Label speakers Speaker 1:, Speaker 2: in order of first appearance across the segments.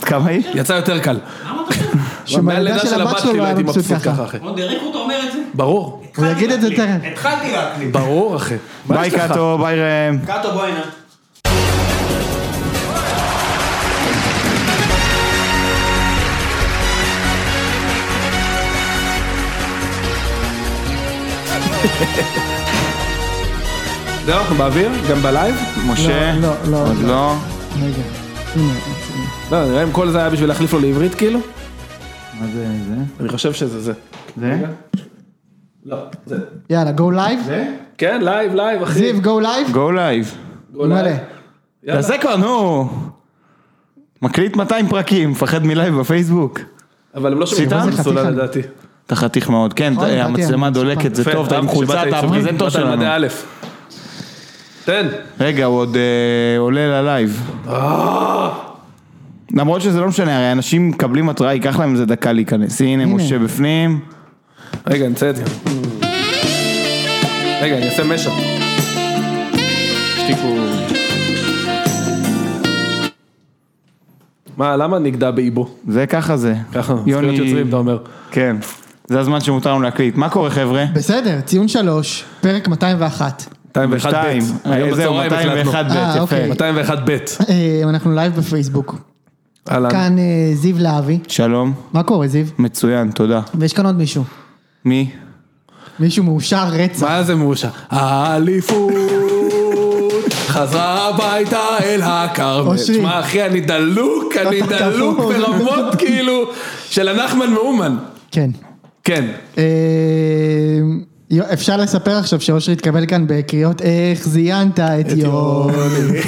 Speaker 1: כמה היא?
Speaker 2: יצא יותר קל.
Speaker 3: למה אתה עושה?
Speaker 2: גם מהלידה של הבת שלי לא הייתי
Speaker 4: מצוין
Speaker 2: מבסוט
Speaker 4: ככה.
Speaker 2: ככה, אחי.
Speaker 3: עוד הריקו אותו אומר את זה?
Speaker 2: ברור,
Speaker 4: הוא יגיד את זה תכף.
Speaker 3: התחלתי להקליט.
Speaker 2: ברור, אחי. מה
Speaker 1: ביי
Speaker 2: יש לך?
Speaker 1: קאטו, ביי ראם.
Speaker 3: קאטו בוא הנה.
Speaker 2: זהו, אנחנו לא, באוויר? גם בלייב?
Speaker 1: משה?
Speaker 4: לא, לא, לא.
Speaker 1: עוד לא.
Speaker 4: רגע, הנה, הנה.
Speaker 2: לא, נראה אם כל זה היה בשביל להחליף לו לעברית, כאילו?
Speaker 1: מה זה זה?
Speaker 2: אני חושב שזה זה.
Speaker 1: זה?
Speaker 2: לא, זה.
Speaker 4: יאללה, go live?
Speaker 2: כן, לייב, לייב, אחי.
Speaker 4: זיו, go live?
Speaker 1: גו לייב.
Speaker 4: מלא.
Speaker 2: יאללה.
Speaker 1: זה כבר, נו. מקליט 200 פרקים, מפחד מלייב בפייסבוק.
Speaker 2: אבל הם לא שומעים
Speaker 1: סיטה?
Speaker 2: את הסולה
Speaker 4: חתיכה.
Speaker 2: לדעתי.
Speaker 1: אתה חתיך מאוד, כן,
Speaker 4: נכון, לדעתי
Speaker 1: המצלמה
Speaker 4: אני
Speaker 1: דולקת, זה
Speaker 2: יפה,
Speaker 1: טוב, אתה עם
Speaker 2: רם,
Speaker 1: חולצת
Speaker 2: שבאת ייצוגית,
Speaker 1: הפרזנטור
Speaker 2: באת עם
Speaker 1: שלנו.
Speaker 2: מדי א'. תן.
Speaker 1: רגע, הוא עוד אה, עולה ללייב. למרות שזה לא משנה, הרי אנשים מקבלים התראה, ייקח להם איזה דקה להיכנס. הנה,
Speaker 4: הנה.
Speaker 1: משה בפנים.
Speaker 2: רגע, אני אמצא את זה. רגע, אני אעשה משע. שתיקו. מה, למה נגדע באיבו?
Speaker 1: זה ככה זה.
Speaker 2: ככה,
Speaker 1: יוני-
Speaker 2: זכויות יוצרים, אתה אומר.
Speaker 1: כן. זה הזמן שמותר לנו להקליט. מה קורה חבר'ה?
Speaker 4: בסדר, ציון שלוש, פרק 201.
Speaker 2: 201
Speaker 1: שתיים.
Speaker 2: ב'. היום
Speaker 1: אה, זהו,
Speaker 2: בצהריים החלטנו.
Speaker 1: 201
Speaker 4: אה,
Speaker 1: ב',
Speaker 4: אוקיי.
Speaker 1: יפה.
Speaker 2: 201 ב'.
Speaker 4: אה, אנחנו לייב בפייסבוק.
Speaker 2: אהלן.
Speaker 4: כאן אה, זיו להבי.
Speaker 1: שלום,
Speaker 4: מה קורה, זיו?
Speaker 1: מצוין, תודה.
Speaker 4: ויש כאן עוד מישהו.
Speaker 1: מי?
Speaker 4: מישהו מאושר רצח.
Speaker 2: מה זה מאושר? האליפות חזרה הביתה אל הכרמל.
Speaker 4: אושרי.
Speaker 2: תשמע אחי, אני דלוק, אני
Speaker 4: אתה
Speaker 2: דלוק
Speaker 4: דפוק.
Speaker 2: ברמות כאילו של הנחמן מאומן.
Speaker 4: כן.
Speaker 2: כן.
Speaker 4: אה, יו- אפשר לספר עכשיו שאושרי התקבל כאן בקריאות איך זיינת את יוני.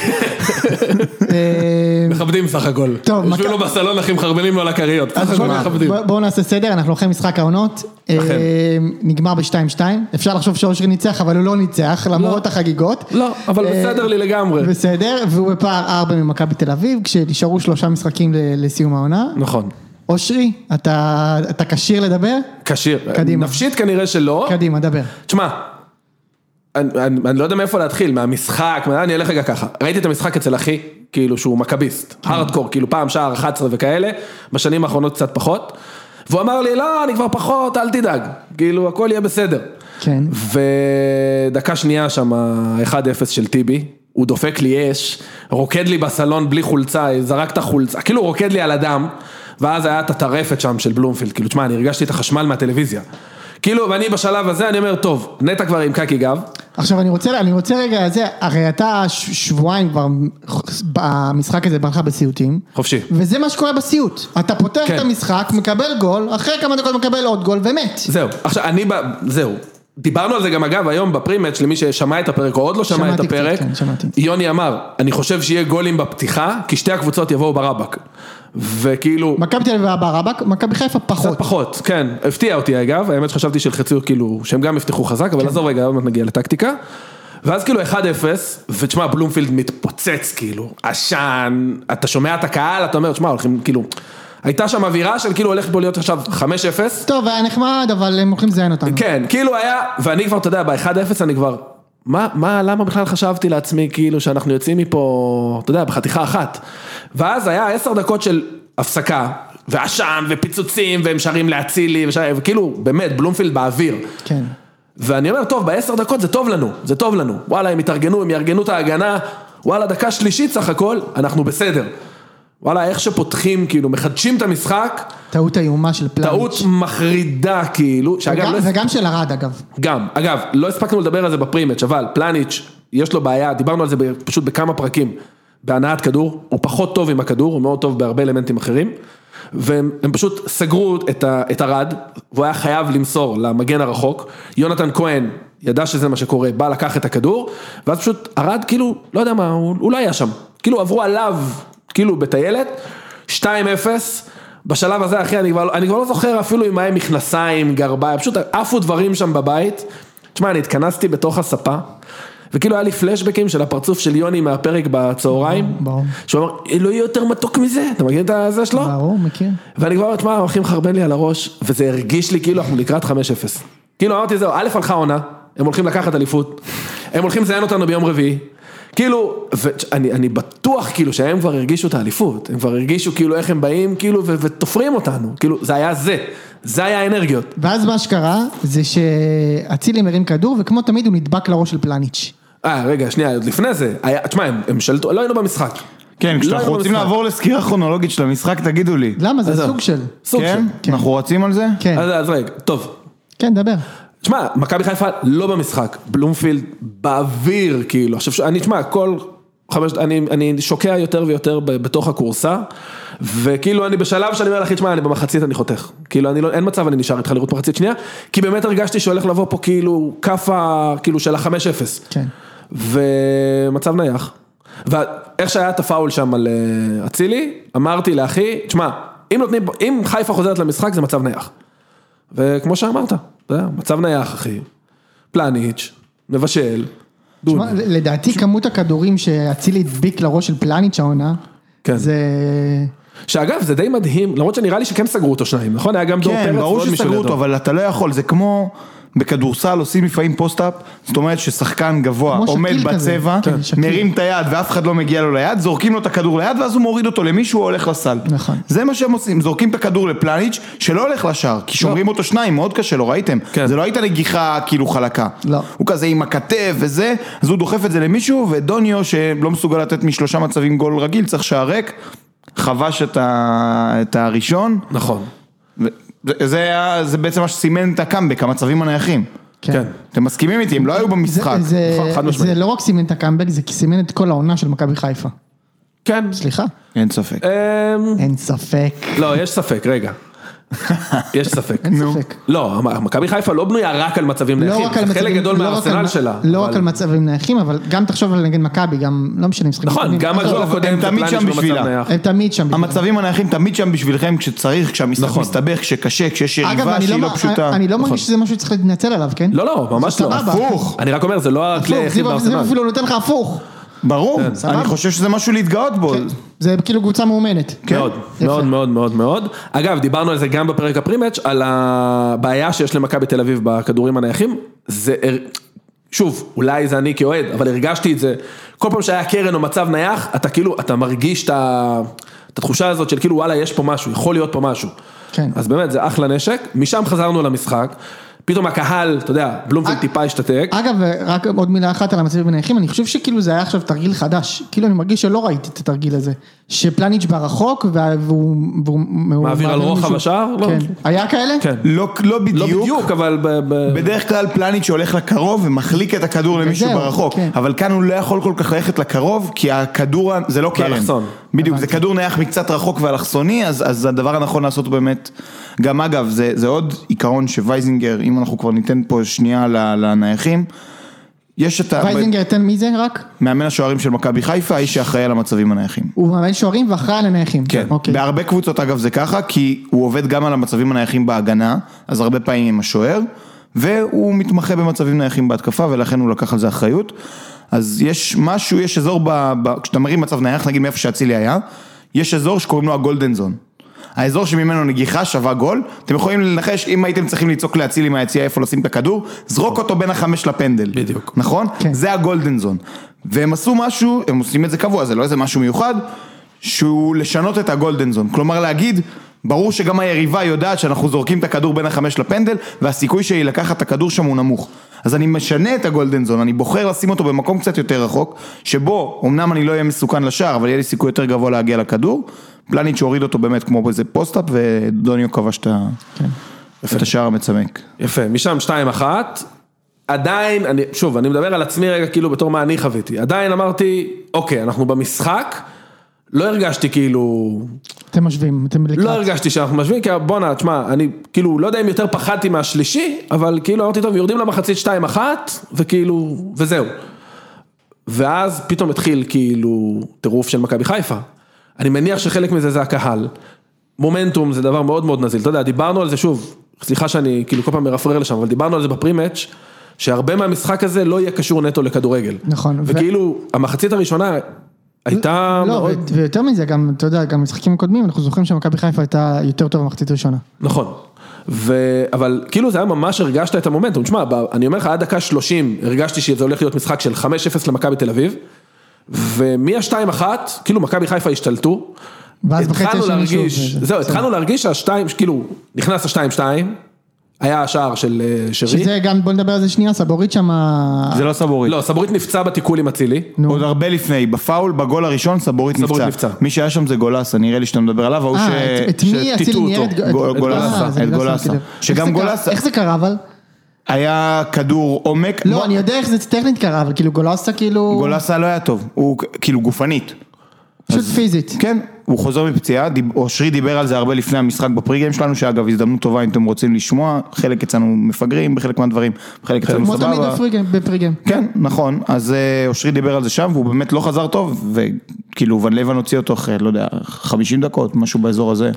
Speaker 4: אה,
Speaker 2: מכבדים סך הכל.
Speaker 4: טוב,
Speaker 2: יושבים
Speaker 4: מכ-
Speaker 2: לו בסלון אחי מחרבנים לו על הכריות. סך
Speaker 4: אז
Speaker 2: הכל
Speaker 4: בואו
Speaker 2: מכבדים.
Speaker 4: בוא, בוא נעשה סדר, אנחנו אחרי משחק העונות,
Speaker 2: אכן.
Speaker 4: אה, נגמר ב-2-2, אפשר לחשוב שאושרי ניצח, אבל הוא לא ניצח, למרות החגיגות.
Speaker 2: לא, אבל
Speaker 4: אה,
Speaker 2: בסדר לי לגמרי.
Speaker 4: בסדר, והוא בפער 4 ממכבי תל אביב, כשנשארו שלושה משחקים ל- לסיום העונה.
Speaker 2: נכון.
Speaker 4: אושרי, אתה אתה כשיר לדבר?
Speaker 2: כשיר.
Speaker 4: קדימה.
Speaker 2: נפשית כנראה שלא.
Speaker 4: קדימה, דבר.
Speaker 2: תשמע, אני, אני, אני לא יודע מאיפה להתחיל, מהמשחק, מה, אני אלך רגע ככה. ראיתי את המשחק אצל אחי, כאילו שהוא מכביסט,
Speaker 4: אה.
Speaker 2: הארדקור, כאילו פעם שער 11 וכאלה, בשנים האחרונות קצת פחות. והוא אמר לי, לא, אני כבר פחות, אל תדאג, כאילו, הכל יהיה בסדר.
Speaker 4: כן.
Speaker 2: ודקה שנייה שם, 1-0 של טיבי, הוא דופק לי אש, רוקד לי בסלון בלי חולצה, זרק את החולצה, כאילו הוא רוקד לי על הדם, ואז היה את הטרפת שם של בלומפילד, כאילו, תשמע, אני הרגשתי את החשמל מהטלוויזיה. כאילו, ואני בשלב הזה, אני אומר, טוב, נטע כבר עם קקי גב,
Speaker 4: עכשיו אני רוצה, אני רוצה רגע, זה, הרי אתה ש- שבועיים כבר, במשחק הזה בא לך בסיוטים.
Speaker 2: חופשי.
Speaker 4: וזה מה שקורה בסיוט, אתה פותח
Speaker 2: כן.
Speaker 4: את המשחק, מקבל גול, אחרי כמה דקות מקבל עוד גול ומת.
Speaker 2: זהו, עכשיו, אני, ב... זהו. דיברנו על זה גם אגב היום בפרימץ' למי ששמע את הפרק או עוד לא שמע את
Speaker 4: שמעתי קצת,
Speaker 2: הפרק,
Speaker 4: כן, שמעתי.
Speaker 2: יוני אמר, אני חושב שיהיה גולים בפתיחה, כי שתי הקבוצות יבואו ברבק. וכאילו,
Speaker 4: מכבי תל אביב היה ברבק, מכבי חיפה פחות.
Speaker 2: קצת פחות, כן, הפתיע אותי אגב, האמת שחשבתי שילחצו כאילו, שהם גם יפתחו חזק, אבל עזוב רגע, עוד מעט נגיע לטקטיקה. ואז כאילו 1-0, ותשמע, בלומפילד מתפוצץ כאילו, עשן, אתה שומע את הקהל, אתה אומר, תשמע, הולכים כאילו, הייתה שם אווירה של כאילו הולך פה להיות עכשיו 5-0.
Speaker 4: טוב, היה נחמד, אבל הם הולכים לזיין אותנו.
Speaker 2: כן, כאילו היה, ואני כבר, אתה יודע, ב-1-0 אני כבר, מה, מה, למה בכלל חשבתי לעצמי, כאילו, שאנחנו יוצאים מפה, אתה יודע, בחתיכה אחת. ואז היה עשר דקות של הפסקה, ועשן, ופיצוצים, והם שרים להצילי, ושר- וכאילו, באמת, בלומפילד באוויר.
Speaker 4: כן.
Speaker 2: ואני אומר, טוב, בעשר דקות זה טוב לנו, זה טוב לנו. וואלה, הם יתארגנו, הם יארגנו את ההגנה, וואלה, דקה שלישית סך הכל, אנחנו בסדר. וואלה, איך שפותחים, כאילו, מחדשים את המשחק,
Speaker 4: טעות איומה של פלניץ'.
Speaker 2: טעות מחרידה, כאילו, שאגב,
Speaker 4: וגם-
Speaker 2: לא
Speaker 4: וגם של ארד אגב.
Speaker 2: גם, אגב, לא הספקנו לדבר על זה בפרימץ', אבל פלניץ', יש לו בעיה, דיברנו על זה ב- פשוט בכמה פרקים, בהנעת כדור, הוא פחות טוב עם הכדור, הוא מאוד טוב בהרבה אלמנטים אחרים, והם הם פשוט סגרו את, ה, את הרד, והוא היה חייב למסור למגן הרחוק, יונתן כהן ידע שזה מה שקורה, בא לקח את הכדור, ואז פשוט הרד כאילו, לא יודע מה, הוא הוא לא היה שם, כאילו עברו עליו, כאילו בטיילת, 2-0, בשלב הזה, אחי, אני כבר, לא- אני כבר לא זוכר אפילו אם היה מכנסיים, גרביים, פשוט עפו דברים שם בבית. תשמע, אני התכנסתי בתוך הספה, וכאילו היה לי פלשבקים של הפרצוף של יוני מהפרק בצהריים.
Speaker 4: ברור.
Speaker 2: שהוא אמר, לא יהיה יותר מתוק מזה, אתה מכיר את הזה שלו?
Speaker 4: ברור, מכיר.
Speaker 2: ואני כבר אומר, תשמע, הוא הכי מחרבן לי על הראש, וזה הרגיש לי כאילו אנחנו לקראת 5-0. כאילו אמרתי, זהו, א' הלכה עונה, הם הולכים לקחת אליפות, הם הולכים לזיין אותנו ביום רביעי, כאילו, ואני אני בטוח כאילו שהם כבר הרגישו את האליפות, הם כבר הרגישו כאילו איך הם באים כאילו ו- ותופרים אותנו, כאילו זה היה זה, זה היה האנרגיות.
Speaker 4: ואז מה שקרה, זה שאצילי מרים כדור, וכמו תמיד הוא נדבק לראש של פלניץ'.
Speaker 2: אה רגע שנייה, עוד לפני זה, היה, תשמע הם, הם שלטו, לא היינו במשחק.
Speaker 1: כן,
Speaker 2: לא
Speaker 1: כשאנחנו
Speaker 2: היינו
Speaker 1: רוצים
Speaker 2: במשחק.
Speaker 1: לעבור לסקירה כרונולוגית של המשחק, תגידו לי.
Speaker 4: למה? זה
Speaker 2: עזוב.
Speaker 4: לא, סוג של...
Speaker 2: סוג
Speaker 1: כן?
Speaker 2: של.
Speaker 4: כן.
Speaker 1: אנחנו רצים על זה?
Speaker 4: כן,
Speaker 2: אז, אז רגע, טוב,
Speaker 4: כן, דבר.
Speaker 2: תשמע, מכבי חיפה לא במשחק, בלומפילד באוויר, כאילו. עכשיו, ש- אני, תשמע, כל חמש, אני, אני שוקע יותר ויותר ב- בתוך הכורסה, וכאילו אני בשלב שאני אומר לך, תשמע, אני במחצית אני חותך. כאילו, אני לא, אין מצב, אני נשאר איתך לראות מחצית שנייה, כי באמת הרגשתי שהולך לבוא פה כאילו כאפה, כאילו של ה-5-0.
Speaker 4: כן.
Speaker 2: ומצב נייח. ואיך שהיה את הפאול שם על אה, אצילי, אמרתי לאחי, תשמע, אם נותנים, אם חיפה חוזרת למשחק זה מצב נייח. וכמו שאמרת, אתה יודע, מצב נייח אחי, פלניץ', מבשל, דודי.
Speaker 4: תשמע, לדעתי כמות הכדורים שאצילי הדביק לראש של פלניץ' העונה,
Speaker 2: כן.
Speaker 4: זה...
Speaker 2: שאגב, זה די מדהים, למרות שנראה לי שכן סגרו אותו שניים, נכון? היה גם דור פרץ
Speaker 1: כן, ברור
Speaker 2: ועוד מישהו
Speaker 1: שסגרו אותו,
Speaker 2: לידו.
Speaker 1: אבל אתה לא יכול, זה כמו בכדורסל עושים לפעמים פוסט-אפ, זאת אומרת ששחקן גבוה
Speaker 4: כמו
Speaker 1: עומד
Speaker 4: שקיל כזה,
Speaker 1: בצבע,
Speaker 4: כן, שקיל.
Speaker 1: מרים את היד ואף אחד לא מגיע לו ליד, זורקים לו את הכדור ליד ואז הוא מוריד אותו למישהו, הוא הולך לסל.
Speaker 4: נכון.
Speaker 1: זה מה שהם עושים, זורקים את הכדור לפלניץ' שלא הולך לשער, כי שומרים אותו שניים, מאוד קשה לו, ראיתם?
Speaker 2: לא. כן.
Speaker 1: זה לא הייתה נגיחה כאילו חלקה.
Speaker 4: לא.
Speaker 1: הוא כזה עם הכתף וזה, אז הוא דוחף את זה למישהו, ודוניו שלא מסוגל לתת משלושה מצבים גול רגיל, צריך שער ריק, חבש את ה- את הראשון.
Speaker 2: נכון,
Speaker 1: זה, זה, היה, זה בעצם מה שסימן את הקאמבק, המצבים הנייחים.
Speaker 2: כן.
Speaker 1: אתם מסכימים איתי, הם לא היו במשחק.
Speaker 4: זה- זה-
Speaker 2: נכון, חד משמעית.
Speaker 4: זה לא רק סימן את הקאמבק, זה סימן את כל העונה של מכבי חיפה.
Speaker 2: כן.
Speaker 4: סליחה?
Speaker 1: אין ספק.
Speaker 2: אמ,
Speaker 4: אין ספק.
Speaker 2: לא, יש ספק, רגע. יש ספק.
Speaker 4: אין ספק.
Speaker 2: לא, מכבי חיפה לא בנויה רק על מצבים
Speaker 4: לא
Speaker 2: נייחים,
Speaker 4: רק על
Speaker 2: זה
Speaker 4: מצבים,
Speaker 2: חלק גדול
Speaker 4: לא רק על-
Speaker 2: מהארסנל שלה.
Speaker 4: לא רק
Speaker 2: אבל-
Speaker 4: על מצבים נייחים, אבל גם תחשוב על נגד מכבי, גם לא משנה, משחקים.
Speaker 2: נכון,
Speaker 4: טובים.
Speaker 2: גם
Speaker 4: עזוב,
Speaker 2: הגול הקודם
Speaker 1: הם תמיד
Speaker 2: ופלניץ'
Speaker 1: שם
Speaker 2: במצב
Speaker 1: בשבילה.
Speaker 2: נייח.
Speaker 4: הם תמיד שם.
Speaker 1: המצבים הנייחים תמיד שם בשבילכם כשצריך, כשהמשחק
Speaker 2: נכון.
Speaker 1: מסתבך, כשקשה, כשיש
Speaker 4: אגב,
Speaker 1: יריבה
Speaker 4: אני
Speaker 1: שהיא
Speaker 4: לא
Speaker 1: לא
Speaker 4: מ-
Speaker 1: פשוטה.
Speaker 4: אני לא מרגיש שזה משהו שצריך להתנצל עליו, כן?
Speaker 2: לא, לא, ממש לא.
Speaker 4: סבבה.
Speaker 1: הפוך.
Speaker 2: אני רק אומר, זה לא הכלי
Speaker 4: הפוך,
Speaker 2: היחיד
Speaker 4: זיו זיו
Speaker 2: בארסנל.
Speaker 4: אפילו נותן לך הפוך.
Speaker 1: ברור, אני
Speaker 4: כן, סבבה.
Speaker 1: חושב שזה משהו להתגאות בו.
Speaker 4: זה כאילו קבוצה מאומנת.
Speaker 2: מאוד,
Speaker 4: יפה.
Speaker 2: מאוד מאוד מאוד מאוד. אגב, דיברנו על זה גם בפרק הפרימץ', על הבעיה שיש למכבי תל אביב בכדורים הנייחים. זה, הר- שוב, אולי זה אני כאוהד, אבל הרגשתי את זה. כל פעם שהיה קרן או מצב נייח, אתה כאילו, אתה מרגיש את ה- את התחושה הזאת של כאילו, וואלה, יש פה משהו, יכול להיות פה משהו.
Speaker 4: כן.
Speaker 2: אז באמת, זה אחלה נשק. משם חזרנו למשחק. פתאום הקהל, אתה יודע, בלומפילד
Speaker 4: אג-
Speaker 2: טיפה השתתק.
Speaker 4: אגב, רק עוד מילה אחת על המצבים הנייחים, אני חושב שכאילו זה היה עכשיו תרגיל חדש. כאילו אני מרגיש שלא ראיתי את התרגיל הזה. שפלניץ' בא רחוק, וה- והוא... והוא- והוא
Speaker 2: מעביר על רוחב
Speaker 4: מישהו.
Speaker 2: השער? לא.
Speaker 4: כן. היה כאלה?
Speaker 2: כן.
Speaker 1: לא לא
Speaker 2: לא
Speaker 1: בדיוק.
Speaker 2: בדיוק, אבל... ב- ב-
Speaker 1: בדרך כלל פלניץ' שהולך לקרוב ומחליק את הכדור למישהו
Speaker 4: זהו,
Speaker 1: ברחוק,
Speaker 4: כן.
Speaker 1: אבל כאן הוא לא יכול כל כך ללכת לקרוב, כי הכדור, ה- זה לא קרן.
Speaker 2: אלכסון.
Speaker 1: בדיוק, זה כדור נייח מקצת רחוק ואלכסוני, אז, אז הדבר הנכון לעשות הוא באמת, גם אגב, זה, זה עוד עיקרון שווייזינגר, אם אנחנו כבר ניתן פה שנייה ל- לנייחים, יש את ה...
Speaker 4: וייזינגר ייתן מי זה רק?
Speaker 1: מאמן השוערים של מכבי חיפה, האיש שאחראי על המצבים הנייחים.
Speaker 4: הוא מאמן שוערים ואחראי על הנייחים.
Speaker 1: כן,
Speaker 4: אוקיי.
Speaker 1: בהרבה קבוצות אגב זה ככה, כי הוא עובד גם על המצבים הנייחים בהגנה, אז הרבה פעמים עם השוער, והוא מתמחה במצבים נייחים בהתקפה, ולכן הוא לקח על זה אחריות. אז יש משהו, יש אזור, ב, ב, כשאתה מרים מצב נייח, נגיד מאיפה שאצילי היה, יש אזור שקוראים לו הגולדן זון. האזור שממנו נגיחה שווה גול, אתם יכולים לנחש אם הייתם צריכים לצעוק לאצילי מהיציאה איפה לשים את הכדור, זרוק אותו בין החמש לפנדל.
Speaker 2: בדיוק.
Speaker 1: נכון?
Speaker 4: כן.
Speaker 1: זה הגולדן זון. והם עשו משהו, הם עושים את זה קבוע, זה לא איזה משהו מיוחד, שהוא לשנות את הגולדן זון. כלומר להגיד, ברור שגם היריבה יודעת שאנחנו זורקים את הכדור בין החמש לפנדל, והסיכוי שלי לקחת את הכדור שם הוא נמוך. אז אני משנה את הגולדן זון, אני בוחר לשים אותו במקום קצת יותר רחוק, שבו אמנם אני לא אהיה מסוכן לשער, אבל יהיה לי סיכוי יותר גבוה להגיע לכדור. פלניץ' הוריד אותו באמת כמו באיזה פוסט-אפ, ודוניו כבש את ה- את השער המצמק.
Speaker 2: יפה, משם 2-1. עדיין, אני, שוב, אני מדבר על עצמי רגע כאילו בתור מה אני חוויתי. עדיין אמרתי, אוקיי, אנחנו במשחק, לא הרגשתי כאילו,
Speaker 4: אתם משווים, אתם לקראת.
Speaker 2: לא הרגשתי שאנחנו משווים, כי בואנה, תשמע, אני כאילו, לא יודע אם יותר פחדתי מהשלישי, אבל כאילו אמרתי, טוב, יורדים למחצית 2-1, וכאילו, וזהו. ואז פתאום התחיל כאילו טירוף של מכבי חיפה. אני מניח שחלק מזה זה הקהל. מומנטום זה דבר מאוד מאוד נזיל, אתה יודע, דיברנו על זה שוב, סליחה שאני כאילו כל פעם מרפרר לשם, אבל דיברנו על זה בפרימאץ', שהרבה מהמשחק הזה לא יהיה קשור נטו לכדורגל.
Speaker 4: נכון, ו-
Speaker 2: וכאילו, המחצית הראשונה הייתה
Speaker 4: לא,
Speaker 2: מאוד...
Speaker 4: ו- ויותר מזה, גם, אתה יודע, גם משחקים קודמים, אנחנו זוכרים שמכבי חיפה הייתה יותר טובה במחצית הראשונה.
Speaker 2: נכון. ו... אבל כאילו זה היה ממש הרגשת את המומנטום, תשמע, ב... אני אומר לך עד דקה 30 הרגשתי שזה הולך להיות משחק של 5-0 למכבי תל אביב, ומהשתיים אחת, כאילו מכבי חיפה השתלטו.
Speaker 4: ואז בחצי
Speaker 2: התחלנו
Speaker 4: השני שוב,
Speaker 2: להרגיש,
Speaker 4: וזה,
Speaker 2: זהו, התחלנו להרגיש שהשתיים, כאילו, נכנס השתיים שתיים, היה השער של אה, שרי.
Speaker 4: שזה גם, בוא נדבר על זה שנייה, סבורית שם...
Speaker 1: זה לא סבורית.
Speaker 2: לא, סבורית נפצע בתיקול עם אצילי.
Speaker 4: נו.
Speaker 1: עוד הרבה לפני, בפאול, בגול הראשון, סבורית נפצע.
Speaker 2: סבורית נפצע.
Speaker 1: מי שהיה שם זה גולסה, נראה לי שאתה מדבר עליו, ההוא ש...
Speaker 4: אה, את- את מי
Speaker 1: שטיטו
Speaker 4: אצילי נייר?
Speaker 1: אותו.
Speaker 4: את- את-
Speaker 1: גול-
Speaker 4: אה,
Speaker 1: גולסה,
Speaker 4: זה
Speaker 1: את
Speaker 4: לא
Speaker 1: גולסה.
Speaker 4: שמתי לב. איך
Speaker 1: שגם
Speaker 4: זה קרה-
Speaker 1: גולסה,
Speaker 4: איך זה קרה אבל?
Speaker 1: היה כדור עומק. בוא-
Speaker 4: לא, אני יודע איך זה טכנית קרה, אבל כאילו גולסה כאילו...
Speaker 1: גולסה לא היה טוב, הוא כ- כאילו גופנית.
Speaker 4: פשוט פיזית.
Speaker 1: כן, הוא חוזר מפציעה, דיב- אושרי דיבר על זה הרבה לפני המשחק בפריגיים שלנו, שאגב, הזדמנות טובה אם אתם רוצים לשמוע, חלק אצלנו מפגרים בחלק מהדברים, חלק אצלנו
Speaker 4: כמו תמיד
Speaker 1: סבבה.
Speaker 4: בפריגם, בפריגם.
Speaker 1: כן, נכון, אז אה, אושרי דיבר על זה שם, והוא באמת לא חזר טוב, וכאילו ון לבן הוציא אותו אחרי, לא יודע, 50 דקות, משהו באזור הזה.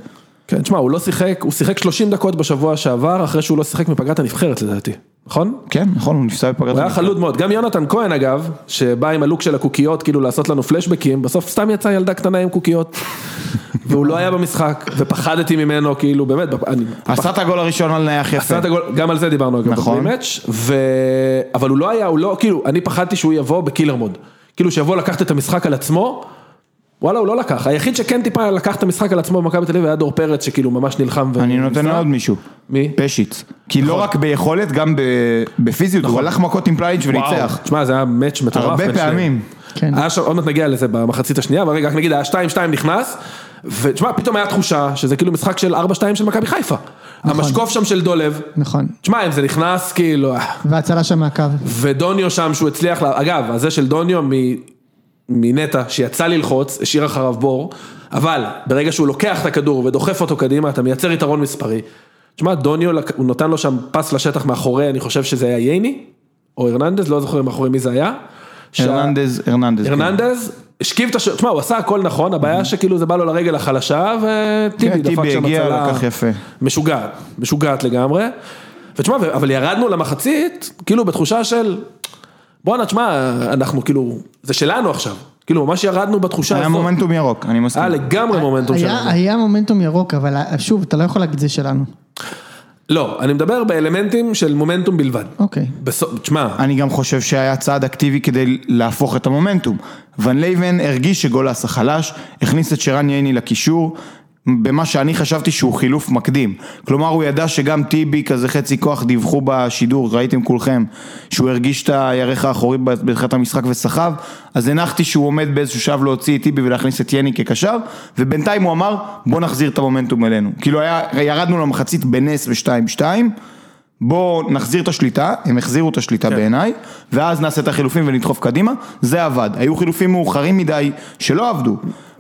Speaker 2: כן, תשמע, הוא לא שיחק, הוא שיחק 30 דקות בשבוע שעבר, אחרי שהוא לא שיחק מפגרת הנבחרת לדעתי, נכון?
Speaker 1: כן, נכון, הוא נפסע בפגרת.
Speaker 2: הוא היה
Speaker 1: המשחק.
Speaker 2: חלוד מאוד, גם יונתן כהן אגב, שבא עם הלוק של הקוקיות, כאילו לעשות לנו פלשבקים, בסוף סתם יצאה ילדה קטנה עם קוקיות, והוא לא היה במשחק, ופחדתי ממנו, כאילו, באמת, בפ- אני...
Speaker 1: עשה את הגול הראשון על נייח יפה.
Speaker 2: עשה את הגול, גם על זה דיברנו אגב,
Speaker 1: כן. נכון.
Speaker 2: בפרימץ', ו... אבל הוא לא היה, הוא לא, כאילו, אני פחדתי שהוא יבוא בקילר מוד, כאילו שיבוא לקחת את המשחק על עצמו, וואלה, הוא לא לקח, היחיד שכן טיפה לקח את המשחק על עצמו במכבי תל אביב היה דור פרץ, שכאילו ממש נלחם. ו-
Speaker 1: אני נותן
Speaker 2: וניסה.
Speaker 1: לעוד מישהו.
Speaker 2: מי? נכון.
Speaker 1: פשיץ. כי לא רק ביכולת, גם ב- בפיזיות, הוא הלך מכות עם פלייץ' וניצח.
Speaker 2: תשמע, זה היה מאץ' נכון. מטורף.
Speaker 1: הרבה
Speaker 2: בין
Speaker 1: פעמים.
Speaker 2: שניהם.
Speaker 4: כן.
Speaker 1: אה-
Speaker 2: היה שם, עוד מעט נגיע לזה במחצית השנייה, אבל רגע, רק נגיד היה 2-2 נכנס, ותשמע, פתאום היה תחושה שזה כאילו משחק של 4-2 של מכבי חיפה. המשקוף שם של דולב,
Speaker 4: נכון.
Speaker 2: תשמע, אם זה נכנס, כאילו, אה,
Speaker 4: והצלה שם מהקו.
Speaker 2: ודוניו שם שהוא הצליח, לה... אגב, הזה של דוניו מ... מנטע, שיצא ללחוץ, השאיר אחריו בור, אבל ברגע שהוא לוקח את הכדור ודוחף אותו קדימה, אתה מייצר יתרון מספרי. תשמע, דוניו, לק- הוא נתן לו שם פס לשטח מאחורי, אני חושב שזה היה ייני, או הרננדז, לא זוכר מאחורי מי זה היה. שה-
Speaker 1: הרננדז, הרננדז. כן.
Speaker 2: הרננדז, השכיב את השוער, תשמע, הוא עשה הכל נכון, הבעיה שכאילו זה בא לו לרגל החלשה, וטיבי
Speaker 1: Mhm. כן,
Speaker 2: דפק
Speaker 1: טיבי
Speaker 2: שם
Speaker 1: הגיע,
Speaker 2: הצלה.
Speaker 1: לקח יפה.
Speaker 2: משוגעת, משוגעת לגמרי. ותשמע, ו- אבל ירדנו למחצית, כאילו בתחושה של, בואנה, תשמע, אנחנו כאילו, זה שלנו עכשיו. כאילו, ממש ירדנו בתחושה
Speaker 1: היה
Speaker 2: הזאת.
Speaker 1: מומנטום ירוק, אני מסכים.
Speaker 2: היה לגמרי מומנטום
Speaker 4: אה, היה-
Speaker 2: שלנו.
Speaker 4: היה מומנטום ירוק, אבל אה, שוב, אתה לא יכול להגיד זה שלנו.
Speaker 2: לא, אני מדבר באלמנטים של מומנטום בלבד.
Speaker 4: אוקיי.
Speaker 2: בסוף, תשמע,
Speaker 1: אני גם חושב שהיה צעד אקטיבי כדי להפוך את המומנטום. ון לייבן הרגיש שגולס החלש, הכניס את שרן ייני לקישור, במה שאני חשבתי שהוא חילוף מקדים. כלומר, הוא ידע שגם טיבי, כזה חצי כוח, דיווחו בשידור, ראיתם כולכם, שהוא הרגיש את הירך האחורי בתחילת המשחק וסחב, אז הנחתי שהוא עומד באיזשהו שלב להוציא את טיבי ולהכניס את ייני כקשר, ובינתיים הוא אמר, בוא נחזיר את המומנטום אלינו. כאילו, היה, ירדנו למחצית בנס ב-2-2. בואו נחזיר את השליטה, הם החזירו את השליטה כן. בעיניי, ואז נעשה את החילופים ונדחוף קדימה, זה עבד. היו חילופים מאוחרים מדי שלא עבדו.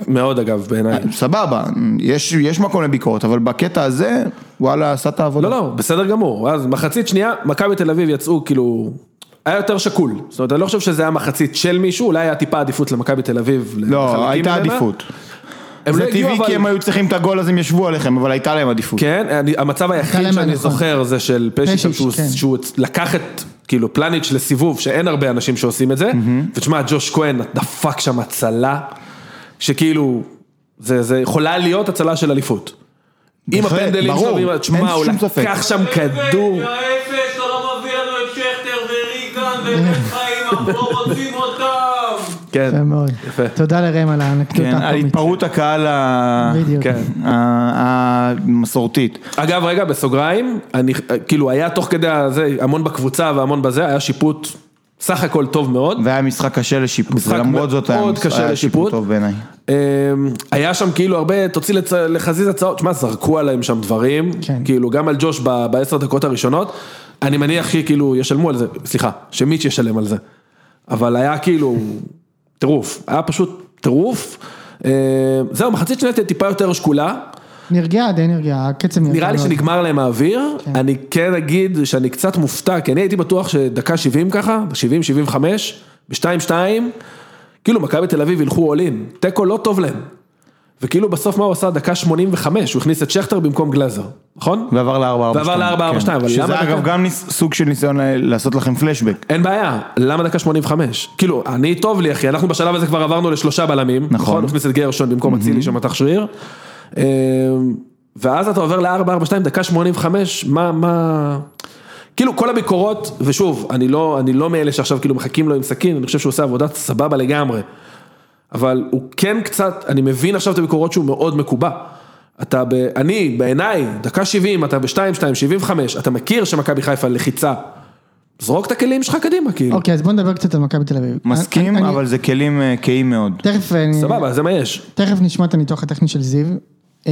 Speaker 2: מאוד אגב בעיניי.
Speaker 1: סבבה, יש, יש מקום לביקורת, אבל בקטע הזה, וואלה, עשה את העבודה.
Speaker 2: לא, לא, בסדר גמור. אז מחצית שנייה, מכבי תל אביב יצאו כאילו... היה יותר שקול, זאת אומרת, אני לא חושב שזה היה מחצית של מישהו, אולי היה טיפה עדיפות למכבי תל אביב.
Speaker 1: לא,
Speaker 2: לחלקים
Speaker 1: הייתה
Speaker 2: ממנה.
Speaker 1: עדיפות.
Speaker 2: הם
Speaker 1: זה
Speaker 2: לא הגיעו,
Speaker 1: טבעי
Speaker 2: אבל-
Speaker 1: כי הם היו צריכים את הגול אז הם ישבו עליכם, אבל הייתה להם עדיפות.
Speaker 2: כן, אני, המצב היחיד
Speaker 4: להם
Speaker 2: שאני
Speaker 4: הנכון.
Speaker 2: זוכר זה של פשיץ',
Speaker 4: פשיץ',
Speaker 2: שהוא,
Speaker 4: כן.
Speaker 2: שהוא לקח את, כאילו, פלניץ' לסיבוב, שאין הרבה אנשים שעושים את זה, ותשמע, ג'וש כהן דפק שם הצלה, שכאילו, זה, זה יכולה להיות הצלה של אליפות. עם
Speaker 1: בהחלט,
Speaker 2: הפנדלים
Speaker 1: ברור,
Speaker 2: שלו, ועם ה-
Speaker 1: אין
Speaker 2: תשמע, הוא
Speaker 1: שום ספק.
Speaker 2: לקח שם כדור.
Speaker 3: האפס, אתה לא מביא לנו את שכטר וריגן ובן חיים, אנחנו לא רוצים אותם.
Speaker 2: כן,
Speaker 4: יפה מאוד.
Speaker 2: יפה.
Speaker 4: תודה לראם על
Speaker 1: כן,
Speaker 4: האנקדוטה
Speaker 1: על
Speaker 4: הקומית.
Speaker 1: התפרעות הקהל ה-
Speaker 4: בדיוק.
Speaker 2: כן.
Speaker 1: ה- המסורתית.
Speaker 2: אגב, רגע, בסוגריים, אני, כאילו, היה תוך כדי הזה, המון בקבוצה והמון בזה, היה שיפוט סך הכל טוב מאוד.
Speaker 1: והיה משחק קשה לשיפוט,
Speaker 2: משחק
Speaker 1: ולמרות זאת היה
Speaker 2: מאוד
Speaker 1: משחק-
Speaker 2: קשה
Speaker 1: היה שיפוט
Speaker 2: לשיפוט.
Speaker 1: טוב בעיניי.
Speaker 2: אמ, היה שם כאילו הרבה, תוציא לצ... לחזיז הצעות, שמע, זרקו עליהם שם דברים,
Speaker 4: כן.
Speaker 2: כאילו גם על ג'וש ב- בעשר דקות הראשונות, אני מניח שכאילו ישלמו על זה, סליחה, שמיץ' ישלם על זה, אבל היה כאילו טירוף, היה פשוט טירוף, אמ, זהו, מחצית שנייה תהיה טיפה יותר שקולה,
Speaker 4: נרגעה, די נרגעה, הקצב נרגע.
Speaker 2: נראה לי
Speaker 4: כן, מאוד.
Speaker 2: שנגמר להם האוויר, אני כן אגיד שאני קצת מופתע, כי אני הייתי בטוח שדקה 70 ככה, ב-70-75, ב-2-2, כאילו מכבי תל אביב ילכו all in, תיקו לא טוב להם. וכאילו בסוף מה הוא עשה? דקה 85, הוא הכניס את שכטר במקום גלאזר, נכון?
Speaker 1: ועבר ל-442.
Speaker 2: ועבר
Speaker 4: כן.
Speaker 2: ל-4-4-2, אבל למה
Speaker 1: שזה
Speaker 2: דקה?
Speaker 1: אגב גם ניס- סוג של ניסיון ל- לעשות לכם פלשבק.
Speaker 2: אין בעיה, למה דקה 85? כאילו, אני טוב לי אחי, אנחנו בשלב הזה כבר עברנו לשלושה בלמים,
Speaker 1: נכון.
Speaker 2: הוא הכניס את גרשון במקום אצילי שמתח שריר, אמ, ואז אתה עובר ל-442, דקה 85, מה, מה... כאילו כל הביקורות, ושוב, אני לא, אני לא מאלה שעכשיו כאילו מחכים לו עם סכין, אני חושב שהוא עושה עבודה סבבה לגמרי, אבל הוא כן קצת, אני מבין עכשיו את הביקורות שהוא מאוד מקובע. אתה, ב, אני, בעיניי, דקה 70, אתה ב-2, 2, 75, אתה מכיר שמכבי חיפה לחיצה. זרוק את הכלים שלך קדימה, כאילו.
Speaker 4: אוקיי, אז בוא נדבר קצת על מכבי תל אביב.
Speaker 1: מסכים,
Speaker 4: אני- אני-
Speaker 1: אבל זה כלים אה, קהים מאוד.
Speaker 4: תכף אה, אני...
Speaker 2: סבבה, זה מה יש.
Speaker 4: תכף נשמע את הניתוח הטכני של זיו. אמ,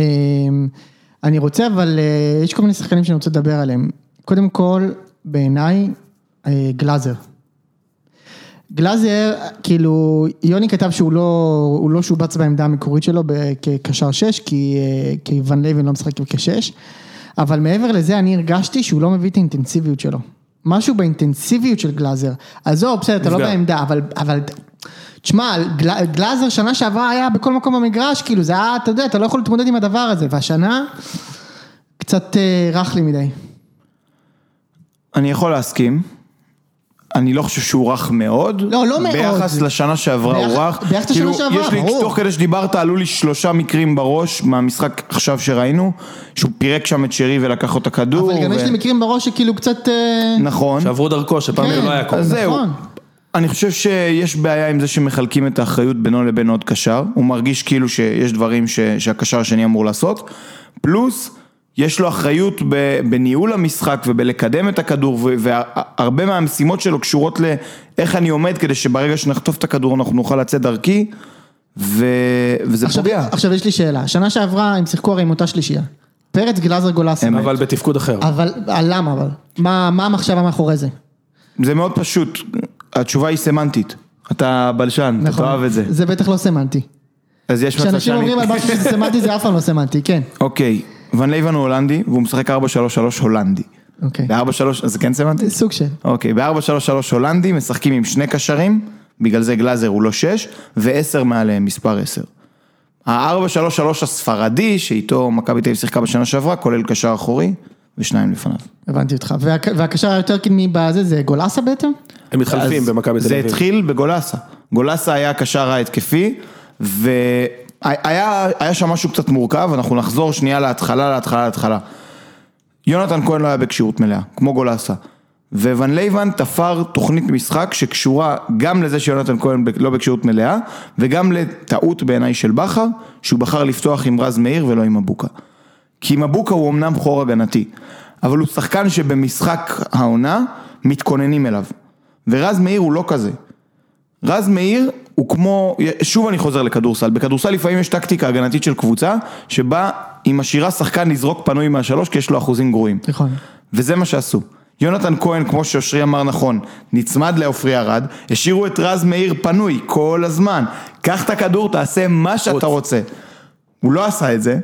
Speaker 4: אני רוצה, אבל אה, יש כל מיני שחקנים שאני רוצה לדבר עליהם. קודם כל, בעיניי, אה, גלאזר. גלאזר, כאילו, יוני כתב שהוא לא, הוא לא שובץ בעמדה המקורית שלו ב- כקשר שש, כי, אה, כי ון לייבן לא משחק כשש, אבל מעבר לזה אני הרגשתי שהוא לא מביא את האינטנסיביות שלו. משהו באינטנסיביות של גלאזר. עזוב, בסדר, אתה לא
Speaker 2: נפגע.
Speaker 4: בעמדה, אבל... אבל תשמע, גל- גלאזר שנה שעברה היה בכל מקום במגרש, כאילו, זה היה, אתה יודע, אתה לא יכול להתמודד עם הדבר הזה, והשנה, קצת אה, רך לי מדי.
Speaker 1: אני יכול להסכים. אני לא חושב שהוא רך מאוד.
Speaker 4: לא, לא מאוד.
Speaker 1: ביחס לשנה שעברה
Speaker 4: ביח-
Speaker 1: הוא רך.
Speaker 4: ביחס לשנה
Speaker 1: כאילו,
Speaker 4: שעברה,
Speaker 1: יש לי,
Speaker 4: ברור.
Speaker 1: תוך כדי שדיברת, עלו לי שלושה מקרים בראש מהמשחק עכשיו שראינו, שהוא פירק שם את שרי ולקח לו את הכדור.
Speaker 4: אבל גם
Speaker 1: ו-
Speaker 4: יש לי מקרים בראש שכאילו קצת... אה,
Speaker 1: נכון.
Speaker 2: שעברו דרכו, שפעם
Speaker 4: כן.
Speaker 2: זה לא היה קורה.
Speaker 1: אז זהו.
Speaker 4: נכון.
Speaker 1: אני חושב שיש בעיה עם זה שמחלקים את האחריות בינו לבין עוד קשר. הוא מרגיש כאילו שיש דברים ש, שהקשר השני אמור לעשות. פלוס, יש לו אחריות ב, בניהול המשחק ובלקדם את הכדור, ו- והרבה מהמשימות שלו קשורות לאיך אני עומד, כדי שברגע שנחטוף את הכדור אנחנו נוכל לצאת דרכי, ו, וזה
Speaker 4: עכשיו,
Speaker 1: פוגע.
Speaker 4: עכשיו יש לי שאלה, שנה שעברה הם שיחקו הרי עם אותה שלישייה. פרץ, גלאזר, גולסה.
Speaker 1: אמת.
Speaker 2: אבל בתפקוד אחר.
Speaker 4: אבל, אה, למה אבל? מה, מה המחשבה מאחורי זה?
Speaker 1: זה מאוד פשוט, התשובה היא סמנטית. אתה בלשן, אתה תאהב את זה.
Speaker 4: נכון. זה בטח לא סמנטי.
Speaker 1: אז יש מצב שאני...
Speaker 4: כשאנשים אומרים על משהו שזה סמנטי זה אף פעם לא סמנטי, כן.
Speaker 1: אוקיי, ון לייבן הוא הולנדי, והוא משחק 4-3-3 הולנדי.
Speaker 4: אוקיי.
Speaker 1: ב-4-3, אז זה כן סמנטי?
Speaker 4: סוג של.
Speaker 1: אוקיי, ב-4-3-3 הולנדי משחקים עם שני קשרים, בגלל זה גלאזר הוא לא 6, ו-10 מעליהם, מספר 10. ה-4-3-3 הספרדי, שאיתו מכבי תל אביב שיחקה בשנה שעברה, כולל קשר אחורי, ושניים לפניו.
Speaker 4: הבנתי אותך. והק- והקשר היותר קדמי בזה זה גולסה בעצם?
Speaker 2: הם מתחלפים
Speaker 1: אז
Speaker 2: במכבי תל
Speaker 1: זה
Speaker 2: אביב.
Speaker 1: התחיל בגולסה. גולסה היה הקשר ההתקפי, והיה היה שם משהו קצת מורכב, אנחנו נחזור שנייה להתחלה, להתחלה, להתחלה. יונתן כהן לא היה בכשירות מלאה, כמו גולסה. וון לייבן תפר תוכנית משחק שקשורה גם לזה שיונתן כהן ב- לא בכשירות מלאה, וגם לטעות בעיניי של בכר, שהוא בחר לפתוח עם רז מאיר ולא עם מבוקה. כי מבוקה הוא אמנם חור הגנתי, אבל הוא שחקן שבמשחק העונה מתכוננים אליו. ורז מאיר הוא לא כזה. רז מאיר הוא כמו, שוב אני חוזר לכדורסל, בכדורסל לפעמים יש טקטיקה הגנתית של קבוצה, שבה היא משאירה שחקן לזרוק פנוי מהשלוש כי יש לו אחוזים גרועים.
Speaker 4: נכון.
Speaker 1: וזה מה שעשו. יונתן כהן, כמו שאושרי אמר נכון, נצמד לעופרי ארד, השאירו את רז מאיר פנוי כל הזמן. קח את הכדור, תעשה מה שאתה רוצה. הוא לא עשה את זה,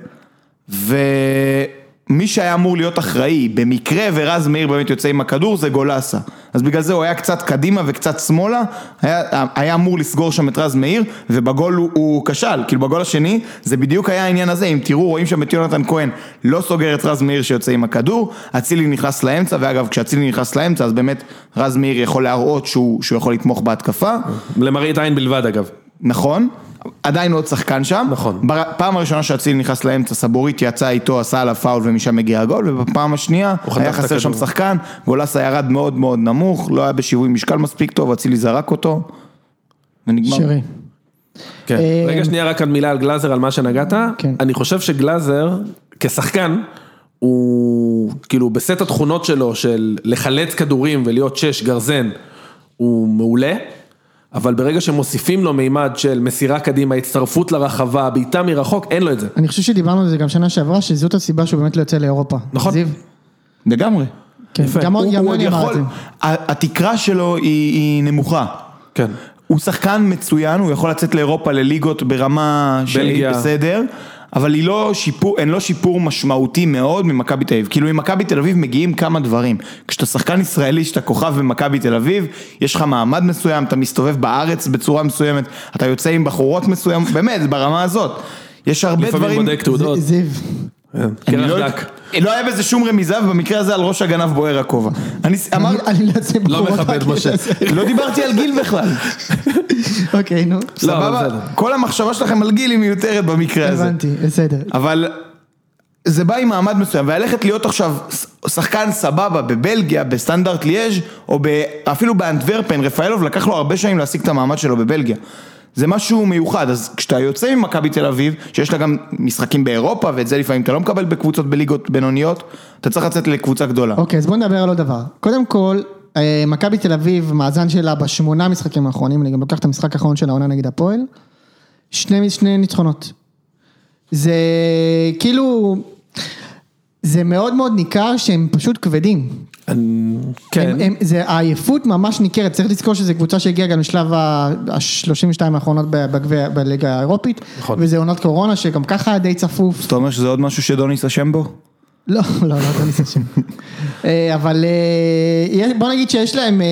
Speaker 1: ומי שהיה אמור להיות אחראי, במקרה ורז מאיר באמת יוצא עם הכדור, זה גולסה. אז בגלל זה הוא היה קצת קדימה וקצת שמאלה, היה, היה אמור לסגור שם את רז מאיר, ובגול הוא, הוא כשל, כאילו בגול השני, זה בדיוק היה העניין הזה, אם תראו, רואים שם את יונתן כהן לא סוגר את רז מאיר שיוצא עם הכדור, אצילי נכנס לאמצע, ואגב, כשאצילי נכנס לאמצע, אז באמת רז מאיר יכול להראות שהוא, שהוא יכול לתמוך בהתקפה.
Speaker 2: למראית עין בלבד אגב.
Speaker 1: נכון, עדיין עוד שחקן שם.
Speaker 2: נכון.
Speaker 1: בר... פעם הראשונה שאצילי נכנס לאמצע, סבורית יצא איתו, עשה עליו פאול ומשם מגיע הגול, ובפעם השנייה
Speaker 2: חתך
Speaker 1: היה
Speaker 2: את
Speaker 1: חסר שם
Speaker 2: הכדור.
Speaker 1: שחקן, גולסה ירד מאוד מאוד נמוך, לא היה בשיווי משקל מספיק טוב, אצילי זרק אותו, ונגמר.
Speaker 4: שרי.
Speaker 2: כן.
Speaker 4: אה,
Speaker 2: רגע שנייה רק עוד מילה על גלאזר, על מה שנגעת.
Speaker 4: כן.
Speaker 2: אני חושב שגלאזר, כשחקן, הוא כאילו בסט התכונות שלו של לחלץ כדורים ולהיות שש גרזן, הוא מעולה. אבל ברגע שמוסיפים לו מימד של מסירה קדימה, הצטרפות לרחבה, בעיטה מרחוק, אין לו את זה.
Speaker 4: אני חושב שדיברנו על זה גם שנה שעברה, שזאת הסיבה שהוא באמת לא יוצא לאירופה.
Speaker 2: נכון.
Speaker 4: זיו?
Speaker 1: לגמרי.
Speaker 4: כן.
Speaker 2: יפה.
Speaker 4: גם
Speaker 1: הוא,
Speaker 4: גם
Speaker 1: הוא עוד
Speaker 4: יוני אמר את
Speaker 1: יכול,
Speaker 4: זה.
Speaker 1: ה- התקרה שלו היא, היא נמוכה.
Speaker 2: כן.
Speaker 1: הוא שחקן מצוין, הוא יכול לצאת לאירופה לליגות ברמה שהיא
Speaker 2: בלגיה.
Speaker 1: בסדר, אבל היא לא שיפור, אין לו שיפור משמעותי מאוד ממכבי תל אביב. כאילו ממכבי תל אביב מגיעים כמה דברים. כשאתה שחקן ישראלי, שאתה כוכב במכבי תל אביב, יש לך מעמד מסוים, אתה מסתובב בארץ בצורה מסוימת, אתה יוצא עם בחורות מסוים, באמת, ברמה הזאת. יש הרבה
Speaker 2: לפעמים
Speaker 1: דברים...
Speaker 2: בודק תעודות.
Speaker 4: זיו.
Speaker 1: אני
Speaker 2: כן. קרח
Speaker 1: לא-
Speaker 2: דק.
Speaker 1: לא היה בזה שום רמיזה, ובמקרה הזה על ראש הגנב בוער הכובע. אני ס- אמרתי,
Speaker 4: אני- אני לא יוצא
Speaker 2: לא
Speaker 4: בחורות
Speaker 2: מכבד,
Speaker 4: בקטע
Speaker 2: משה.
Speaker 4: הזה.
Speaker 1: לא דיברתי על גיל בכלל.
Speaker 4: אוקיי, נו.
Speaker 2: לא, אבל
Speaker 1: סבבה?
Speaker 2: בסדר.
Speaker 1: כל המחשבה שלכם על גיל היא מיותרת במקרה הזה.
Speaker 4: הבנתי, בסדר.
Speaker 1: אבל זה בא עם מעמד מסוים, וללכת להיות עכשיו ש- שחקן סבבה בבלגיה, בסטנדרט ליאז' או ב- אפילו באנטוורפן, רפאלוב לקח לו הרבה שנים להשיג את המעמד שלו בבלגיה. זה משהו מיוחד, אז כשאתה יוצא ממכבי תל אביב, שיש לה גם משחקים באירופה, ואת זה לפעמים אתה לא מקבל בקבוצות בליגות בינוניות, אתה צריך לצאת לקבוצה גדולה.
Speaker 4: אוקיי, אז בואו נדבר על עוד דבר. קודם כל, אה, מכבי תל אביב, מאזן שלה בשמונה משחקים האחרונים, אני גם לוקח את המשחק האחרון של העונה נגד הפועל, שני, שני ניצחונות. זה כאילו, זה מאוד מאוד ניכר שהם פשוט כבדים.
Speaker 2: כן.
Speaker 4: הם, הם, זה, העייפות ממש ניכרת, צריך לזכור שזו קבוצה שהגיעה גם לשלב ה-32 האחרונות ב- בגביע- בליגה האירופית,
Speaker 2: נכון.
Speaker 4: וזה עונת קורונה שגם ככה היה די צפוף.
Speaker 1: אז אתה אומר שזה עוד משהו שדוניס אשם בו?
Speaker 4: לא, לא, לא, אתה ניסה שם. אה, אבל אה, יש- בוא נגיד שיש להם... אה,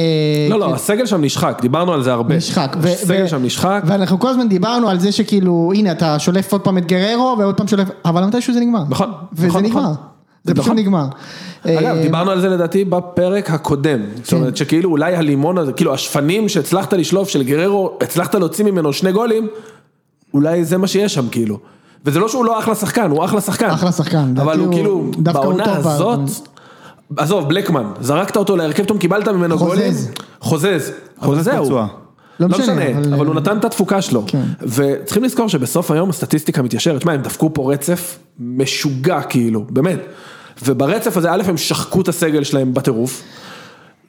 Speaker 2: לא, לא, הסגל שם נשחק, דיברנו על זה הרבה.
Speaker 4: נשחק. ו-
Speaker 2: הסגל
Speaker 4: ו-
Speaker 2: שם נשחק.
Speaker 4: ואנחנו כל הזמן דיברנו על זה שכאילו, הנה, אתה שולף עוד פעם את גררו ועוד פעם שולף, אבל מתישהו זה נגמר.
Speaker 2: נכון,
Speaker 4: וזה
Speaker 2: נכון,
Speaker 4: נגמר.
Speaker 2: נכון.
Speaker 4: זה פשוט
Speaker 2: נכון.
Speaker 4: נגמר.
Speaker 2: אגב,
Speaker 4: אה, כן.
Speaker 2: דיברנו על זה לדעתי בפרק הקודם. זאת אומרת שכאילו אולי הלימון הזה, כאילו השפנים שהצלחת לשלוף של גררו, הצלחת להוציא ממנו שני גולים, אולי זה מה שיש שם כאילו. וזה לא שהוא לא אחלה שחקן, הוא אחלה שחקן.
Speaker 4: אחלה שחקן,
Speaker 2: אבל
Speaker 4: לדעתי
Speaker 2: הוא
Speaker 4: הוא-
Speaker 2: כאילו,
Speaker 4: דווקא הוא
Speaker 2: בעונה
Speaker 4: טוב
Speaker 2: הזאת,
Speaker 4: בעונה.
Speaker 2: עזוב, בלקמן, זרקת אותו להרכב, פתאום קיבלת ממנו
Speaker 4: חוזז.
Speaker 2: גולים. חוזז.
Speaker 1: חוזז
Speaker 2: חוזז הוא.
Speaker 1: פצוע.
Speaker 2: לא
Speaker 4: לא משנה,
Speaker 2: משנה,
Speaker 4: אבל- אה,
Speaker 2: אבל הוא נתן את התפוקה שלו.
Speaker 4: כן.
Speaker 2: וצריכים לזכור שבסוף היום הסטטיסטיקה מתיישרת, שמע, הם דפקו פה רצף משוגע כאילו, באמת. וברצף הזה, א', הם שחקו את הסגל שלהם בטירוף.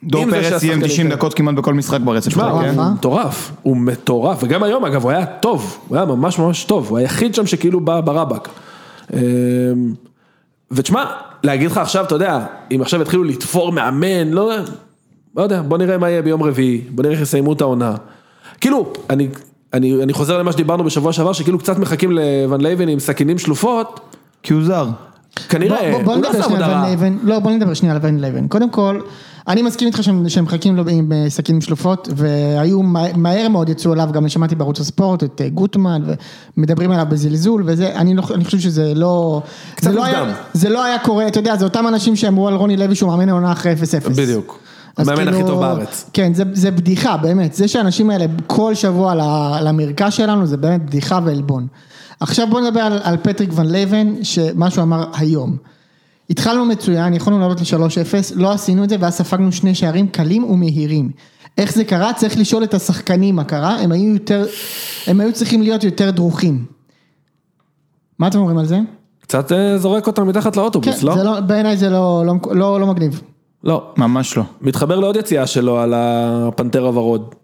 Speaker 1: דור
Speaker 2: עם זה
Speaker 1: פרץ
Speaker 2: שהשחקנים
Speaker 1: סיים 90
Speaker 2: כאלה.
Speaker 1: דקות כמעט בכל משחק ברצף
Speaker 2: שמע,
Speaker 1: שלו,
Speaker 2: הוא
Speaker 1: כן?
Speaker 4: אה?
Speaker 2: מטורף, הוא מטורף, וגם היום אגב, הוא היה טוב, הוא היה ממש ממש טוב, הוא היחיד שם שכאילו בא ברבק. אמ, ותשמע, להגיד לך עכשיו, אתה יודע, אם עכשיו יתחילו לתפור מאמן, לא, לא יודע, בוא נראה מה יהיה ביום רביעי, בוא נראה איך יסיימו את העונה. כאילו, אני, אני, אני חוזר למה שדיברנו בשבוע שעבר, שכאילו קצת מחכים לוון לייבן עם סכינים שלופות,
Speaker 1: כי הוא זר.
Speaker 2: כנראה,
Speaker 4: בוא- בוא
Speaker 2: הוא לא
Speaker 4: נדבר
Speaker 2: עשה עבודה
Speaker 4: שנייה על
Speaker 2: רעה.
Speaker 4: ון לייבן, לא בוא נדבר שנייה על ון לייבן, קודם כל, אני מסכים איתך שהם שהם מחכים לו עם אה, סכינים שלופות, והיו מה- מהר מאוד יצאו עליו, גם שמעתי בערוץ הספורט את אה, גוטמן, ומדברים עליו בזלזול וזה, אני לא- אני חושב שזה לא, זה לא היה-
Speaker 2: מוקדם.
Speaker 4: זה לא היה קורה, אתה יודע, זה אותם אנשים שאמרו על רוני לוי שהוא מאמן העונה אחרי 0-0.
Speaker 2: בדיוק.
Speaker 4: אז
Speaker 2: המאמן
Speaker 4: כאילו-
Speaker 2: הכי טוב בארץ.
Speaker 4: כן, זה, זה בדיחה, באמת. זה שהאנשים האלה כל שבוע ל- למרקע שלנו, זה באמת בדיחה ועלבון. עכשיו בואו נדבר על, על פטריק ון לייבן, שמה שהוא אמר היום. התחלנו מצוין, יכולנו לעלות ל-3-0, לא עשינו את זה, ואז ספגנו שני שערים קלים ומהירים. איך זה קרה? צריך לשאול את השחקנים מה קרה, הם היו, יותר, הם היו צריכים להיות יותר דרוכים. מה אתם אומרים על זה?
Speaker 2: קצת אה, זורק אותם מתחת לאוטובוס, לא?
Speaker 4: זה לא, בעיניי זה לא, לא, מק- לא, לא מגניב.
Speaker 2: לא.
Speaker 1: ממש לא.
Speaker 2: מתחבר לעוד יציאה שלו על הפנתר הוורוד.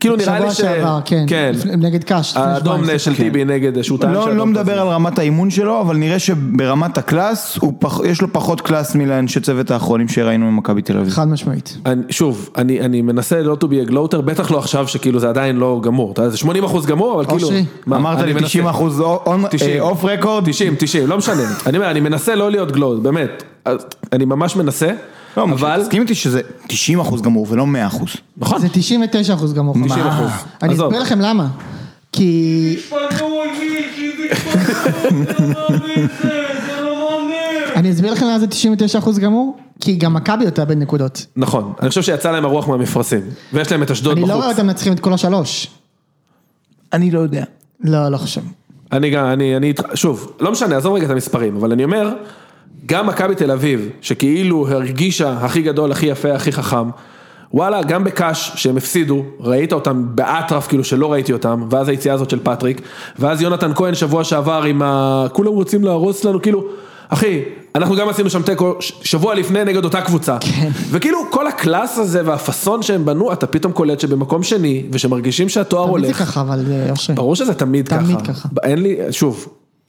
Speaker 2: כאילו נראה לי ש...
Speaker 4: שבוע שעבר, כן.
Speaker 2: כן.
Speaker 4: לפני- נגד קאש. לפני שבועיים. כן.
Speaker 2: האדום של טיבי נגד שהוא טען
Speaker 1: לא,
Speaker 2: שהאדום
Speaker 1: לא
Speaker 2: כזה.
Speaker 1: מדבר על רמת האימון שלו, אבל נראה שברמת הקלאס, הוא פח- יש לו פחות קלאס מלאנשי צוות האחרונים שראינו ממכבי תל אביב.
Speaker 4: חד משמעית.
Speaker 2: אני, שוב, אני, אני מנסה לא to be a gloater, בטח לא עכשיו שכאילו זה עדיין לא גמור, אתה יודע, זה 80 אחוז גמור, אבל כאילו...
Speaker 4: אושרי.
Speaker 2: מה,
Speaker 1: אמרת
Speaker 2: אני
Speaker 1: לי
Speaker 2: מנסה-
Speaker 1: 90 אחוז אה, אוף רקורד.
Speaker 2: 90, 90, לא משנה. אני אומר, אני מנסה לא להיות גלוט, באמת. אז אני ממש מנסה,
Speaker 1: לא,
Speaker 2: אבל...
Speaker 1: תסכים איתי שזה 90 אחוז גמור ולא 100 אחוז.
Speaker 2: נכון,
Speaker 4: זה 99 אחוז גמור.
Speaker 2: 90 אחוז.
Speaker 4: אני
Speaker 2: עזוב.
Speaker 4: אסביר לכם למה. כי
Speaker 3: פנוי, מישהי, תתפנו, זה לא מישהו, זה לא מאמין.
Speaker 4: אני אסביר לכם למה זה 99 אחוז גמור, כי גם מכבי אותה בין נקודות.
Speaker 2: נכון. אני חושב שיצא להם הרוח מהמפרשים, ויש להם את אשדוד
Speaker 4: אני לא רואה
Speaker 2: בחוץ.
Speaker 4: אותם מנצחים את כל השלוש.
Speaker 1: אני לא יודע.
Speaker 4: לא, לא חושב.
Speaker 2: אני גם, אני, אני, איתך- שוב, לא משנה, עזוב רגע את המספרים, אבל אני אומר, גם מכבי תל אביב, שכאילו הרגישה הכי גדול, הכי יפה, הכי חכם, וואלה, גם בקאש, שהם הפסידו, ראית אותם באטרף, כאילו שלא ראיתי אותם, ואז היציאה הזאת של פטריק, ואז יונתן כהן שבוע שעבר עם ה... כולם רוצים להרוס לנו, כאילו, אחי, אנחנו גם עשינו שם תיקו ש- שבוע לפני נגד אותה קבוצה.
Speaker 4: כן.
Speaker 2: וכאילו, כל הקלאס הזה והפאסון שהם בנו, אתה פתאום קולט שבמקום שני, ושמרגישים שהתואר
Speaker 4: תמיד
Speaker 2: הולך.
Speaker 4: זה ככה, אבל אה, אושרי.
Speaker 2: ברור שזה תמיד ככה.
Speaker 4: תמיד ככה.
Speaker 2: ב- אין לי, שוב,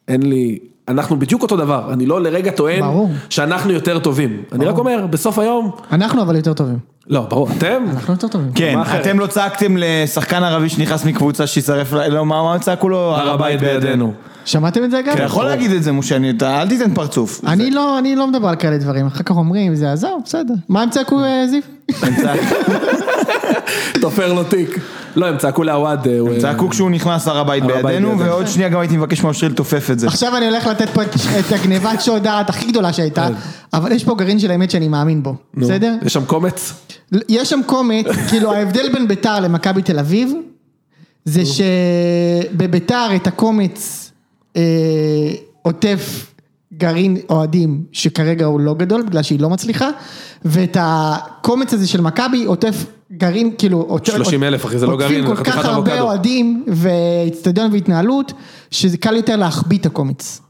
Speaker 2: אין לי, אנחנו בדיוק אותו דבר, אני לא לרגע טוען
Speaker 4: ברור.
Speaker 2: שאנחנו יותר טובים. אני רק אומר, בסוף היום,
Speaker 4: אנחנו אבל יותר טובים.
Speaker 2: לא, ברור, אתם,
Speaker 4: אנחנו יותר טובים.
Speaker 1: כן,
Speaker 2: מה אחרת?
Speaker 1: אתם לא צעקתם לשחקן ערבי שנכנס מקבוצה שישרף, ל- לא, מה מה צעקו לו?
Speaker 2: הר הבית בידינו. כן,
Speaker 4: שמעתם את זה אגב?
Speaker 1: אתה
Speaker 2: נכון.
Speaker 1: יכול להגיד את זה, משה, אני- אתה- אל תיתן פרצוף.
Speaker 4: אני לא, אני לא מדבר על כאלה דברים, אחר כך אומרים, זה עזוב, בסדר. מה הם צעקו אה, זיו?
Speaker 1: הם צעק-
Speaker 2: תופר לו תיק. לא, הם צעקו לעווד, אה, הוא, אה,
Speaker 1: צעקו כשהוא נכנס הר הבית
Speaker 2: הר הבית
Speaker 1: בידינו,
Speaker 2: בידינו.
Speaker 1: ועוד שנייה גם הייתי מבקש מאושרי לתופף את זה.
Speaker 4: עכשיו אני הולך לתת פה את- את הגניבת שוד דעת הכי גדולה שהייתה, אבל יש פה גרעין של האמת שאני מאמין בו,
Speaker 2: כן. נו,
Speaker 4: בסדר?
Speaker 2: יש שם קומץ?
Speaker 4: יש שם קומץ, כאילו ההבדל בין ביתר למכבי תל אביב, זה שבביתר את הקומץ אה, עוטף גרעין אוהדים שכרגע הוא לא גדול בגלל שהיא לא מצליחה, ואת הקומץ הזה של מכבי עוטף גרעין, כאילו, עוטף-
Speaker 2: 30,000, אחי, זה לא גרעין, זה
Speaker 4: עוטפים כל
Speaker 2: חתיכת
Speaker 4: כך הרבה
Speaker 2: אבוקדו.
Speaker 4: אוהדים ואיצטדיון והתנהלות, שזה קל יותר להחביא את הקומץ.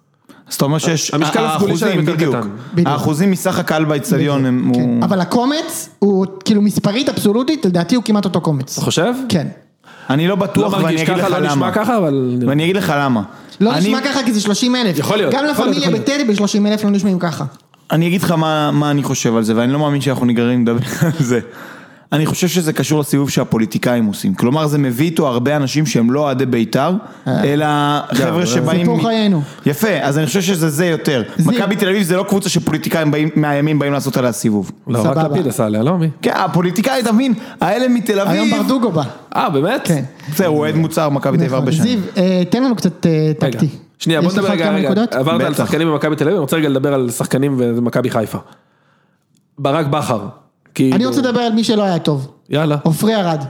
Speaker 1: אז אתה אומר שיש,
Speaker 2: המשקל הסגולי שלהם
Speaker 1: האחוזים,
Speaker 2: יותר
Speaker 1: בדיוק,
Speaker 2: קטן.
Speaker 4: בדיוק.
Speaker 1: האחוזים מסך הקהל באצטדיון הם,
Speaker 4: כן.
Speaker 1: הוא-
Speaker 4: אבל הקומץ הוא כאילו מספרית אבסולוטית, לדעתי הוא כמעט אותו קומץ.
Speaker 2: אתה חושב?
Speaker 4: כן.
Speaker 1: אני לא
Speaker 2: לא
Speaker 1: בטוח ואני
Speaker 2: מרגיש
Speaker 1: אגיד
Speaker 2: ככה,
Speaker 1: לך
Speaker 2: לא
Speaker 1: למה,
Speaker 2: נשמע ככה, אבל...
Speaker 1: ואני אגיד לך למה,
Speaker 4: לא
Speaker 1: אני-
Speaker 4: נשמע ככה כי זה 30 אלף.
Speaker 2: יכול להיות,
Speaker 4: גם לה
Speaker 2: יכול להיות,
Speaker 4: פמיליה
Speaker 2: יכול להיות.
Speaker 4: בטדי ב-30 אלף לא נשמעים ככה.
Speaker 1: אני אגיד לך מה, מה אני חושב על זה, ואני לא מאמין שאנחנו נגררים לדבר על זה. אני חושב שזה קשור לסיבוב שהפוליטיקאים עושים. כלומר, זה מביא איתו הרבה אנשים שהם לא אוהדי בית"ר, אלא חבר'ה שבאים...
Speaker 4: סיפור
Speaker 1: מ-
Speaker 4: אה. חיינו.
Speaker 1: יפה, אז אני חושב שזה זה יותר.
Speaker 4: זה-
Speaker 1: מכבי תל אביב זה לא קבוצה שפוליטיקאים באים- מהימין באים לעשות עליה סיבוב.
Speaker 4: אוקיי.
Speaker 2: לא, רק
Speaker 4: סבבה.
Speaker 2: לפיד עשה עליה, לא מי?
Speaker 1: כן, הפוליטיקאי, תבין, האלה מתל אביב...
Speaker 4: היום ברדוגו בא.
Speaker 2: אה, באמת?
Speaker 4: כן.
Speaker 1: בסדר, הוא אוהד מוצר, מכבי תל אביב הרבה שנים.
Speaker 4: זיו, אה, תן לנו קצת אה,
Speaker 2: רגע,
Speaker 4: טקטי.
Speaker 2: שנייה, בוא
Speaker 4: יש לך
Speaker 2: נדבר
Speaker 4: עוד
Speaker 2: רגע,
Speaker 4: כמה
Speaker 2: רגע,
Speaker 4: נקודות?
Speaker 2: עברת על
Speaker 1: בטח.
Speaker 2: שחקנים במכבי תל אביב, אני רוצה רגע לדבר על שחקנים ומכבי חיפה. ברק בכר, כאילו...
Speaker 4: אני רוצה לדבר אוקיי, על מי שלא היה טוב.
Speaker 2: יאללה.
Speaker 4: עופרי ארד.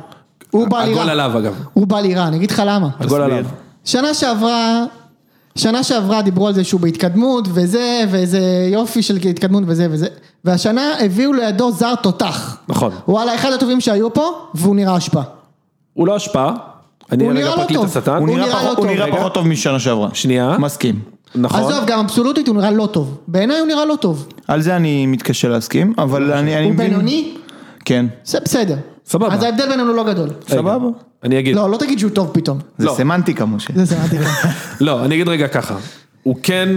Speaker 4: הוא בא
Speaker 2: הגול
Speaker 4: לירה.
Speaker 2: עליו אגב.
Speaker 4: הוא בא לירה, אני אגיד לך למה.
Speaker 2: הגול עליו.
Speaker 4: שנה שעברה, שנה שעברה דיברו על זה שהוא בהתקדמות וזה, וזה יופי של התקדמות וזה וזה, והשנה הביאו לידו זר תותח.
Speaker 2: נכון.
Speaker 4: וואלה, אחד הטובים שהיו פה, והוא נראה אשפה.
Speaker 2: הוא לא השפעה. אני
Speaker 4: הוא
Speaker 2: רגע
Speaker 4: נראה לא
Speaker 2: פרקליט
Speaker 4: טוב.
Speaker 2: השטן.
Speaker 1: הוא
Speaker 4: הוא
Speaker 1: נראה
Speaker 4: נראה לא
Speaker 1: פחות- הוא
Speaker 4: טוב,
Speaker 1: נראה
Speaker 2: רגע.
Speaker 1: פחות טוב משנה שעברה.
Speaker 2: שנייה.
Speaker 1: מסכים.
Speaker 2: נכון.
Speaker 4: עזוב, גם אבסולוטית הוא נראה לא טוב. בעיניי הוא נראה לא טוב.
Speaker 1: על זה אני מתקשה להסכים, אבל אני אני
Speaker 4: הוא
Speaker 1: מבין...
Speaker 4: בינוני,
Speaker 1: כן.
Speaker 4: זה בסדר.
Speaker 2: סבבה.
Speaker 4: אז ההבדל בינינו לא גדול.
Speaker 2: רגע,
Speaker 1: סבבה.
Speaker 2: אני אגיד.
Speaker 4: לא, לא תגיד שהוא טוב פתאום.
Speaker 1: זה
Speaker 2: לא.
Speaker 1: סמנטיקה, משה.
Speaker 4: זה זה מדהים.
Speaker 2: לא, אני אגיד רגע ככה. הוא כן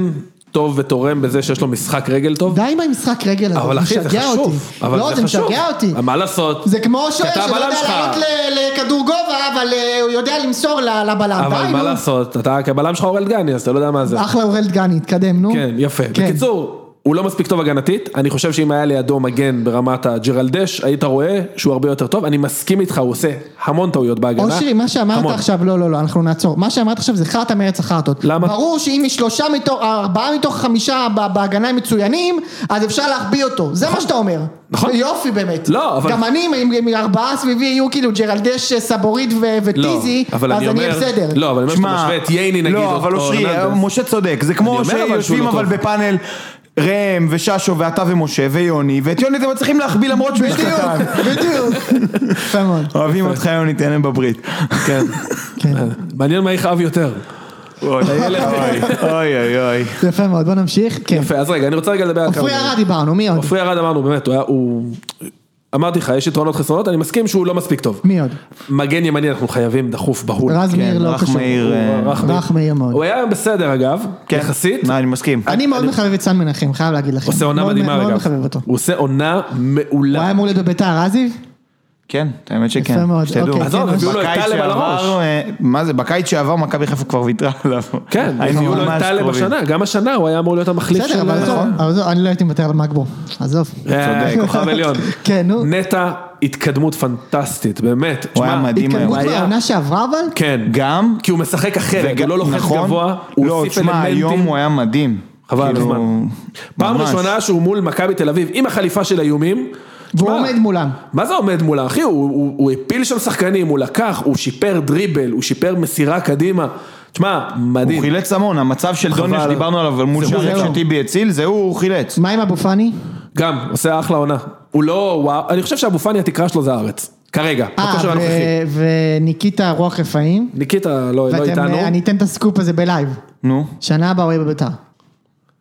Speaker 2: טוב ותורם בזה שיש לו משחק רגל טוב.
Speaker 4: די עם המשחק רגל הזה,
Speaker 2: אבל
Speaker 4: זה
Speaker 2: אחי, זה
Speaker 4: משגע אותי.
Speaker 2: חשוב. אבל
Speaker 4: לא, זה
Speaker 2: חשוב.
Speaker 4: משגע אותי.
Speaker 2: מה לעשות?
Speaker 4: זה כמו שוער
Speaker 2: אתה
Speaker 4: שלא יודע
Speaker 2: הבלם שלך.
Speaker 4: לעלות ל- לכדור גובה, אבל אה, הוא יודע למסור ל- לבלם.
Speaker 2: אבל
Speaker 4: די,
Speaker 2: מה
Speaker 4: נו.
Speaker 2: לעשות? אתה קבלם שלך אורל דגני, אז אתה לא יודע מה זה.
Speaker 4: אחלה אורל דגני, התקדם, נו.
Speaker 2: כן, יפה.
Speaker 4: כן.
Speaker 2: בקיצור, הוא לא מספיק טוב הגנתית, אני חושב שאם היה לידו מגן ברמת הג'רלדש, היית רואה שהוא הרבה יותר טוב, אני מסכים איתך, הוא עושה המון טעויות בהגנה.
Speaker 4: אושרי, מה שאמרת
Speaker 2: המון.
Speaker 4: עכשיו, לא, לא, לא, אנחנו נעצור. מה שאמרת עכשיו זה חרטא מארץ החרטות.
Speaker 2: למה?
Speaker 4: ברור שאם יש שלושה מתוך, ארבעה מתוך חמישה ב- בהגנה הם מצוינים, אז אפשר להחביא אותו. זה מה שאתה אומר.
Speaker 2: נכון.
Speaker 4: יופי באמת.
Speaker 2: לא, אבל-
Speaker 4: גם אני, אם- אם ארבעה סביבי יהיו כאילו ג'רלדש, סבורית
Speaker 2: לא,
Speaker 4: ו- וטיזי, אז
Speaker 2: אבל
Speaker 4: אני
Speaker 2: אומר-
Speaker 4: אהיה בסדר.
Speaker 2: לא, אבל אני אומר שאתה משווה את ייני נגיד,
Speaker 1: לא,
Speaker 2: או-
Speaker 1: אבל
Speaker 2: או
Speaker 1: אושרי,
Speaker 2: רונלדס.
Speaker 1: משה צודק, זה כמו
Speaker 2: אני אומר אבל שהוא
Speaker 1: שיושבים
Speaker 2: לא
Speaker 1: אבל
Speaker 2: טוב.
Speaker 1: בפאנל ראם וששו ואתה ומשה ויוני, ואת יוני אתם מצליחים להחביא למרות שהוא
Speaker 4: בדיוק,
Speaker 1: קטן.
Speaker 4: בדיוק. יפה מאוד.
Speaker 1: אוהבים אותך יוני, תהנה בברית.
Speaker 2: כן.
Speaker 4: כן.
Speaker 2: מעניין מה יכאב יותר.
Speaker 1: אוי אוי אוי אוי.
Speaker 4: יפה מאוד, בוא נמשיך. כן.
Speaker 2: יפה, אז רגע, אני רוצה רגע לדבר על כמה...
Speaker 4: עופרי
Speaker 2: דברים.
Speaker 4: ארד דיברנו, מי עוד?
Speaker 2: עופרי ארד אמרנו, באמת, הוא היה... הוא- אמרתי לך, יש יתרונות חסרונות, אני מסכים שהוא לא מספיק טוב.
Speaker 4: מי עוד?
Speaker 2: מגן ימני אנחנו חייבים דחוף בהול.
Speaker 4: רז מאיר לא
Speaker 1: כן, רך
Speaker 4: קשור.
Speaker 1: מאיר, אה,
Speaker 4: רך מאיר מאוד.
Speaker 2: הוא היה בסדר אגב, יחסית.
Speaker 1: כן. מה, אני מסכים.
Speaker 4: אני מאוד מחבב את סן מנחם, חייב להגיד לכם.
Speaker 2: עושה עונה
Speaker 4: מאוד-
Speaker 2: מדהימה אגב. לא.
Speaker 4: מאוד מחבב אותו.
Speaker 2: הוא עושה עונה
Speaker 4: הוא היה
Speaker 2: מעולה.
Speaker 4: אמור להיות בביתר, אה זיו?
Speaker 1: כן, האמת שכן.
Speaker 4: יפה מאוד,
Speaker 1: שתדעו.
Speaker 4: אוקיי,
Speaker 2: עזוב,
Speaker 4: כן,
Speaker 2: הביאו לו את
Speaker 1: בקיץ
Speaker 2: טלב על הראש.
Speaker 1: שעבר, אה, מה זה, בקיץ שעבר מכבי חיפה כבר ויתרה עליו.
Speaker 2: כן,
Speaker 1: היינו
Speaker 2: הביאו לו את
Speaker 1: ממש
Speaker 2: טלב
Speaker 1: קרובים.
Speaker 2: השנה, גם השנה הוא היה אמור להיות המחליף של...
Speaker 4: בסדר, אבל עזוב,
Speaker 2: נכון.
Speaker 4: אבל עזוב, אני לא הייתי מוותר על מגבו. עזוב.
Speaker 2: אה,
Speaker 1: צודק.
Speaker 2: כוכב עליון.
Speaker 4: כן, נו.
Speaker 2: נטע, התקדמות פנטסטית, באמת.
Speaker 1: הוא היה
Speaker 2: שמע,
Speaker 1: מדהים היום.
Speaker 4: התקדמות
Speaker 2: היה-
Speaker 4: מהעונה כן, שעברה אבל?
Speaker 2: כן.
Speaker 1: גם,
Speaker 2: כי הוא משחק אחרת, הוא
Speaker 1: וגם-
Speaker 2: לא לוחץ
Speaker 1: נכון?
Speaker 2: גבוה, הוא
Speaker 1: לא,
Speaker 2: הוסיף
Speaker 1: תשמע, היום
Speaker 2: אלמנטים.
Speaker 1: הוא היה מדהים.
Speaker 2: חבל על
Speaker 1: כאילו,
Speaker 2: הזמן. פעם
Speaker 1: ממש.
Speaker 2: ראשונה שהוא מול מכבי תל אביב, עם החליפה של האיומים.
Speaker 4: והוא
Speaker 2: שמע,
Speaker 4: עומד מולם.
Speaker 2: מה זה עומד מולה, אחי? הוא, הוא, הוא הפיל שם שחקנים, הוא לקח, הוא שיפר דריבל, הוא שיפר מסירה קדימה. תשמע, מדהים.
Speaker 1: הוא חילץ המון, המצב של דוניה שדיברנו עליו מול
Speaker 4: הוא, זה
Speaker 1: שער
Speaker 4: הוא.
Speaker 1: שטיבי הציל, זה הוא, הוא חילץ.
Speaker 4: מה עם אבו פאני?
Speaker 2: גם, עושה אחלה עונה. הוא לא, וואו, אני חושב שאבו פאני התקרה שלו זה הארץ. כרגע,
Speaker 4: אה,
Speaker 2: בכושר הנוכחי.
Speaker 4: ו- וניקיטה רוח רפאים.
Speaker 2: ניקיטה לא, לא
Speaker 4: ואתם,
Speaker 2: איתנו.
Speaker 4: אה, אני אתן את הסקופ הזה בלייב.
Speaker 1: נו,
Speaker 4: שנה הבאה הוא יהיה בביתר.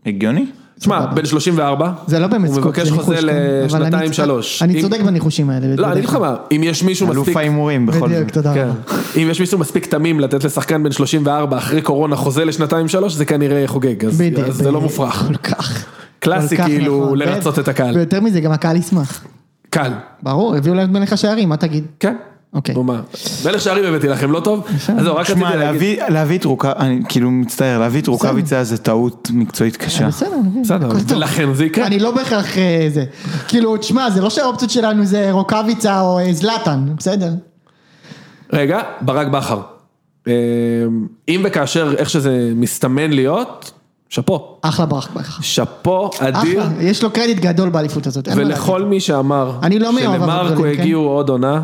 Speaker 1: הגיוני?
Speaker 2: תשמע, בן 34.
Speaker 4: זה לא באמת
Speaker 2: הוא
Speaker 4: סקופ,
Speaker 2: מבקש
Speaker 4: זה
Speaker 2: חוזה
Speaker 4: ניחוש, כן. אבל אני
Speaker 2: לשנתיים
Speaker 4: צודק-
Speaker 2: שלוש.
Speaker 4: אני
Speaker 2: אם-
Speaker 4: צודק בניחושים האלה.
Speaker 2: לא, אני אגיד לך מה, אם יש מישהו
Speaker 1: אלוף
Speaker 2: מספיק...
Speaker 1: ההימורים בכל
Speaker 4: בדיוק,
Speaker 1: זאת.
Speaker 4: תודה
Speaker 2: כן.
Speaker 4: רבה.
Speaker 2: אם יש מישהו מספיק תמים לתת לשחקן בן 34 אחרי קורונה חוזה לשנתיים שלוש, זה כנראה חוגג, אז
Speaker 4: בדיוק.
Speaker 2: אז זה לא
Speaker 4: בדיוק.
Speaker 2: מופרך.
Speaker 4: כל כך.
Speaker 2: קלאסי
Speaker 4: כל כך
Speaker 2: כאילו
Speaker 4: נכון.
Speaker 2: לרצות
Speaker 4: ו-
Speaker 2: את הקהל.
Speaker 4: ויותר מזה, גם הקהל ישמח.
Speaker 2: קל,
Speaker 4: ברור, הביאו להם את מלך השערים, מה תגיד?
Speaker 2: כן.
Speaker 4: אוקיי.
Speaker 2: נו מה, מלך שערים הבאתי לכם, לא טוב? אז זהו, רק רציתי
Speaker 1: שמע,
Speaker 2: להגיד.
Speaker 1: להביא- להביא את רוקאביצה, אני כאילו מצטער, להביא את רוקאביצה זה טעות מקצועית קשה.
Speaker 4: בסדר, אני מבין.
Speaker 2: בסדר,
Speaker 4: הכל טוב.
Speaker 2: ולכן זה כן. יקרה.
Speaker 4: אני לא בהכרח אה, זה. כאילו, תשמע, זה לא שהאופציות שלנו זה רוקאביצה או אה, זלאטן, בסדר.
Speaker 2: רגע, ברק בכר. אה, אם וכאשר, איך שזה מסתמן להיות, שאפו.
Speaker 4: אחלה ברק בכר.
Speaker 2: שאפו אדיר.
Speaker 4: אחלה, יש לו קרדיט גדול באליפות הזאת. אין מה
Speaker 2: ולכל
Speaker 4: להגיד.
Speaker 2: מי שאמר,
Speaker 4: אני לא מאוהב
Speaker 2: שלמרקו
Speaker 4: הגדולים, כן?
Speaker 2: הגיעו עוד עונה,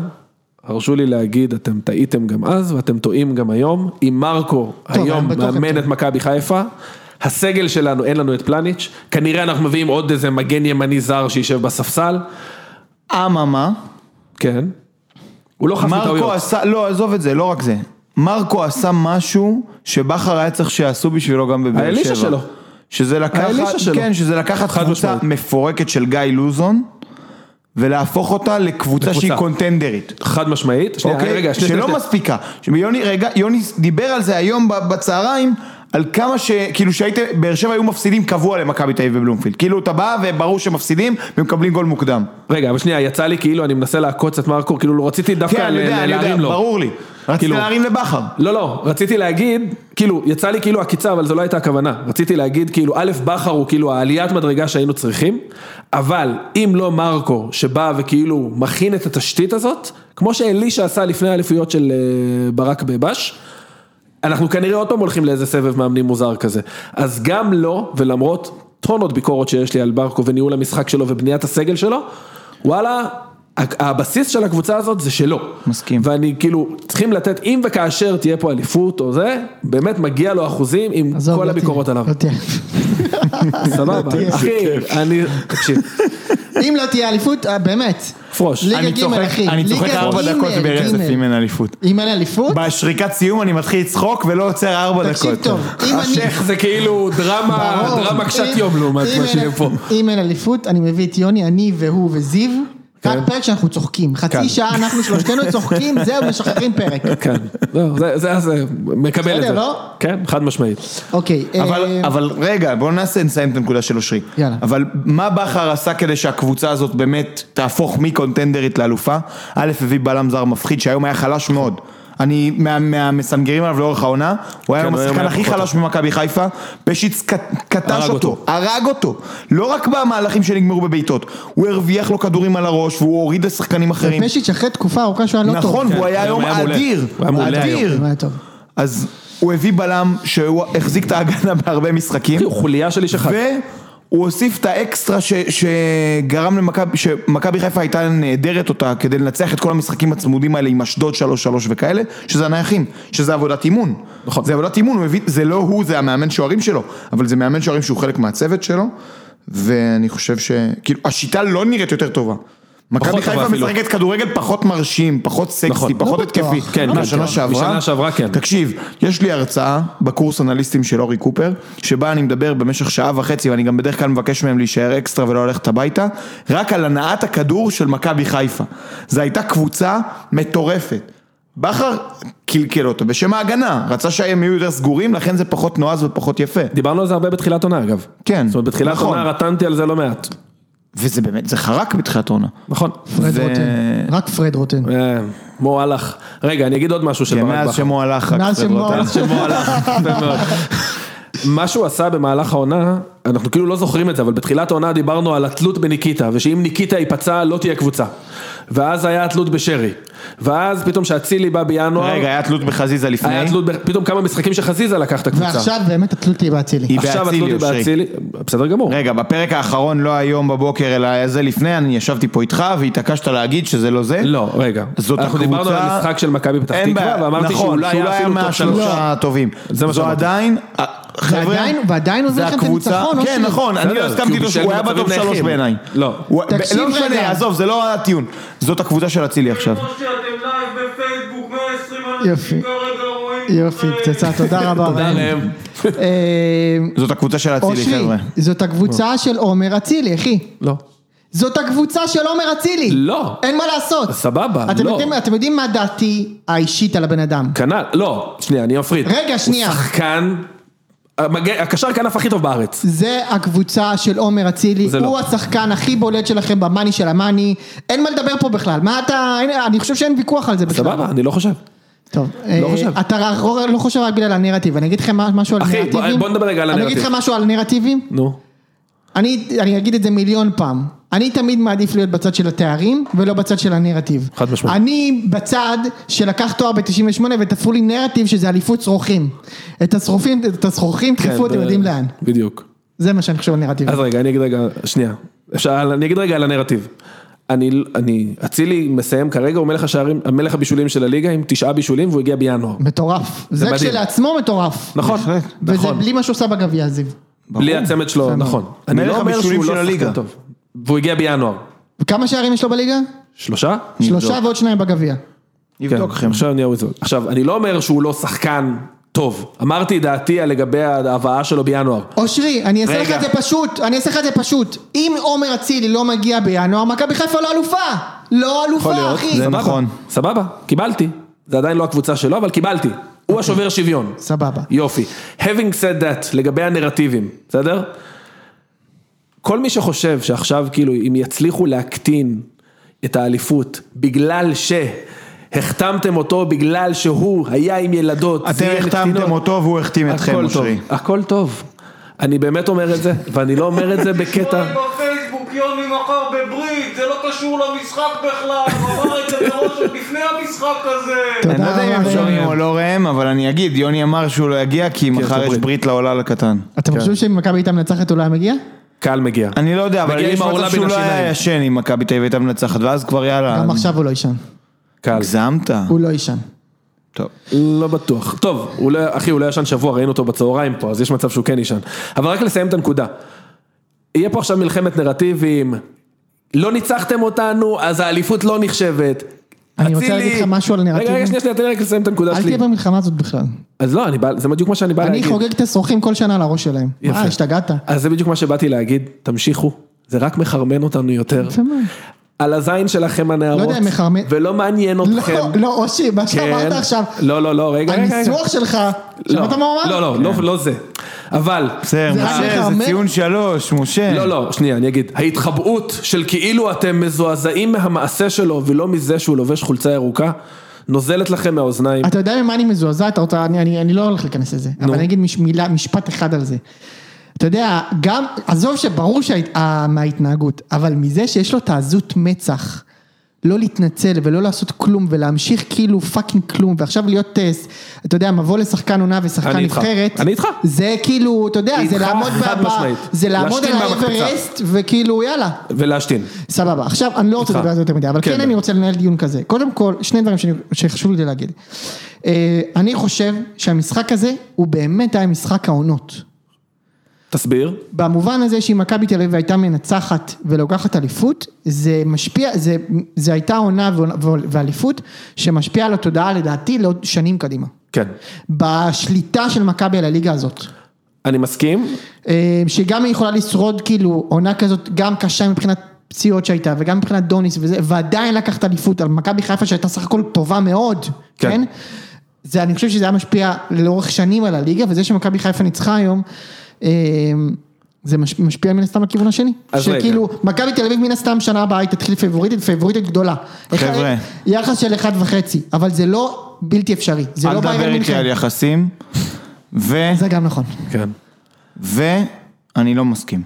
Speaker 2: הרשו לי להגיד, אתם טעיתם גם אז ואתם טועים גם היום. אם מרקו
Speaker 4: טוב,
Speaker 2: היום
Speaker 4: אני בטוח הם
Speaker 2: מאמן
Speaker 4: טועים.
Speaker 2: את מכבי חיפה, הסגל שלנו, אין לנו את פלניץ', כנראה אנחנו מביאים עוד איזה מגן ימני זר שישב בספסל,
Speaker 1: אממה,
Speaker 2: כן. הוא לא חף
Speaker 1: מרקו
Speaker 2: מטעויות.
Speaker 1: עשה, לא עזוב את זה, לא רק זה. מרקו עשה משהו שבכר היה צריך שיעשו בשבילו גם בבאר שבע.
Speaker 2: האלישע שלו.
Speaker 1: שזה
Speaker 2: האלישע
Speaker 1: לקחת,
Speaker 2: שלו.
Speaker 1: כן, שזה לקחת
Speaker 2: חד
Speaker 1: קבוצה
Speaker 2: משמעית.
Speaker 1: מפורקת של גיא לוזון ולהפוך אותה לקבוצה
Speaker 2: לקבוצה.
Speaker 1: שהיא קונטנדרית.
Speaker 2: חד משמעית. שנייה,
Speaker 1: אוקיי?
Speaker 2: רגע, שנייה,
Speaker 1: שלא
Speaker 2: שנייה.
Speaker 1: מספיקה. שיוני, רגע, יוני דיבר על זה היום ב- בצהריים, על כמה ש... כאילו שהייתם, באר שבע היו מפסידים קבוע למכבי תל אביב ובלומפילד. כאילו אתה בא וברור שמפסידים ומקבלים גול מוקדם.
Speaker 2: רגע, אבל שנייה, יצא לי כאילו אני מנסה לעקוץ את מרקו, כאילו לא רציתי דווקא
Speaker 1: כן, אני
Speaker 2: ל-
Speaker 1: יודע, אני יודע,
Speaker 2: להרים לו.
Speaker 1: ברור לי. רציתי
Speaker 2: כאילו-
Speaker 1: להרים לבכר.
Speaker 2: לא, לא, רציתי להגיד, כאילו, יצא לי כאילו עקיצה, אבל זו לא הייתה הכוונה. רציתי להגיד, כאילו, א', בכר הוא כאילו העליית מדרגה שהיינו צריכים, אבל אם לא מרקו, שבא וכאילו מכין את התשתית הזאת, כמו שאלישע עשה לפני האליפויות של אה, ברק בבש, אנחנו כנראה עוד פעם הולכים לאיזה סבב מאמנים מוזר כזה. אז גם לא, ולמרות טונות ביקורת שיש לי על ברקו וניהול המשחק שלו ובניית הסגל שלו, וואלה, ה- הבסיס של הקבוצה הזאת זה שלו.
Speaker 1: מסכים.
Speaker 2: ואני כאילו, צריכים לתת, אם וכאשר תהיה פה אליפות או זה, באמת מגיע לו אחוזים עם
Speaker 4: עזוב,
Speaker 2: כל
Speaker 4: לא
Speaker 2: הביקורות
Speaker 4: תהיה,
Speaker 2: עליו.
Speaker 4: לא תהיה.
Speaker 2: סבבה,
Speaker 4: תהיה.
Speaker 2: אחי, אני, תקשיב,
Speaker 4: אם לא תהיה אליפות, אה, באמת.
Speaker 2: פרוש.
Speaker 4: ליגה
Speaker 1: אני
Speaker 4: ג'
Speaker 1: צוחק-
Speaker 4: אחי.
Speaker 1: אני צוחק
Speaker 4: ליגה
Speaker 1: ארבע
Speaker 4: ג',
Speaker 1: דקות ברצף
Speaker 4: ג'.
Speaker 1: אם אין אליפות.
Speaker 4: אם אין אליפות,
Speaker 1: בשריקת סיום אני מתחיל לצחוק ולא עוצר ארבע דקות.
Speaker 4: תקשיב טוב. אם אני-
Speaker 2: השייח זה כאילו דרמה,
Speaker 4: ברור.
Speaker 2: דרמה
Speaker 4: אם-
Speaker 2: קשת יום לעומת
Speaker 4: אם
Speaker 2: מה
Speaker 4: אין-
Speaker 2: שיהיה פה.
Speaker 4: אם אין אליפות, אני מביא את יוני, אני והוא וזיו. רק פרק שאנחנו צוחקים.
Speaker 2: כן.
Speaker 4: חצי שעה אנחנו שלושתנו צוחקים, זהו, משחררים פרק.
Speaker 2: כן, לא, זה, זה, זה, מקבל את
Speaker 4: בסדר,
Speaker 2: זה.
Speaker 4: לא?
Speaker 2: כן, חד משמעית.
Speaker 4: אוקיי.
Speaker 1: אבל,
Speaker 4: אה,
Speaker 1: אבל רגע, בואו נעשה, נסיים את הנקודה של אושרי.
Speaker 4: יאללה.
Speaker 1: אבל מה בכר עשה כדי שהקבוצה הזאת באמת תהפוך מקונטנדרית לאלופה? א', הביא בלם זר מפחיד שהיום היה חלש מאוד. אני, מה, מהמסנגרים עליו לאורך העונה, הוא היה היום
Speaker 2: כן, הוא היה
Speaker 1: השחקן הכי
Speaker 2: פחות.
Speaker 1: חלש במכבי חיפה, פשיץ ק- קטש
Speaker 2: הרג
Speaker 1: אותו,
Speaker 2: אותו.
Speaker 1: הרג אותו, לא רק במהלכים שנגמרו בבעיטות, הוא הרוויח לו כדורים על הראש והוא הוריד לשחקנים אחרים.
Speaker 4: פשיץ' אחרי תקופה ארוכה שהוא היה לא טוב. אה,
Speaker 1: נכון, והוא
Speaker 2: כן,
Speaker 1: היה
Speaker 2: היום
Speaker 1: היום
Speaker 2: היה מעולה.
Speaker 1: אדיר,
Speaker 2: הוא היה מעולה
Speaker 1: אדיר.
Speaker 4: הוא היה טוב.
Speaker 1: אז הוא הביא בלם שהוא החזיק את ההגנה בהרבה משחקים.
Speaker 2: כאילו, חוליה של איש אחד.
Speaker 1: והוא הוסיף את האקסטרה ש, שגרם למכבי, שמכבי חיפה הייתה נהדרת אותה כדי לנצח את כל המשחקים הצמודים האלה עם אשדוד 3-3 וכאלה, שזה הנייחים, שזה עבודת אימון.
Speaker 2: נכון.
Speaker 1: זה עבודת אימון, הוא הביא, זה לא הוא, זה המאמן שוערים שלו, אבל זה מאמן שוערים שהוא חלק מהצוות שלו, ואני חושב ש... כאילו, השיטה לא נראית יותר טובה. מכבי
Speaker 2: פחות
Speaker 1: חיפה
Speaker 2: טובה אפילו.
Speaker 1: משחקת כדורגל פחות מרשים, פחות סקסי,
Speaker 2: נכון. לא
Speaker 1: פחות
Speaker 4: בטוח.
Speaker 1: התקפי,
Speaker 2: כן,
Speaker 1: מהשנה
Speaker 2: כן.
Speaker 1: שעברה.
Speaker 2: משנה שעברה, כן.
Speaker 1: תקשיב, יש לי הרצאה בקורס אנליסטים של אורי קופר, שבה אני מדבר במשך שעה וחצי, ואני גם בדרך כלל מבקש מהם להישאר אקסטרה ולא ללכת הביתה, רק על הנעת הכדור של מכבי חיפה. זו הייתה קבוצה מטורפת. בכר קלקל אותו בשם ההגנה, רצה שהם יהיו יותר סגורים, לכן זה פחות נועז ופחות יפה.
Speaker 2: דיברנו על זה הרבה בתחילת עונה אגב.
Speaker 1: כן,
Speaker 2: זאת אומרת, בתחילת
Speaker 1: נכון.
Speaker 2: עונה רטנתי על זה לא מעט.
Speaker 1: וזה באמת, זה חרק בתחילת העונה.
Speaker 2: נכון.
Speaker 4: פרד
Speaker 1: ו-
Speaker 4: רוטן. אוקיי. רק פרד רוטן.
Speaker 2: אה, מו הלך. רגע, אני אגיד עוד משהו של
Speaker 1: כן,
Speaker 2: ברק
Speaker 1: מאז לא
Speaker 2: בכר.
Speaker 1: שמו הלך, רק
Speaker 4: מאז
Speaker 1: פרד
Speaker 4: שמו
Speaker 1: רוטן.
Speaker 4: הלך.
Speaker 2: מאז שמו הלך. יפה מאוד. מה שהוא עשה במהלך העונה, אנחנו כאילו לא זוכרים את זה, אבל בתחילת העונה דיברנו על התלות בניקיטה, ושאם ניקיטה ייפצע לא תהיה קבוצה. ואז היה התלות בשרי. ואז פתאום שאצילי בא בינואר,
Speaker 1: רגע, היה תלות בחזיזה לפני.
Speaker 2: היה תלות, ב- פתאום כמה משחקים שחזיזה לקח את הקבוצה.
Speaker 4: ועכשיו באמת התלות תהיה באצילי.
Speaker 1: היא
Speaker 2: עכשיו
Speaker 1: באצילי,
Speaker 2: התלות היא
Speaker 1: אושרי.
Speaker 2: באצילי, בסדר גמור.
Speaker 1: רגע, בפרק האחרון, לא היום בבוקר, אלא היה זה לפני, אני ישבתי פה איתך והתעקשת להגיד שזה לא זה.
Speaker 2: לא, רגע.
Speaker 1: זאת
Speaker 2: אנחנו
Speaker 1: הקבוצה-
Speaker 2: דיברנו על המשחק של מכבי פתח
Speaker 1: אין
Speaker 2: תקווה,
Speaker 1: בעיה,
Speaker 2: ואמרתי
Speaker 1: נכון,
Speaker 2: שאולי היה אפילו טוב
Speaker 1: מהשלושה
Speaker 2: שלושה.
Speaker 1: הטובים.
Speaker 2: זה מה
Speaker 1: זו
Speaker 2: שאמרתי.
Speaker 1: עדיין, אה, חבר'ה,
Speaker 4: ועדיין- ועדיין הוא הביא
Speaker 1: זה
Speaker 4: לכם את
Speaker 1: הקבוצה-
Speaker 4: הניצחון,
Speaker 1: כן,
Speaker 4: אושרי.
Speaker 1: נכון, אני
Speaker 2: בסדר,
Speaker 1: לא הסכמתי
Speaker 2: כי הוא
Speaker 1: איתו
Speaker 2: בישל
Speaker 1: שהוא היה
Speaker 2: במצבים
Speaker 1: בטופ שלוש
Speaker 2: נייחים.
Speaker 1: בעיניי.
Speaker 2: לא.
Speaker 1: הוא-
Speaker 4: תקשיב
Speaker 1: לא משנה,
Speaker 4: רגע.
Speaker 1: עזוב, זה לא הטיעון. זאת הקבוצה של אצילי עכשיו.
Speaker 3: כמו שאתם לייב בפייסבוק, 120
Speaker 4: יופי.
Speaker 3: אנשים כרגע רואים
Speaker 4: יופי,
Speaker 3: אתכם.
Speaker 4: פצצה, תודה רבה.
Speaker 2: תודה
Speaker 4: ראם.
Speaker 2: להם.
Speaker 4: אה,
Speaker 1: זאת הקבוצה של אצילי,
Speaker 4: אושרי,
Speaker 2: כן.
Speaker 1: חבר'ה.
Speaker 4: זאת הקבוצה של עומר אצילי, אחי.
Speaker 2: לא.
Speaker 4: זאת הקבוצה של עומר אצילי.
Speaker 2: לא.
Speaker 4: אין מה לעשות.
Speaker 2: סבבה,
Speaker 4: אתם
Speaker 2: לא.
Speaker 4: יודעים- אתם יודעים מה דעתי האישית על הבן אדם.
Speaker 2: כנ"ל, לא, שנייה, אני אפריד.
Speaker 4: רגע, שנייה.
Speaker 2: הוא שחקן, המגן- הקשר כנף הכי טוב בארץ.
Speaker 4: זה הקבוצה של עומר אצילי,
Speaker 2: זה
Speaker 4: הוא
Speaker 2: לא.
Speaker 4: השחקן הכי בולט שלכם במאני של המאני, אין מה לדבר פה בכלל, מה אתה, אין- אני חושב שאין ויכוח על זה בכלל.
Speaker 2: סבבה, אני לא חושב.
Speaker 4: טוב,
Speaker 2: לא
Speaker 4: אה,
Speaker 2: חושב.
Speaker 4: אתה רק- לא חושב רק בגלל הנרטיב, אני אגיד לכם מה- משהו על
Speaker 2: אחי, בוא-
Speaker 4: נרטיבים.
Speaker 2: בוא נדבר רגע על
Speaker 4: אני
Speaker 2: הנרטיב.
Speaker 4: אגיד לכם משהו על נרטיבים,
Speaker 2: נו.
Speaker 4: אני אני אגיד את זה מיליון פעם. אני תמיד מעדיף להיות בצד של התארים ולא בצד של הנרטיב.
Speaker 2: חד משמעית.
Speaker 4: אני בצד שלקח תואר ב-98 ותפרו לי נרטיב שזה אליפות צרוכים. את השרופים, את הסרוכים
Speaker 2: כן,
Speaker 4: דחפו אתם
Speaker 2: זה-
Speaker 4: יודעים לאן.
Speaker 2: בדיוק.
Speaker 4: זה מה שאני חושב על נרטיב.
Speaker 2: אז רגע, אני אגיד רגע, שנייה. אפשר, אני אגיד רגע על הנרטיב. אני, אני, אצילי מסיים כרגע, הוא מלך השערים, מלך הבישולים של הליגה עם תשעה בישולים והוא הגיע בינואר.
Speaker 4: מטורף. זה
Speaker 2: מדהים.
Speaker 4: כשלעצמו מטורף.
Speaker 2: נכון,
Speaker 4: וזה
Speaker 2: נכון.
Speaker 4: בלי מה שהוא עושה בגביע, זיו.
Speaker 2: בלי הצמד שלו, נכון. אני
Speaker 1: מלך
Speaker 2: לא אומר
Speaker 1: הבישולים
Speaker 2: שהוא
Speaker 1: של
Speaker 2: לא
Speaker 1: הליגה.
Speaker 2: שחקן טוב. והוא הגיע בינואר.
Speaker 4: כמה שערים יש לו בליגה?
Speaker 2: שלושה?
Speaker 4: שלושה ועוד שניים בגביע.
Speaker 1: יבדוק
Speaker 2: כן,
Speaker 1: לכם.
Speaker 2: עכשיו אני אוהב את זה. עכשיו, אני לא אומר שהוא לא שחקן טוב. אמרתי דעתי על לגבי ההבאה שלו בינואר.
Speaker 4: אושרי, אני אעשה לך
Speaker 2: רגע.
Speaker 4: את זה פשוט, אני אעשה לך את זה פשוט. אם עומר אצילי לא מגיע בינואר, מכבי חיפה לא אלופה. לא אלופה,
Speaker 2: להיות,
Speaker 4: אחי.
Speaker 1: זה
Speaker 2: סבבה,
Speaker 1: נכון.
Speaker 2: סבבה, קיבלתי. זה עדיין לא הקבוצה שלו, אבל קיבלתי. הוא השובר שוויון.
Speaker 4: סבבה.
Speaker 2: יופי. Having said that, לגבי הנרטיבים, בסדר? כל מי שחושב שעכשיו כאילו אם יצליחו להקטין את האליפות בגלל שהחתמתם אותו בגלל שהוא היה עם ילדות, זה
Speaker 1: אתם
Speaker 2: יהיה
Speaker 1: החתמתם
Speaker 2: לקטינות.
Speaker 1: אותו והוא החתים אתכם,
Speaker 2: הכל טוב,
Speaker 1: אושרי.
Speaker 2: הכל טוב. אני באמת אומר את זה, ואני לא אומר את זה בקטע...
Speaker 3: יוני בפייסבוק, יוני מכר בברית, זה לא קשור למשחק בכלל, הוא אמר את זה מראש עוד לפני המשחק הזה.
Speaker 1: אני לא יודע
Speaker 4: תודה
Speaker 1: אם
Speaker 4: רבה,
Speaker 1: הם שומעים
Speaker 4: יוני.
Speaker 1: או לא ראם, אבל אני אגיד, יוני אמר שהוא לא יגיע כי מחר
Speaker 2: יש לו
Speaker 1: יש
Speaker 2: ברית.
Speaker 1: ברית לעולל הקטן.
Speaker 4: אתם חושבים שאם מכבי הייתה מנצחת הוא לא היה מגיע?
Speaker 2: קהל מגיע.
Speaker 1: אני לא יודע, אבל
Speaker 2: מגיע
Speaker 1: יש
Speaker 2: עם העולה
Speaker 1: מצב
Speaker 2: בין
Speaker 1: שהוא לא היה
Speaker 2: השיניים.
Speaker 1: ישן אם מכבי תל אביב הייתה מנצחת, ואז כבר יאללה.
Speaker 4: גם עכשיו הוא לא יישן.
Speaker 2: קהל.
Speaker 1: הגזמת.
Speaker 4: הוא לא יישן.
Speaker 1: טוב.
Speaker 2: לא בטוח. טוב, הוא לא, אחי, הוא לא ישן שבוע, ראינו אותו בצהריים פה, אז יש מצב שהוא כן ישן. אבל רק לסיים את הנקודה. יהיה פה עכשיו מלחמת נרטיבים, לא ניצחתם אותנו, אז האליפות לא נחשבת.
Speaker 4: אני רוצה
Speaker 2: אצילי-
Speaker 4: להגיד לך משהו על
Speaker 2: רגע, רגע,
Speaker 4: נרטיבים.
Speaker 2: שנייה, שנייה, תן לי רק לסיים את הנקודה
Speaker 4: אל
Speaker 2: שלי.
Speaker 4: תהיה במלחמה הזאת בכלל.
Speaker 2: אז לא, אני בא, זה בדיוק מה שאני בא
Speaker 4: אני
Speaker 2: להגיד.
Speaker 4: חוגג את השרוכים כל שנה על הראש שלהם.
Speaker 2: יפה.
Speaker 4: מה, השתגעת?
Speaker 2: אז זה בדיוק מה שבאתי להגיד, תמשיכו, זה רק מחרמן אותנו יותר.
Speaker 4: יפה מאוד.
Speaker 2: על הזין שלכם הנערות,
Speaker 4: לא יודע אם מחרמן-
Speaker 2: ולא מעניין
Speaker 4: לא,
Speaker 2: אתכם.
Speaker 4: לא, אושרי, מה שאמרת עכשיו,
Speaker 2: לא, לא, לא, רגע, רגע, רגע.
Speaker 4: הניסוח שלך,
Speaker 2: לא,
Speaker 4: שמעת מה הוא אמר? כן.
Speaker 2: לא, לא, לא, לא זה. אבל,
Speaker 1: בסדר,
Speaker 4: זה רק
Speaker 1: משה,
Speaker 4: מחרמן?
Speaker 1: זה ציון שלוש, משה.
Speaker 2: לא, לא, שנייה, אני אגיד. ההתחבאות של כאילו אתם מזועזעים מהמעשה שלו ולא מזה שהוא לובש חולצה ירוקה, נוזלת לכם מהאוזניים.
Speaker 4: אתה יודע ממה אני מזועזע, אתה רוצה, אני, אני, אני לא הולך להיכנס לזה, אבל אני אגיד מש, מילה, משפט אחד על זה. אתה יודע, גם, עזוב שברור שההת- ה- מההתנהגות, אבל מזה שיש לו את העזות מצח, לא להתנצל ולא לעשות כלום ולהמשיך כאילו פאקינג כלום, ועכשיו להיות טס, אתה יודע, מבוא לשחקן עונה ושחקן
Speaker 2: אני איתך.
Speaker 4: נבחרת,
Speaker 2: אני איתך.
Speaker 4: זה כאילו, אתה יודע, זה
Speaker 2: איתך,
Speaker 4: לעמוד,
Speaker 2: חד
Speaker 4: ב- ב-
Speaker 2: משמעית.
Speaker 4: זה לעמוד על
Speaker 2: להשתין במקפצה.
Speaker 4: האברסט, וכאילו יאללה,
Speaker 2: ולהשתין.
Speaker 4: סבבה, עכשיו אני לא רוצה
Speaker 2: איתך.
Speaker 4: לדבר על זה יותר מדי, אבל
Speaker 2: כן,
Speaker 4: כן
Speaker 2: בטח.
Speaker 4: אני רוצה לנהל דיון כזה. קודם כל, שני דברים שאני- שחשוב לי להגיד. אה, אני חושב שהמשחק הזה הוא באמת היה משחק העונות.
Speaker 2: תסביר.
Speaker 4: במובן הזה שאם מכבי תל אביב הייתה מנצחת ולוקחת אליפות, זה משפיע, זה, זה הייתה עונה ועונה- ואליפות שמשפיעה על התודעה לדעתי לעוד שנים קדימה.
Speaker 2: כן.
Speaker 4: בשליטה של מכבי על הליגה הזאת.
Speaker 2: אני מסכים,
Speaker 4: אה, שגם היא יכולה לשרוד כאילו עונה כזאת גם קשה מבחינת פציעות שהייתה וגם מבחינת דוניס וזה ועדיין לקחת אליפות על מכבי חיפה שהייתה סך הכל טובה מאוד,
Speaker 2: כן.
Speaker 4: כן? כן? זה אני חושב שזה היה משפיע לאורך שנים על הליגה וזה שמכבי חיפה ניצחה היום אה, זה מש, משפיע מן הסתם לכיוון השני.
Speaker 2: אז רגע.
Speaker 4: שכאילו מכבי תל אביב מן הסתם שנה הבאה היא תתחיל פייבוריטית, פייבוריטית גדולה.
Speaker 1: חבר'ה.
Speaker 4: אחד- יחס של אחד וחצי אבל זה לא בלתי אפשרי. זה
Speaker 1: אל
Speaker 4: לא
Speaker 1: תדבר
Speaker 4: ביירן
Speaker 1: איתי
Speaker 4: מינכן.
Speaker 1: על יחסים. ו...
Speaker 4: זה גם נכון.
Speaker 2: כן.
Speaker 1: ואני לא מסכים.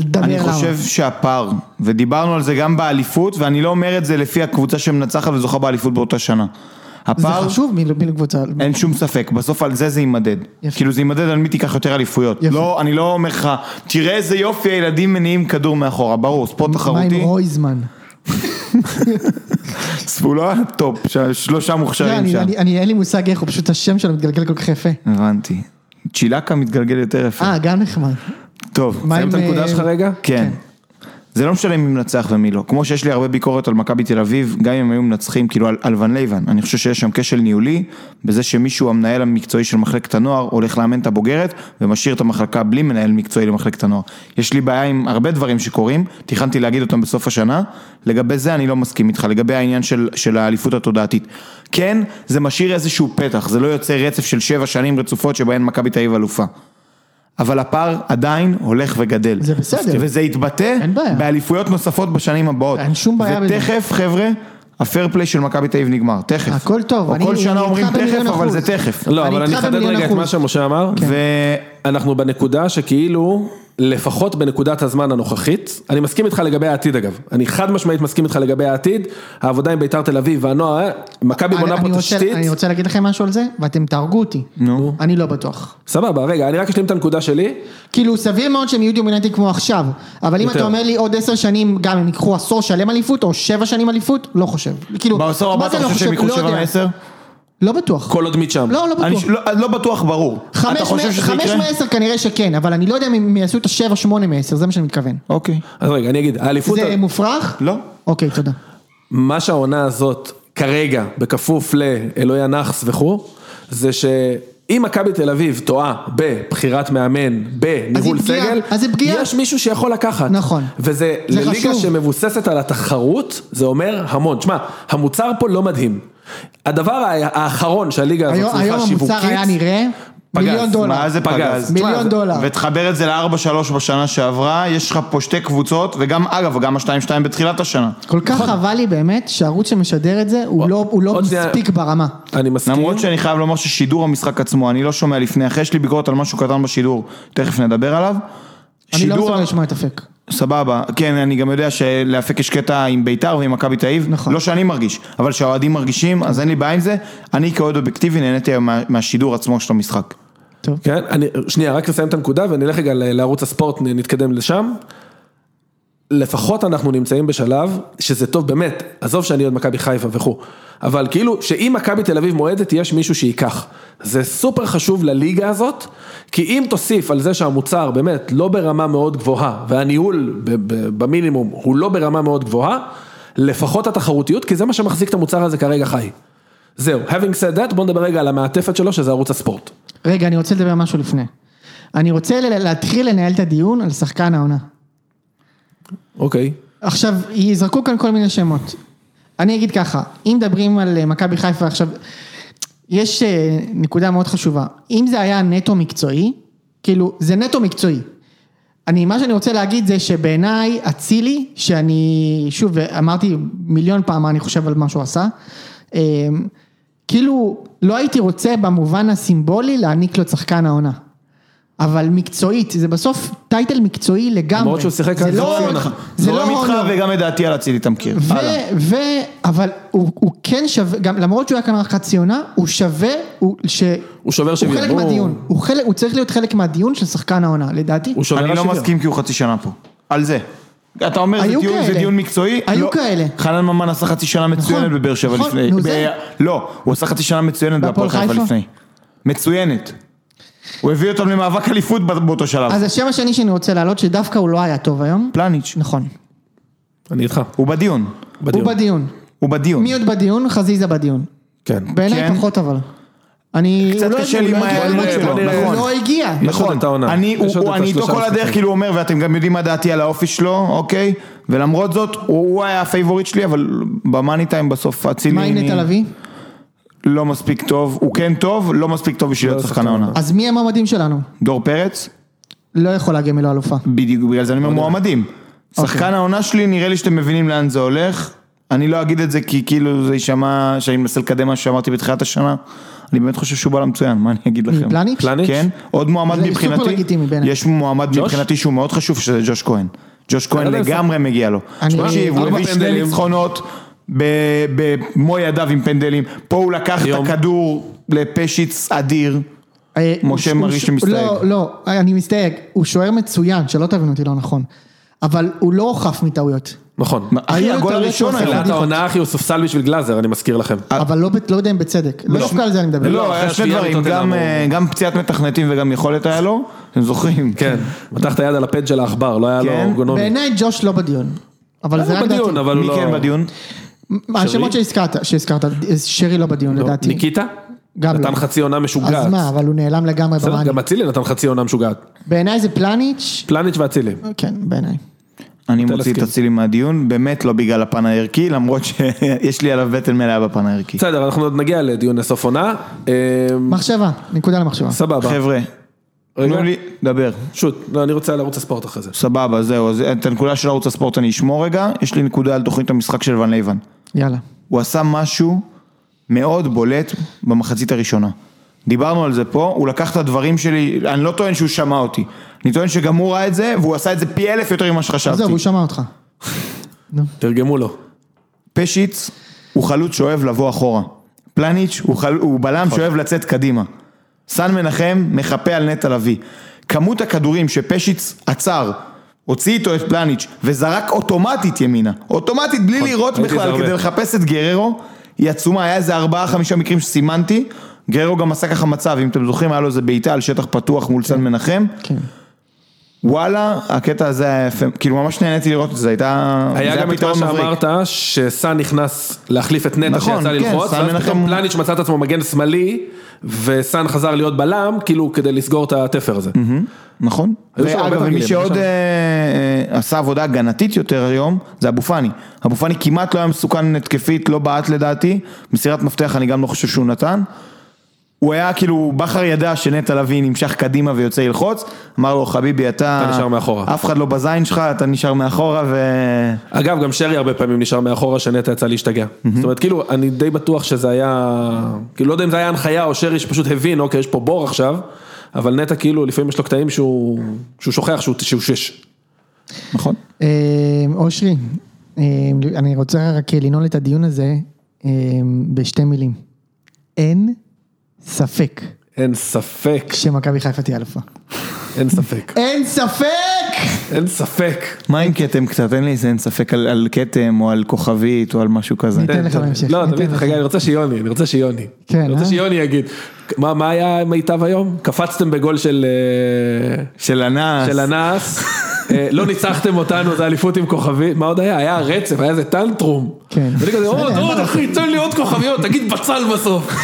Speaker 4: דבר
Speaker 1: אני
Speaker 4: למה.
Speaker 1: חושב שהפער, ודיברנו על זה גם באליפות, ואני לא אומר את זה לפי הקבוצה שמנצחת וזוכה באליפות באותה שנה.
Speaker 4: זה
Speaker 1: הפער,
Speaker 4: חשוב מי קבוצה.
Speaker 1: אין שום ספק, בסוף על זה זה יימדד.
Speaker 4: יפה.
Speaker 1: כאילו זה יימדד על מי תיקח יותר אליפויות.
Speaker 4: יפה.
Speaker 1: לא, אני לא אומר לך, תראה איזה יופי הילדים מניעים כדור מאחורה, ברור, ספורט
Speaker 4: מה עם
Speaker 1: תחרותי,
Speaker 4: רויזמן?
Speaker 2: לא,
Speaker 1: ספולה, טופ, ש- שלושה
Speaker 4: לא,
Speaker 1: מוכשרים
Speaker 4: אני-
Speaker 1: שם.
Speaker 4: אני- אני אין לי מושג איך הוא פשוט השם שלו מתגלגל כל כך יפה.
Speaker 1: הבנתי. צ'ילקה מתגלגל יותר יפה.
Speaker 4: אה, גם נחמד.
Speaker 1: טוב.
Speaker 4: מה
Speaker 2: סיים את
Speaker 4: עם, אה,
Speaker 2: הנקודה שלך רגע?
Speaker 1: כן. זה לא משנה מי מנצח ומי לא. כמו שיש לי הרבה ביקורת על מכבי תל אביב, גם אם הם היו מנצחים כאילו על, על ון לייבן, אני חושב שיש שם כשל ניהולי, בזה שמישהו המנהל המקצועי של מחלקת הנוער הולך לאמן את הבוגרת, ומשאיר את המחלקה בלי מנהל מקצועי למחלקת הנוער. יש לי בעיה עם הרבה דברים שקורים, תכננתי להגיד אותם בסוף השנה, לגבי זה אני לא מסכים איתך, לגבי העניין של, של האליפות התודעתית. כן, זה משאיר איזשהו פתח, זה לא יוצר רצף של שבע שנים רצופות שבהן מכבי תל אביב אלופה. אבל הפער עדיין הולך וגדל.
Speaker 4: זה בסדר.
Speaker 1: וזה יתבטא
Speaker 4: אין בעיה.
Speaker 1: באליפויות נוספות בשנים הבאות.
Speaker 4: אין שום בעיה בזה.
Speaker 1: ותכף, חבר'ה, הפייר פליי של מכבי תל אביב נגמר, תכף.
Speaker 4: הכל טוב,
Speaker 1: או
Speaker 4: אני-
Speaker 1: כל שנה
Speaker 4: אני
Speaker 1: אומרים
Speaker 4: איתך
Speaker 1: תכף,
Speaker 4: במיליון
Speaker 1: אבל
Speaker 4: אחוז. כן.
Speaker 1: זה תכף.
Speaker 2: לא,
Speaker 4: אני
Speaker 2: אבל אני
Speaker 4: איתך
Speaker 2: אחדד
Speaker 4: במיליון
Speaker 2: רגע את
Speaker 4: אחוז.
Speaker 2: מה שמשה אמר.
Speaker 1: ו...
Speaker 2: אנחנו בנקודה שכאילו לפחות בנקודת הזמן הנוכחית, אני מסכים איתך לגבי העתיד אגב, אני חד משמעית מסכים איתך לגבי העתיד, העבודה עם ביתר תל אביב והנוער, אה, מכבי
Speaker 4: אני-
Speaker 2: בונה
Speaker 4: אני
Speaker 2: פה
Speaker 4: רוצה-
Speaker 2: תשתית,
Speaker 4: אני רוצה להגיד לכם משהו על זה, ואתם תהרגו אותי. נו. אני לא בטוח.
Speaker 2: סבבה, רגע, אני רק אשלים את הנקודה שלי,
Speaker 4: כאילו סביר מאוד שהם יהיו דומיננטיים כמו עכשיו, אבל אם
Speaker 2: יותר.
Speaker 4: אתה אומר לי עוד עשר שנים גם הם ייקחו עשור שלם אליפות או שבע שנים אליפות, לא חושב. כאילו,
Speaker 1: בעשור
Speaker 4: מה
Speaker 1: הבא
Speaker 4: זה
Speaker 1: אתה
Speaker 4: לא
Speaker 1: חושב שהם יקחו
Speaker 4: לא
Speaker 1: 7
Speaker 4: יודע.
Speaker 1: מ-10?
Speaker 4: לא בטוח.
Speaker 2: כל עוד מיט שם.
Speaker 4: לא, לא בטוח.
Speaker 1: לא בטוח ברור. אתה
Speaker 4: חמש
Speaker 1: חושב
Speaker 4: מ-
Speaker 1: שזה
Speaker 4: חמש
Speaker 1: יקרה?
Speaker 4: מעשר כנראה שכן, אבל אני לא יודע אם הם יעשו את השבע שמונה מעשר, זה מה שאני מתכוון.
Speaker 1: אוקיי.
Speaker 2: אז רגע, אני אגיד, האליפות,
Speaker 4: זה מופרך?
Speaker 1: לא.
Speaker 4: אוקיי, תודה.
Speaker 2: מה שהעונה הזאת כרגע, בכפוף לאלוהי הנאחס וכו', זה שאם מכבי תל אביב טועה בבחירת מאמן, בניהול
Speaker 4: אז היא פגיעה,
Speaker 2: סגל,
Speaker 4: אז היא פגיעה.
Speaker 2: יש מישהו שיכול לקחת.
Speaker 4: נכון.
Speaker 2: וזה
Speaker 4: זה
Speaker 2: לליגה
Speaker 4: חשוב.
Speaker 2: שמבוססת על התחרות, זה אומר המון. שמע, המוצר פה לא מדהים. הדבר ה- האחרון שהליגה הזאת
Speaker 4: היום היום
Speaker 2: צריכה שיווקית,
Speaker 4: המוצר היה נראה
Speaker 2: פגז,
Speaker 4: מיליון דולר.
Speaker 1: מה זה פגז?
Speaker 4: מיליון
Speaker 2: תשמע,
Speaker 4: דולר.
Speaker 1: ותחבר את זה ל-4-3 בשנה שעברה, יש לך פה שתי קבוצות, וגם, אגב, גם ה-2-2 בתחילת השנה.
Speaker 4: כל כך חבל לי באמת שהערוץ שמשדר את זה הוא לא- הוא לא
Speaker 2: נכון. עוד שנייה.
Speaker 4: מספיק ברמה.
Speaker 2: אני מסכים.
Speaker 1: למרות שאני חייב לומר ששידור המשחק עצמו, אני לא שומע לפני, אחרי יש לי ביקורת על משהו קטן בשידור, תכף נדבר עליו.
Speaker 4: אני לא
Speaker 1: שידור-
Speaker 4: מסוגל לשמוע את אפק.
Speaker 1: סבבה, כן, אני גם יודע שלאפק יש קטע עם ביתר ועם מכבי תל אביב,
Speaker 4: נכון.
Speaker 1: לא שאני מרגיש, אבל שהאוהדים מרגישים, אז אין לי בעיה עם זה, אני כאוהד אובייקטיבי נהניתי היום מה- מהשידור עצמו של המשחק.
Speaker 4: טוב.
Speaker 2: כן, אני, שנייה, רק לסיים את הנקודה ונלך רגע ל- לערוץ הספורט, נ- נתקדם לשם. לפחות אנחנו נמצאים בשלב שזה טוב באמת, עזוב שאני עוד מכבי חיפה וכו', אבל כאילו שאם מכבי תל אביב מועדת יש מישהו שייקח. זה סופר חשוב לליגה הזאת, כי אם תוסיף על זה שהמוצר באמת לא ברמה מאוד גבוהה, והניהול ב- ב- במינימום הוא לא ברמה מאוד גבוהה, לפחות התחרותיות, כי זה מה שמחזיק את המוצר הזה כרגע חי. זהו, having said that, בוא נדבר רגע על המעטפת שלו שזה ערוץ הספורט.
Speaker 4: רגע, אני רוצה לדבר על משהו לפני. אני רוצה ל- להתחיל לנהל את הדיון על שחקן העונה.
Speaker 2: אוקיי.
Speaker 4: עכשיו, יזרקו כאן כל מיני שמות. אני אגיד ככה, אם מדברים על אה, מכבי חיפה עכשיו, יש אה, נקודה מאוד חשובה. אם זה היה נטו מקצועי, כאילו, זה נטו מקצועי. אני, מה שאני רוצה להגיד זה שבעיניי אצילי, שאני, שוב, אמרתי מיליון פעם מה אני חושב על מה שהוא עשה, אה, כאילו, לא הייתי רוצה במובן הסימבולי להעניק לו את שחקן העונה. אבל מקצועית, זה בסוף טייטל מקצועי לגמרי.
Speaker 2: למרות שהוא שיחק
Speaker 4: זה
Speaker 2: על
Speaker 4: לא
Speaker 2: חצי
Speaker 4: הונור.
Speaker 2: עונה.
Speaker 4: זה לא
Speaker 1: זורם איתך
Speaker 4: הונור.
Speaker 1: וגם את דעתי על אצילי תמכיר.
Speaker 4: ו...
Speaker 1: הלאה.
Speaker 4: ו... אבל הוא, הוא כן שווה, גם למרות שהוא היה כאן רק חצי עונה, הוא שווה, הוא ש...
Speaker 2: הוא שובר
Speaker 4: הוא
Speaker 2: שוויון.
Speaker 4: חלק מהדיון, הוא, חלק, הוא צריך להיות חלק מהדיון של שחקן העונה, לדעתי.
Speaker 2: הוא שובר
Speaker 1: אני לא
Speaker 2: השוויון.
Speaker 1: מסכים כי הוא חצי שנה פה. על זה. אתה אומר זה
Speaker 4: היו
Speaker 1: דיון, זה
Speaker 4: כאלה.
Speaker 1: דיון מקצועי?
Speaker 4: היו
Speaker 1: לא.
Speaker 4: כאלה.
Speaker 1: חנן ממן עשה חצי שנה מצוינת
Speaker 4: נכון,
Speaker 1: בבאר שבע
Speaker 4: נכון,
Speaker 1: לפני.
Speaker 4: נו,
Speaker 1: ב-
Speaker 4: זה.
Speaker 1: לא, הוא עשה חצי שנה מצוינת בהפועל
Speaker 4: בהפועל
Speaker 1: חיפה
Speaker 4: חיפה?
Speaker 1: לפני. מצוינת. הוא הביא אותם למאבק אליפות בא- באותו שלב.
Speaker 4: אז השם השני שאני רוצה להעלות, שדווקא הוא לא היה טוב היום.
Speaker 1: פלניץ'.
Speaker 4: נכון.
Speaker 2: אני איתך.
Speaker 1: הוא בדיון.
Speaker 2: בדיון.
Speaker 4: הוא בדיון.
Speaker 1: הוא בדיון.
Speaker 4: מי עוד בדיון? חזיזה בדיון.
Speaker 2: כן.
Speaker 4: בעיניי
Speaker 1: כן.
Speaker 4: פחות אבל. אני...
Speaker 1: קצת
Speaker 4: הוא לא
Speaker 1: קשה
Speaker 4: הגיע,
Speaker 1: לי
Speaker 4: הוא
Speaker 1: עם
Speaker 4: לא הגיע,
Speaker 1: האמון
Speaker 4: הוא לא
Speaker 2: שלו,
Speaker 4: הגיע.
Speaker 2: נכון.
Speaker 4: הוא לא הגיע.
Speaker 2: יש עוד את העונה.
Speaker 1: אני
Speaker 2: יש עוד
Speaker 1: הוא-
Speaker 2: את
Speaker 1: אני איתו
Speaker 2: השלושה
Speaker 1: כל הדרך,
Speaker 2: משחקים.
Speaker 1: כאילו הוא אומר, ואתם גם יודעים מה דעתי על האופי שלו, אוקיי? ולמרות זאת, הוא הוא היה הפייבוריט שלי, אבל במאני טיים בסוף אצילי...
Speaker 4: מה עם
Speaker 1: אני-
Speaker 4: נטע לביא?
Speaker 1: לא מספיק טוב, הוא כן טוב, לא מספיק טוב בשביל להיות שחקן
Speaker 2: שחקן
Speaker 1: העונה.
Speaker 2: העונה.
Speaker 4: אז מי המועמדים שלנו?
Speaker 1: דור פרץ,
Speaker 4: לא יכול להגיע מלא אלופה.
Speaker 1: בדיוק בגלל זה אני אומר
Speaker 4: לא
Speaker 1: מועמדים.
Speaker 4: אוקיי.
Speaker 1: שחקן העונה שלי, נראה לי שאתם מבינים לאן זה הולך. אני לא אגיד את זה כי כאילו זה יישמע שאני מנסה לקדם מה שאמרתי בתחילת השנה. אני באמת חושב שהוא בלם מצוין, מה אני אגיד לכם?
Speaker 4: פלניץ'?
Speaker 2: פלניץ'?
Speaker 1: כן, עוד מועמד
Speaker 4: זה סופר
Speaker 1: מבחינתי,
Speaker 4: לגיטימי בעיניי.
Speaker 1: יש מועמד
Speaker 2: ג'וש? לא
Speaker 1: מבחינתי שהוא מאוד חשוב, שזה ג'וש כהן. ג'וש כהן
Speaker 2: יודע,
Speaker 1: לגמרי מגיע לו.
Speaker 4: אני-
Speaker 1: תקשיב, הוא
Speaker 2: ארבע
Speaker 1: הביא שני
Speaker 2: פנדלים.
Speaker 1: ניצחונות ב- במו ידיו עם פנדלים. פה הוא לקח את
Speaker 2: יום.
Speaker 1: הכדור לפשיץ אדיר.
Speaker 4: אה,
Speaker 1: משה
Speaker 4: הוא-
Speaker 1: מרגיש
Speaker 4: הוא-
Speaker 1: שמסתייג.
Speaker 4: לא, לא, אני מסתייג. הוא שוער מצוין, שלא תבין אותי לא נכון. אבל הוא לא חף מטעויות.
Speaker 2: נכון.
Speaker 1: אחי,
Speaker 4: היו
Speaker 1: הגול
Speaker 4: יותר
Speaker 1: הראשון
Speaker 4: רצופים.
Speaker 1: היום.
Speaker 2: תחילת העונה אחי הוא סופסל בשביל גלאזר, אני מזכיר לכם.
Speaker 4: אבל לא ב- לא יודע אם בצדק. לא דווקא על זה אני מדבר.
Speaker 1: לא,
Speaker 2: אחרי
Speaker 1: היה שני
Speaker 2: השביעייה
Speaker 1: דברים,
Speaker 2: בטוטנהאם
Speaker 1: גם,
Speaker 2: הוא-
Speaker 1: אה, גם פציעת מתכנתים וגם יכולת היה לו, אתם זוכרים?
Speaker 2: כן. מתח את היד על הפד של העכבר, לא היה לו
Speaker 1: כן.
Speaker 2: אורגונומי.
Speaker 4: בעיניי ג'וש לא בדיון. אבל זה
Speaker 2: הוא
Speaker 4: רק
Speaker 2: בדיון,
Speaker 4: דעתי.
Speaker 2: אבל הוא
Speaker 1: מי
Speaker 2: לא...
Speaker 1: כן בדיון?
Speaker 4: השמות שהזכרת, שהזכרת, שרי לא בדיון
Speaker 2: לא.
Speaker 4: לדעתי.
Speaker 2: ניקיטה?
Speaker 4: גם לא.
Speaker 2: נתן חצי עונה משוגעת.
Speaker 4: אז מה, לא אבל הוא נעלם לגמרי
Speaker 2: בסדר,
Speaker 4: במאני.
Speaker 2: גם אצילי נתן חצי עונה משוגעת.
Speaker 4: בעיניי זה פלניץ',
Speaker 2: פלניץ' ואצילי.
Speaker 4: כן, בעיניי.
Speaker 1: אני
Speaker 2: נוטה
Speaker 1: מוציא את
Speaker 2: להסכים.
Speaker 1: אצילי מהדיון, באמת לא בגלל הפן הערכי, למרות שיש לי עליו בטן מלאה בפן הערכי.
Speaker 2: בסדר, אנחנו עוד נגיע לדיון סוף עונה. אמ,
Speaker 4: מחשבה, נקודה למחשבה.
Speaker 2: סבבה.
Speaker 1: חבר'ה,
Speaker 2: רגע.
Speaker 1: תנו לי, דבר.
Speaker 2: שוט, לא, אני רוצה על ערוץ הספורט אחרי זה.
Speaker 1: סבבה, זהו, אז את הנקודה של ערוץ הספורט אני אשמור רגע, יש לי נקודה על תוכנית המשחק של ון לייבן.
Speaker 4: יאללה.
Speaker 1: הוא עשה משהו מאוד בולט במחצית הראשונה. דיברנו על זה פה, הוא לקח את הדברים שלי, אני לא טוען שהוא שמע אותי. אני טוען שגם הוא ראה את זה, והוא עשה את זה פי אלף יותר ממה שחשבתי.
Speaker 4: עזוב, הוא שמע אותך.
Speaker 2: תרגמו לו.
Speaker 1: פשיץ הוא חלוץ שאוהב לבוא אחורה. פלניץ' הוא, חל... הוא בלם
Speaker 2: נכון.
Speaker 1: שאוהב לצאת קדימה. סן מנחם מחפה על נטע לביא. כמות הכדורים שפשיץ עצר, הוציא איתו את פלניץ' וזרק אוטומטית ימינה, אוטומטית בלי לראות
Speaker 2: נכון, ראיתי את זה
Speaker 1: בכלל
Speaker 2: הרבה.
Speaker 1: כדי לחפש את גררו, היא עצומה, היה איזה ארבעה חמישה מקרים שסימנתי, גררו גם עשה ככה מצב, אם אתם זוכרים היה לו איזה בעיטה על שטח פתוח מול סן מנחם,
Speaker 4: כן.
Speaker 1: וואלה, הקטע הזה היה יפה, כאילו ממש נהניתי לראות את זה, הייתה, זה
Speaker 2: היה גם את מה
Speaker 1: פתרון מבריק.
Speaker 2: שאמרת, שסאן נכנס להחליף את נטע
Speaker 1: נכון,
Speaker 2: שיצא
Speaker 1: כן,
Speaker 2: ללחוץ,
Speaker 1: סאן
Speaker 2: ואז
Speaker 1: מנחם-
Speaker 2: פתאום פלניץ' מצא את עצמו מגן שמאלי, וסאן חזר להיות בלם, כאילו כדי לסגור את התפר הזה.
Speaker 1: נכון.
Speaker 2: היו שם הרבה
Speaker 1: ואגב,
Speaker 2: תרגילים,
Speaker 1: ומי שעוד
Speaker 2: היה שם.
Speaker 1: אה, אה, עשה עבודה הגנתית יותר היום, זה אבו פאני. אבו פאני כמעט לא היה מסוכן התקפית, לא בעט לדעתי. מסירת מפתח אני גם לא חושב שהוא נתן. הוא היה כאילו, בכר ידע שנטע לביא נמשך קדימה ויוצא ללחוץ, אמר לו חביבי אתה,
Speaker 2: אתה נשאר מאחורה."
Speaker 1: אף אחד לא בזין שלך, אתה נשאר מאחורה ו...
Speaker 2: אגב, גם שרי הרבה פעמים נשאר מאחורה שנטע יצא להשתגע. זאת אומרת, כאילו, אני די בטוח שזה היה, כאילו, לא יודע אם זה היה הנחיה או שרי שפשוט הבין, אוקיי, יש פה בור עכשיו, אבל נטע כאילו, לפעמים יש לו קטעים שהוא שהוא שוכח שהוא שהוא שש.
Speaker 1: נכון.
Speaker 4: אה, אושרי, אה, אני רוצה רק לנעול את הדיון הזה אה, בשתי מילים. אין ספק
Speaker 2: אין ספק,
Speaker 4: שמכבי חיפה תהיה אלופה.
Speaker 2: אין ספק,
Speaker 4: אין ספק!
Speaker 2: אין ספק.
Speaker 1: מה עם כתם קצת? אין לי איזה אין ספק על, על כתם או על כוכבית או על משהו כזה.
Speaker 4: ניתן לך בהמשך.
Speaker 2: לא,
Speaker 4: ניתן
Speaker 2: תביא את
Speaker 4: לך.
Speaker 2: חגי, אני רוצה שיוני, אני רוצה שיוני.
Speaker 4: כן,
Speaker 2: אני רוצה
Speaker 4: אה?
Speaker 2: שיוני יגיד. מה מה היה מיטב היום? קפצתם בגול של אה,
Speaker 1: של אנס.
Speaker 2: של אנס, אה, לא ניצחתם אותנו, זה אליפות עם כוכבית, מה עוד היה? היה רצף, היה איזה טנטרום.
Speaker 4: כן.
Speaker 2: ואני כזה, עוד,
Speaker 4: בסדר,
Speaker 2: עוד, אחי, תן לי עוד כוכביות, תגיד בצל בסוף.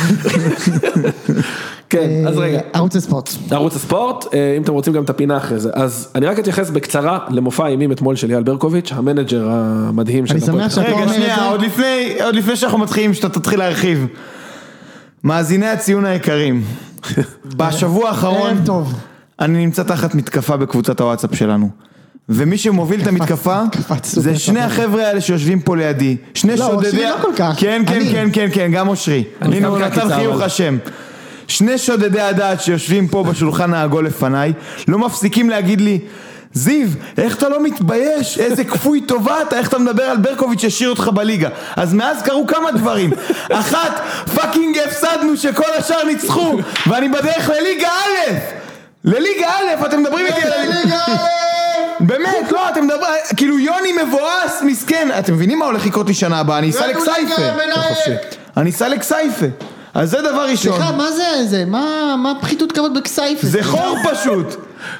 Speaker 2: כן, אז רגע.
Speaker 4: אה, ערוץ הספורט.
Speaker 2: ערוץ הספורט, אה, אם אתם רוצים גם את הפינה אחרי זה. אז אני רק אתייחס בקצרה למופע האימים אתמול של אייל ברקוביץ', המנג'ר המדהים של
Speaker 4: אני שמח
Speaker 2: הפועל.
Speaker 4: שאתה
Speaker 1: רגע,
Speaker 4: אומר את
Speaker 1: שנייה,
Speaker 4: לא זה.
Speaker 1: עוד לפני, עוד לפני שאנחנו מתחילים, שאתה תתחיל להרחיב. מאזיני הציון היקרים, בשבוע האחרון,
Speaker 4: ערב טוב.
Speaker 1: אני נמצא תחת מתקפה בקבוצת הוואטסאפ שלנו. ומי שמוביל את המתקפה,
Speaker 4: קפץ סופר
Speaker 1: זה שני
Speaker 4: סבבה.
Speaker 1: החבר'ה האלה שיושבים פה לידי. שני
Speaker 4: לא,
Speaker 1: שודדי...
Speaker 4: אושרי לא כל כך.
Speaker 1: כן, כן,
Speaker 4: אני.
Speaker 1: כן, כן, כן, גם אושרי.
Speaker 2: אני
Speaker 1: הנה, הוא
Speaker 2: סתם
Speaker 1: נתן
Speaker 2: עקיצה,
Speaker 1: חיוך
Speaker 2: אבל.
Speaker 1: השם. שני שודדי הדעת שיושבים פה בשולחן העגול לפניי, לא מפסיקים להגיד לי, זיו, איך אתה לא מתבייש? איזה כפוי טובה אתה, איך אתה מדבר על ברקוביץ' שהשאיר אותך בליגה. אז מאז קרו כמה דברים. אחת, פאקינג הפסדנו שכל השאר ניצחו, ואני בדרך לליגה א'. לליגה א', אתם מדברים איתי על הליגה א'. באמת, לא, אתם מדברים, כאילו יוני מבואס, מסכן. אתם מבינים מה הולך לקרות לי שנה הבאה? אני אסע לכסייפה. אני אסע לכסייפה. אז זה דבר ראשון.
Speaker 4: סליחה, מה זה זה? מה מה פחיתות כבוד בכסייפה?
Speaker 1: זה חור פשוט,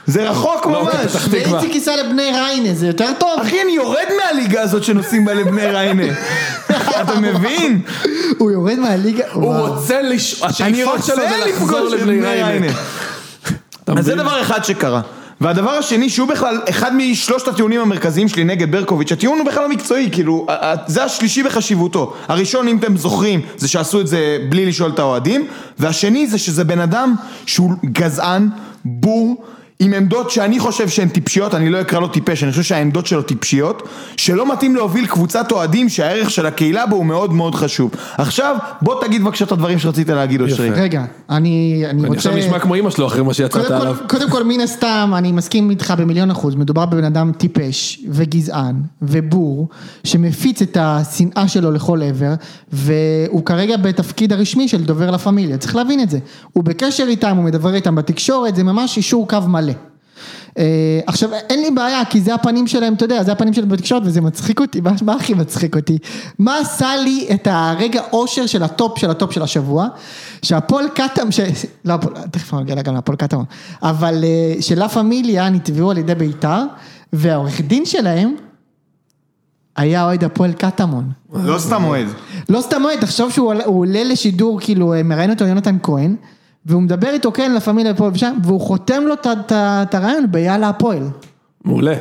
Speaker 1: זה רחוק ממש.
Speaker 2: לא, פתח תקווה.
Speaker 4: ואיציק ייסע לבני ריינה, זה יותר טוב?
Speaker 1: אחי, אני יורד מהליגה הזאת שנוסעים בה לבני ריינה. אתה מבין?
Speaker 4: הוא יורד מהליגה?
Speaker 2: הוא
Speaker 4: וואו.
Speaker 2: רוצה לש...
Speaker 1: אני
Speaker 2: השאיפות
Speaker 1: רוצה
Speaker 2: שלו זה לחזור
Speaker 1: לפגוש את בני ריינה.
Speaker 2: אתה
Speaker 1: אז זה
Speaker 2: מבין?
Speaker 1: דבר אחד שקרה. והדבר השני, שהוא בכלל אחד משלושת הטיעונים המרכזיים שלי נגד ברקוביץ', הטיעון הוא בכלל לא מקצועי, כאילו, ה- ה- זה השלישי בחשיבותו. הראשון, אם אתם זוכרים, זה שעשו את זה בלי לשאול את האוהדים, והשני זה שזה בן אדם שהוא גזען, בור, עם עמדות שאני חושב שהן טיפשיות, אני לא אקרא לו טיפש, אני חושב שהעמדות שלו טיפשיות, שלא מתאים להוביל קבוצת אוהדים שהערך של הקהילה בו הוא מאוד מאוד חשוב. עכשיו, בוא תגיד בבקשה את הדברים שרצית להגיד, אושרי.
Speaker 4: רגע, אני אני רוצה...
Speaker 2: אני עכשיו נשמע כמו אימא שלו אחרי מה שיצאת
Speaker 4: קודם
Speaker 2: עליו.
Speaker 4: כל, קודם כל, מן הסתם, אני מסכים איתך במיליון אחוז, מדובר בבן אדם טיפש וגזען ובור, שמפיץ את השנאה שלו לכל עבר, והוא כרגע בתפקיד הרשמי של דובר לה פמיליה, צריך להבין את זה. הוא בקשר איתם, הוא מדבר איתם בתקשורת, זה ממש אישור קו מלא. אה, עכשיו אין לי בעיה כי זה הפנים שלהם אתה יודע זה הפנים שלהם בתקשורת וזה מצחיק אותי מה, מה הכי מצחיק אותי מה עשה לי את הרגע אושר של הטופ של הטופ של השבוע שהפועל קטמון ש... לא הפועל תכף אני אגיע גם להפועל קטמון אבל אה, שלה פמיליה נתבעו על ידי בית"ר והעורך דין שלהם היה אוהד הפועל קטמון
Speaker 1: לא סתם אוהד.
Speaker 4: לא סתם אוהד, תחשוב שהוא עולה- הוא עולה לשידור, כאילו, אה, מראיין אותו יונתן כהן, והוא מדבר איתו, כן, לה פמיליה פה ושם, והוא חותם לו את ה- את ה- את הרעיון ביאללה הפועל.
Speaker 2: מעולה.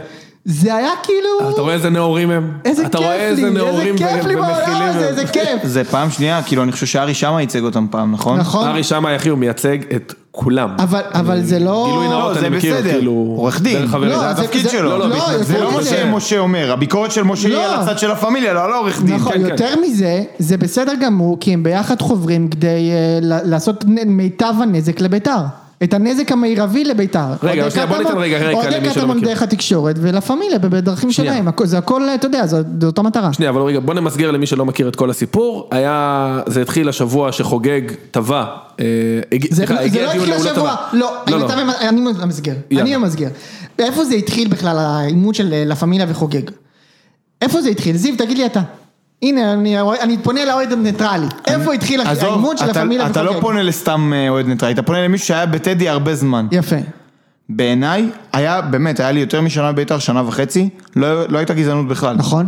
Speaker 4: זה היה כאילו...
Speaker 2: אתה רואה איזה נאורים הם?
Speaker 4: איזה
Speaker 2: אתה
Speaker 4: רואה
Speaker 2: רואה איזה נאורים
Speaker 4: איזה כיף לי
Speaker 2: ו-
Speaker 4: בעולם
Speaker 2: ומכילים
Speaker 4: הזה,
Speaker 2: הם?
Speaker 4: איזה כיף.
Speaker 1: זה פעם שנייה, כאילו אני חושב שארי שמה ייצג אותם פעם, נכון?
Speaker 4: נכון?
Speaker 2: ארי שמאי אחי הוא מייצג את כולם.
Speaker 4: אבל- אבל זה לא-
Speaker 2: גילוי
Speaker 1: לא,
Speaker 2: נאות,
Speaker 1: זה
Speaker 2: אני מכיר,
Speaker 1: בסדר,
Speaker 2: כאילו...
Speaker 1: עורך דין.
Speaker 2: דרך חברים.
Speaker 4: לא,
Speaker 1: זה התפקיד שלו.
Speaker 2: לא, לא,
Speaker 4: יותר
Speaker 1: זה לא מה
Speaker 4: מזה.
Speaker 1: שמשה אומר, הביקורת של משה היא
Speaker 4: לא.
Speaker 1: על הצד של הפמיליה, לא על העורך דין.
Speaker 4: נכון,
Speaker 2: כן, כן.
Speaker 4: יותר מזה, זה בסדר גמור, כי הם ביחד חוברים כדי אה, ל- לעשות נ- מיטב הנזק לביתר. את הנזק המרבי לביתר.
Speaker 2: רגע, שנייה, בוא
Speaker 4: קטמון-
Speaker 2: ניתן רגע רקע למי
Speaker 4: אוהדי
Speaker 2: שלא
Speaker 4: קטמון
Speaker 2: מכיר.
Speaker 4: דרך התקשורת ולה פמיליה בדרכים
Speaker 2: שנייה.
Speaker 4: שלהם, הכל- זה הכל, אתה יודע, זו זו אותה מטרה.
Speaker 2: שנייה, אבל רגע, בוא נמסגר למי שלא מכיר את כל הסיפור. היה, זה התחיל השבוע שחוגג טבע. אה, הגיע-
Speaker 4: זה
Speaker 2: סליחה,
Speaker 4: לא- זה
Speaker 2: הגיע
Speaker 4: לא
Speaker 2: הדיון
Speaker 4: התחיל
Speaker 2: להוא
Speaker 4: השבוע,
Speaker 2: לטבע.
Speaker 4: לא, אם אתה ממ- אני ממסגר,
Speaker 2: יאללה.
Speaker 4: אני ממסגר. איפה זה התחיל בכלל, העימות של אה, לה פמיליה וחוגג? איפה זה התחיל? זיו, תגיד לי אתה. הנה, אני רואה- אני פונה לאוהד הניטרלי. איפה התחיל
Speaker 1: עזוב,
Speaker 4: העימות של לה
Speaker 1: אתה-
Speaker 4: פמיליה
Speaker 1: אתה לא
Speaker 4: וחוגג?
Speaker 1: פונה לסתם אה, אוהד ניטרלי, אתה פונה למישהו שהיה בטדי הרבה זמן.
Speaker 4: יפה.
Speaker 1: בעיניי, היה, באמת, היה לי יותר משנה בביתר, שנה וחצי, לא לא הייתה גזענות בכלל.
Speaker 4: נכון?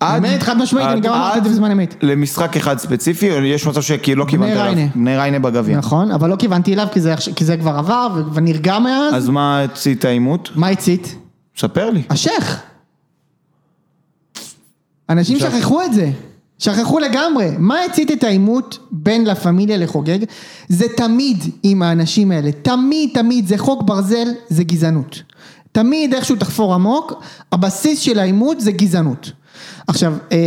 Speaker 1: עד-
Speaker 4: באמת, חד משמעית, אני
Speaker 1: עד-
Speaker 4: גם אמרתי את זה
Speaker 1: עד
Speaker 4: בזמן אמת.
Speaker 1: למשחק אחד ספציפי, יש מצב שכאילו לא כיוונת אליו.
Speaker 4: ריינה.
Speaker 1: בני ריינה בגביע.
Speaker 4: נכון, אבל לא כיוונתי אליו כי זה עכש- כי זה כבר עבר ו- ונרגע מאז.
Speaker 1: אז מה הצית העימות?
Speaker 4: מה הצית?
Speaker 1: ספר לי.
Speaker 4: השייח. אנשים שכחו את זה. שכחו לגמרי. מה הצית את העימות בין לה פמיליה לחוגג? זה תמיד עם האנשים האלה. תמיד, תמיד. זה חוק ברזל, זה גזענות. תמיד איכשהו תחפור עמוק, הבסיס של העימות זה גזענות. עכשיו, אה,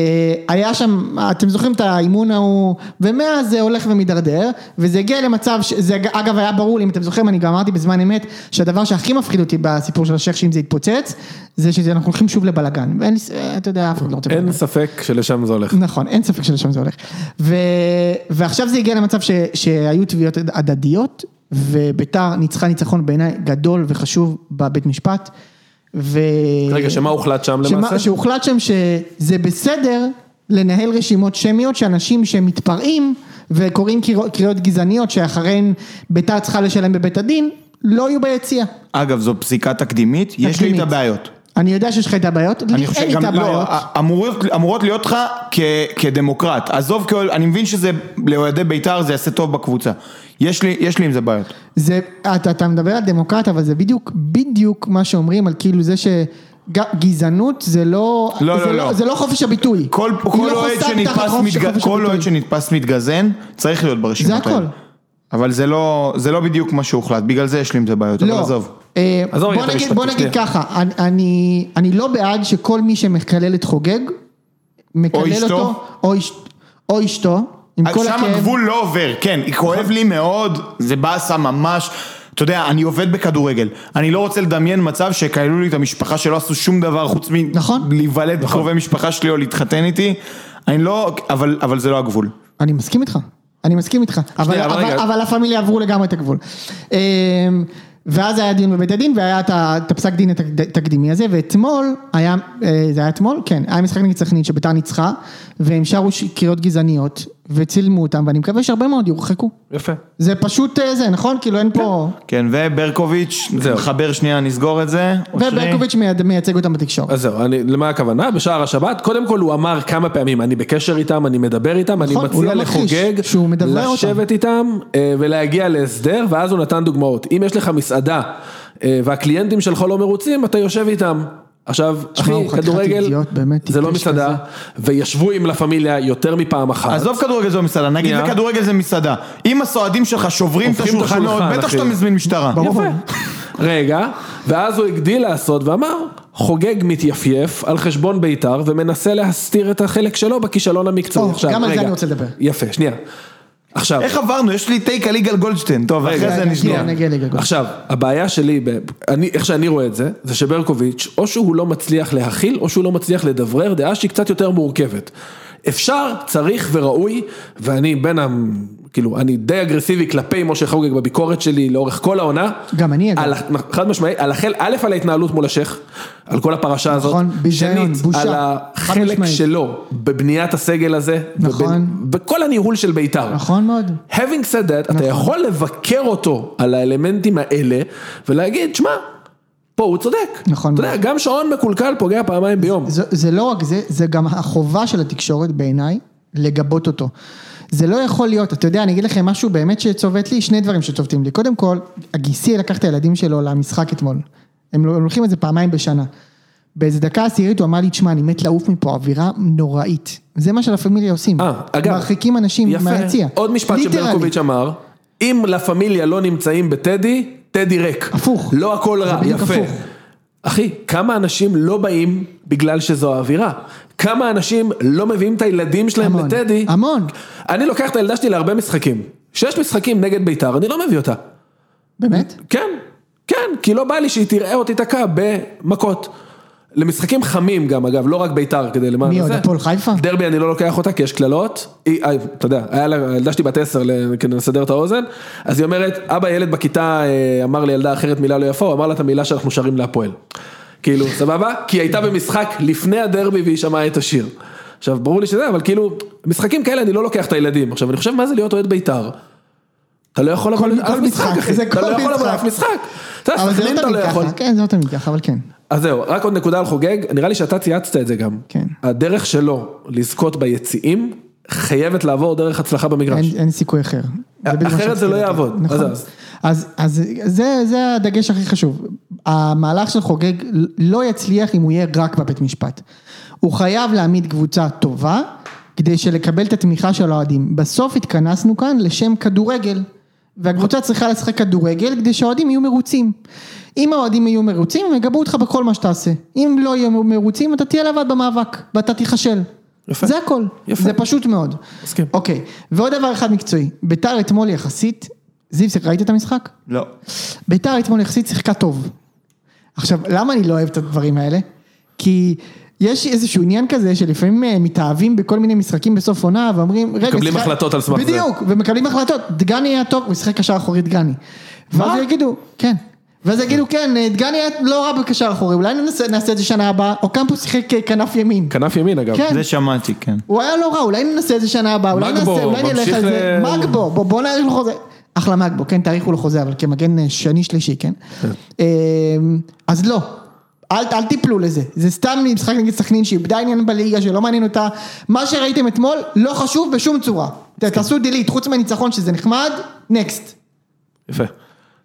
Speaker 4: היה שם, אתם זוכרים את האימון ההוא, ומאז זה הולך ומידרדר, וזה הגיע למצב, ש- זה אג- אגב היה ברור לי, אם אתם זוכרים, אני גם אמרתי בזמן אמת, שהדבר שהכי מפחיד אותי בסיפור של השייח, שאם זה יתפוצץ, זה שאנחנו הולכים שוב לבלאגן. ואין לי, ס- אה, אתה יודע, אף אחד לא רוצה
Speaker 2: אין
Speaker 4: בלאגן.
Speaker 2: ספק שלשם זה הולך.
Speaker 4: נכון, אין ספק שלשם זה הולך. ו... ועכשיו זה הגיע למצב ש... שהיו תביעות הדדיות, וביתר ניצחה ניצחון בעיניי גדול וחשוב בבית משפט. ו...
Speaker 2: רגע, שמה הוחלט שם למעשה?
Speaker 4: שמה, שהוחלט שם שזה בסדר לנהל רשימות שמיות שאנשים שמתפרעים וקוראים קריאות, קריאות גזעניות שאחריהן ביתר צריכה לשלם בבית הדין, לא יהיו ביציע.
Speaker 1: אגב, זו פסיקה תקדימית, יש לי
Speaker 4: תקדימית.
Speaker 1: איתה בעיות.
Speaker 4: אני יודע שיש לך את הבעיות, לי
Speaker 1: אני
Speaker 4: אין
Speaker 1: חושב
Speaker 4: לי
Speaker 1: גם,
Speaker 4: את
Speaker 1: לא,
Speaker 4: הבעיות.
Speaker 2: אה,
Speaker 1: אמורות, אמורות להיות לך כ, כדמוקרט. עזוב, כאוהד- אני מבין שזה, לאוהדי בית"ר זה יעשה טוב בקבוצה. יש לי, יש לי עם זה בעיות.
Speaker 4: זה, אתה, אתה מדבר על דמוקרט, אבל זה בדיוק, בדיוק מה שאומרים על כאילו זה ש... ג- גזענות זה לא,
Speaker 1: לא,
Speaker 4: זה
Speaker 1: לא, לא.
Speaker 4: זה לא חופש הביטוי.
Speaker 1: כל,
Speaker 4: היא
Speaker 1: כל,
Speaker 4: לא
Speaker 1: אוהד,
Speaker 4: חוסה תחת
Speaker 1: שנתפס
Speaker 4: חופש-
Speaker 1: מתג...
Speaker 4: חופש
Speaker 1: כל
Speaker 4: הביטוי.
Speaker 1: אוהד שנתפס מתגזן, צריך להיות ברשימות
Speaker 4: זה הכל.
Speaker 1: האלה. אבל זה לא, זה לא בדיוק מה שהוחלט, בגלל זה יש לי עם זה בעיות, אבל
Speaker 4: לא.
Speaker 1: עזוב.
Speaker 4: אה,
Speaker 2: עזוב רגע
Speaker 4: בוא
Speaker 2: את
Speaker 4: נגיד,
Speaker 2: המשפטים,
Speaker 4: בוא נגיד
Speaker 2: שנייה.
Speaker 4: ככה, אני, אני, אני לא בעד שכל מי שמקלל את חוגג, מקלל
Speaker 1: אשתו.
Speaker 4: אותו, או, אש, או אשתו, עם כל
Speaker 1: שם
Speaker 4: הכאב.
Speaker 1: הגבול לא עובר, כן, כואב לי מאוד, זה באסה ממש. אתה יודע, אני עובד בכדורגל, אני לא רוצה לדמיין מצב שכאלו לי את המשפחה שלא עשו שום דבר חוץ
Speaker 4: נכון.
Speaker 1: מלהיוולד קרובי משפחה שלי או להתחתן איתי, אני לא, אבל, אבל זה לא הגבול.
Speaker 4: אני מסכים איתך, אני מסכים איתך, אבל,
Speaker 2: אבל
Speaker 4: אבל,
Speaker 2: רגע.
Speaker 4: אבל, אבל הפמיליה עברו לגמרי את הגבול. אמ, ואז היה דיון בבית הדין והיה את ה- את הפסק דין התקד- התקדימי הזה, ואתמול, היה, אה, זה היה אתמול? כן, היה משחק נגד סכנין שביתר ניצחה, והם שרו ש- קריאות גזעניות, וצילמו אותם, ואני מקווה שהרבה מאוד יורחקו.
Speaker 2: יפה.
Speaker 4: זה פשוט אה, זה, נכון? כאילו אין פה...
Speaker 1: כן, וברקוביץ',
Speaker 2: זהו.
Speaker 1: נחבר שנייה, נסגור את זה. אושרי.
Speaker 4: וברקוביץ' מייד- מייצג אותם בתקשורת.
Speaker 2: אז זהו, אני, למה הכוונה? בשער השבת, קודם כל הוא אמר כמה פעמים, אני בקשר איתם, אני מדבר איתם, אני
Speaker 4: נכון, הוא
Speaker 2: מציע
Speaker 4: לא מכחיש
Speaker 2: לחוגג,
Speaker 4: שהוא מדברר אותם.
Speaker 2: לשבת איתם אה, ולהגיע להסדר, ואז הוא נתן דוגמאות. אם יש לך מסעדה אה, והקליינטים שלך לא מרוצים, אתה יושב איתם. עכשיו, אחי,
Speaker 4: הוא חתיכת
Speaker 2: כדורגל,
Speaker 4: אידיוט, באמת,
Speaker 2: זה לא
Speaker 4: טיפש
Speaker 2: מסעדה, וישבו עם לה פמיליה יותר מפעם אחת.
Speaker 1: עזוב כדורגל זו מסעדה, נגיד
Speaker 2: שנייה.
Speaker 1: וכדורגל זה מסעדה. אם הסועדים שלך שוברים את
Speaker 2: הופכים את
Speaker 1: השולחנות,
Speaker 2: השולחן,
Speaker 1: בטח
Speaker 2: אחי.
Speaker 1: שאתה מזמין משטרה.
Speaker 4: ברור.
Speaker 2: יפה. רגע, ואז הוא הגדיל לעשות ואמר, חוגג מתייפייף על חשבון בית"ר ומנסה להסתיר את החלק שלו בכישלון המקצועי.
Speaker 4: או,
Speaker 2: עכשיו,
Speaker 4: גם על זה
Speaker 2: רגע.
Speaker 4: אני רוצה לדבר.
Speaker 2: יפה, שנייה. עכשיו,
Speaker 1: איך עברנו? יש לי טייק על יגאל גולדשטיין, טוב,
Speaker 2: רגע,
Speaker 1: אחרי זה
Speaker 4: רגע,
Speaker 1: נשמע.
Speaker 4: שנייה. כן, נגיע לגגו.
Speaker 2: עכשיו, הבעיה שלי, ב- אני, איך שאני רואה את זה, זה שברקוביץ', או שהוא לא מצליח להכיל, או שהוא לא מצליח לדברר דעה שהיא קצת יותר מורכבת. אפשר, צריך וראוי, ואני בין ה... כאילו, אני די אגרסיבי כלפי משה חוגג בביקורת שלי לאורך כל העונה.
Speaker 4: גם אני, אגב.
Speaker 2: על, ה- חד משמעית, על החל, א', על ההתנהלות מול השייח, על כל הפרשה הזאת.
Speaker 4: נכון, ביזיון,
Speaker 2: שנית,
Speaker 4: בושה.
Speaker 2: על
Speaker 4: חד
Speaker 2: החלק
Speaker 4: משמעית.
Speaker 2: שלו בבניית הסגל הזה.
Speaker 4: נכון.
Speaker 2: ובנ- בכל הניהול של בית"ר.
Speaker 4: נכון מאוד.
Speaker 2: Having said that, אתה יכול לבקר אותו על האלמנטים האלה, ולהגיד, שמע, פה הוא צודק.
Speaker 4: נכון
Speaker 2: אתה יודע,
Speaker 4: מאוד.
Speaker 2: גם שעון מקולקל פוגע פעמיים ביום.
Speaker 4: זה, זה לא רק זה, זה גם החובה של התקשורת בעיניי לגבות אותו. זה לא יכול להיות, אתה יודע, אני אגיד לכם משהו באמת שצובט לי, שני דברים שצובטים לי. קודם כל, הגיסי לקח את הילדים שלו למשחק אתמול. הם לא- הם הולכים את זה פעמיים בשנה. באיזה דקה עשירית הוא אמר לי, תשמע, אני מת לעוף מפה, אווירה נוראית. זה מה שלה פמיליה עושים.
Speaker 2: אה, אגב.
Speaker 4: מרחיקים אנשים
Speaker 2: יפה.
Speaker 4: מהיציע.
Speaker 2: עוד משפט
Speaker 4: ליטרלי.
Speaker 2: שברקוביץ' אמר, אם לה פמיליה לא נמצאים בטדי, טדי ריק.
Speaker 4: הפוך.
Speaker 2: לא הכל רע,
Speaker 4: זה בדיוק
Speaker 2: יפה.
Speaker 4: הפוך.
Speaker 2: אחי, כמה אנשים לא באים בגלל שזו האווירה? כמה אנשים לא מביאים את הילדים שלהם
Speaker 4: המון.
Speaker 2: לטדי?
Speaker 4: המון.
Speaker 2: אני לוקח את הילדה שלי להרבה משחקים. שש משחקים נגד בית"ר, אני לא מביא אותה.
Speaker 4: באמת?
Speaker 2: כן, כן, כי לא בא לי שהיא תראה או תיתקע במכות. למשחקים חמים גם אגב, לא רק בית"ר כדי למען
Speaker 4: מי
Speaker 2: זה.
Speaker 4: עוד, הפועל חיפה?
Speaker 2: דרבי אני לא לוקח אותה כי יש קללות. היא- אה, אתה יודע, היה לה, הילדה שלי בת עשר ל- כדי לסדר את האוזן. אז היא אומרת, אבא ילד בכיתה אה, אמר לילדה אחרת מילה לא יפה, הוא אמר לה את המילה שאנחנו שרים להפועל. כאילו, סבבה? כי היא הייתה במשחק לפני הדרבי והיא שמעה את השיר. עכשיו, ברור לי שזה, אבל כאילו, משחקים כאלה אני לא לוקח את הילדים. עכשיו, אני חושב, מה זה להיות אוהד בית"ר? אתה לא יכול לבוא
Speaker 4: כל-
Speaker 2: לאף
Speaker 4: כל משחק,
Speaker 2: משחק, אחי.
Speaker 4: זה
Speaker 2: אתה
Speaker 4: כל
Speaker 2: לא יכול לבוא
Speaker 4: משחק.
Speaker 2: לאף משחק. אתה יודע,
Speaker 4: אבל זה
Speaker 2: סכנין
Speaker 4: לא
Speaker 2: אתה
Speaker 4: תמיד
Speaker 2: לא יכול.
Speaker 4: ככה, כן, זה לא תמיד ככה, אבל כן.
Speaker 2: אז זהו, רק עוד נקודה על חוגג, נראה לי שאתה צייצת את זה גם.
Speaker 4: כן.
Speaker 2: הדרך שלו לזכות ביציעים חייבת לעבור דרך הצלחה במגרש.
Speaker 4: אין, אין סיכוי אחר. זה בדיוק מה
Speaker 2: אחרת זה לא
Speaker 4: שרציתי
Speaker 2: יעבוד.
Speaker 4: להגיד. נכון.
Speaker 2: אז-
Speaker 4: אז, אז זה, זה הדגש הכי חשוב. המהלך של חוגג לא יצליח אם הוא יהיה רק בבית משפט. הוא חייב להעמיד קבוצה טובה כדי שלקבל את התמיכה של האוהדים. בסוף התכנסנו כאן לשם כדורגל. והקבוצה צריכה לשחק כדורגל כדי שהאוהדים יהיו מרוצים. אם האוהדים יהיו מרוצים, הם יגבו אותך בכל מה שתעשה. אם לא יהיו מרוצים, אתה תהיה לבד במאבק, ואתה תיכשל.
Speaker 2: יפה.
Speaker 4: זה הכל.
Speaker 2: יפה.
Speaker 4: זה פשוט מאוד.
Speaker 2: מסכים.
Speaker 4: אוקיי, ועוד דבר אחד מקצועי, ביתר אתמול יחסית, זיו, ראית את המשחק?
Speaker 1: לא.
Speaker 4: ביתר אתמול יחסית שיחקה טוב. עכשיו, למה אני לא אוהב את הדברים האלה? כי יש איזשהו עניין כזה שלפעמים אה, מתאהבים בכל מיני משחקים בסוף עונה ואומרים, רגע,
Speaker 2: מקבלים
Speaker 4: שיחק-"
Speaker 2: החלטות על סמך זה.
Speaker 4: בדיוק, ומקבלים החלטות, דגני היה טוב, הוא שיחק קשר אחורי דגני. ואז יגידו, כן. ואז יגידו, כן, אה, דגני היה לא רע בקשר אחורי, אולי ננסה- נעשה את זה שנה הבאה, או קמפוס שיחק אה, כנף ימין.
Speaker 2: כנף ימין אגב.
Speaker 4: כן.
Speaker 1: זה שמעתי, כן.
Speaker 4: הוא היה לא רע, אולי ננסה את זה שנה הבאה, אולי ננסה,
Speaker 2: מגבו,
Speaker 4: אולי נלך
Speaker 2: ממשיך
Speaker 4: על זה,
Speaker 2: ל-
Speaker 4: מגבו, בוא, בוא נאריך לו חוזה. אחלה מגבו, כן, תאריכו לו חוזה, אבל כמגן אה, שני שלישי, כן? אמ, אז לא. אל, אל תיפלו לזה, זה סתם משחק נגד סכנין שאיבדה עניין בליגה שלא מעניין אותה, מה שראיתם אתמול לא חשוב בשום צורה. ת-
Speaker 2: כן.
Speaker 4: תעשו דילית, חוץ מהניצחון שזה נחמד, נקסט.
Speaker 2: יפה.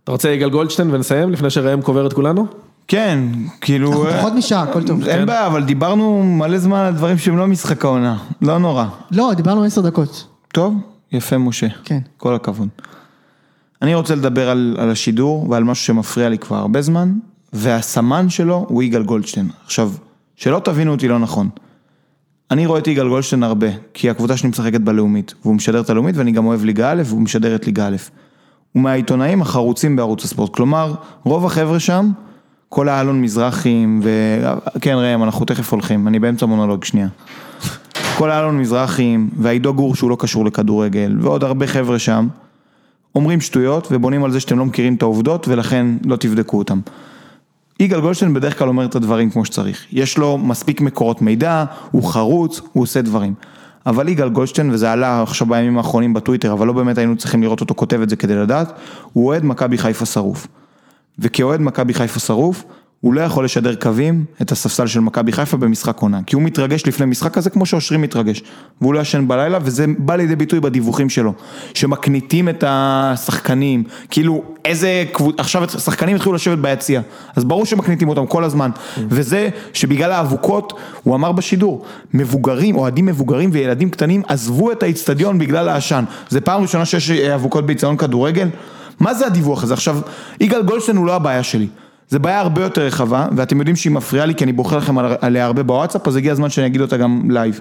Speaker 2: אתה רוצה יגאל גולדשטיין ונסיים לפני שראם קובר את כולנו?
Speaker 1: כן, כאילו... אה,
Speaker 4: פחות משעה, הכל טוב.
Speaker 1: אין בעיה, אבל דיברנו מלא זמן על דברים שהם לא משחק העונה. לא נורא.
Speaker 4: לא, דיברנו עשר דקות.
Speaker 1: טוב, יפה משה.
Speaker 4: כן.
Speaker 1: כל הכבוד. אני רוצה לדבר על, על השידור ועל משהו שמפריע לי כבר הרבה זמן, והסמן שלו הוא יגאל גולדשטיין. עכשיו, שלא תבינו אותי לא נכון. אני רואה את יגאל גולדשטיין הרבה, כי הקבוצה שלי משחקת בלאומית, והוא משדר את הלאומית ואני גם אוהב ליגה א' והוא משדר את ליגה א'. הוא מהעיתונאים החרוצים בערוץ הספורט, כלומר, רוב החבר'ה שם, כל האלון מזרחים, ו... כן ראם, אנחנו תכף הולכים, אני באמצע מונולוג שנייה. כל האלון מזרחים, והעידו גור שהוא לא קשור לכדורגל, ועוד הרבה חבר'ה שם, אומרים שטויות ובונים על זה שאתם לא מכירים את העובדות ולכן לא תבדקו אותם. יגאל גולדשטיין בדרך כלל אומר את הדברים כמו שצריך. יש לו מספיק מקורות מידע, הוא חרוץ, הוא עושה דברים. אבל יגאל גולדשטיין, וזה עלה עכשיו בימים האחרונים בטוויטר, אבל לא באמת היינו צריכים לראות אותו כותב את זה כדי לדעת, הוא אוהד מכבי חיפה שרוף. וכאוהד מכבי חיפה שרוף, הוא לא יכול לשדר קווים את הספסל של מכבי חיפה במשחק עונה, כי הוא מתרגש לפני משחק כזה כמו שאושרי מתרגש, והוא לא ישן בלילה, וזה בא לידי ביטוי בדיווחים שלו, שמקניטים את השחקנים, כאילו איזה קבוצה, עכשיו השחקנים התחילו לשבת ביציע, אז ברור שמקניטים אותם כל הזמן, וזה שבגלל האבוקות, הוא אמר בשידור, מבוגרים, אוהדים מבוגרים וילדים קטנים עזבו את האיצטדיון בגלל העשן, זה פעם ראשונה שיש אה, אבוקות באיצטדיון כדורגל? מה זה הדיווח הזה? עכשיו, יגאל גולדשטיין הוא לא הבעיה שלי. זה בעיה הרבה יותר רחבה, ואתם יודעים שהיא מפריעה לי כי אני בוחר לכם על- עליה הרבה בוואטסאפ, אז הגיע הזמן שאני אגיד אותה גם לייב.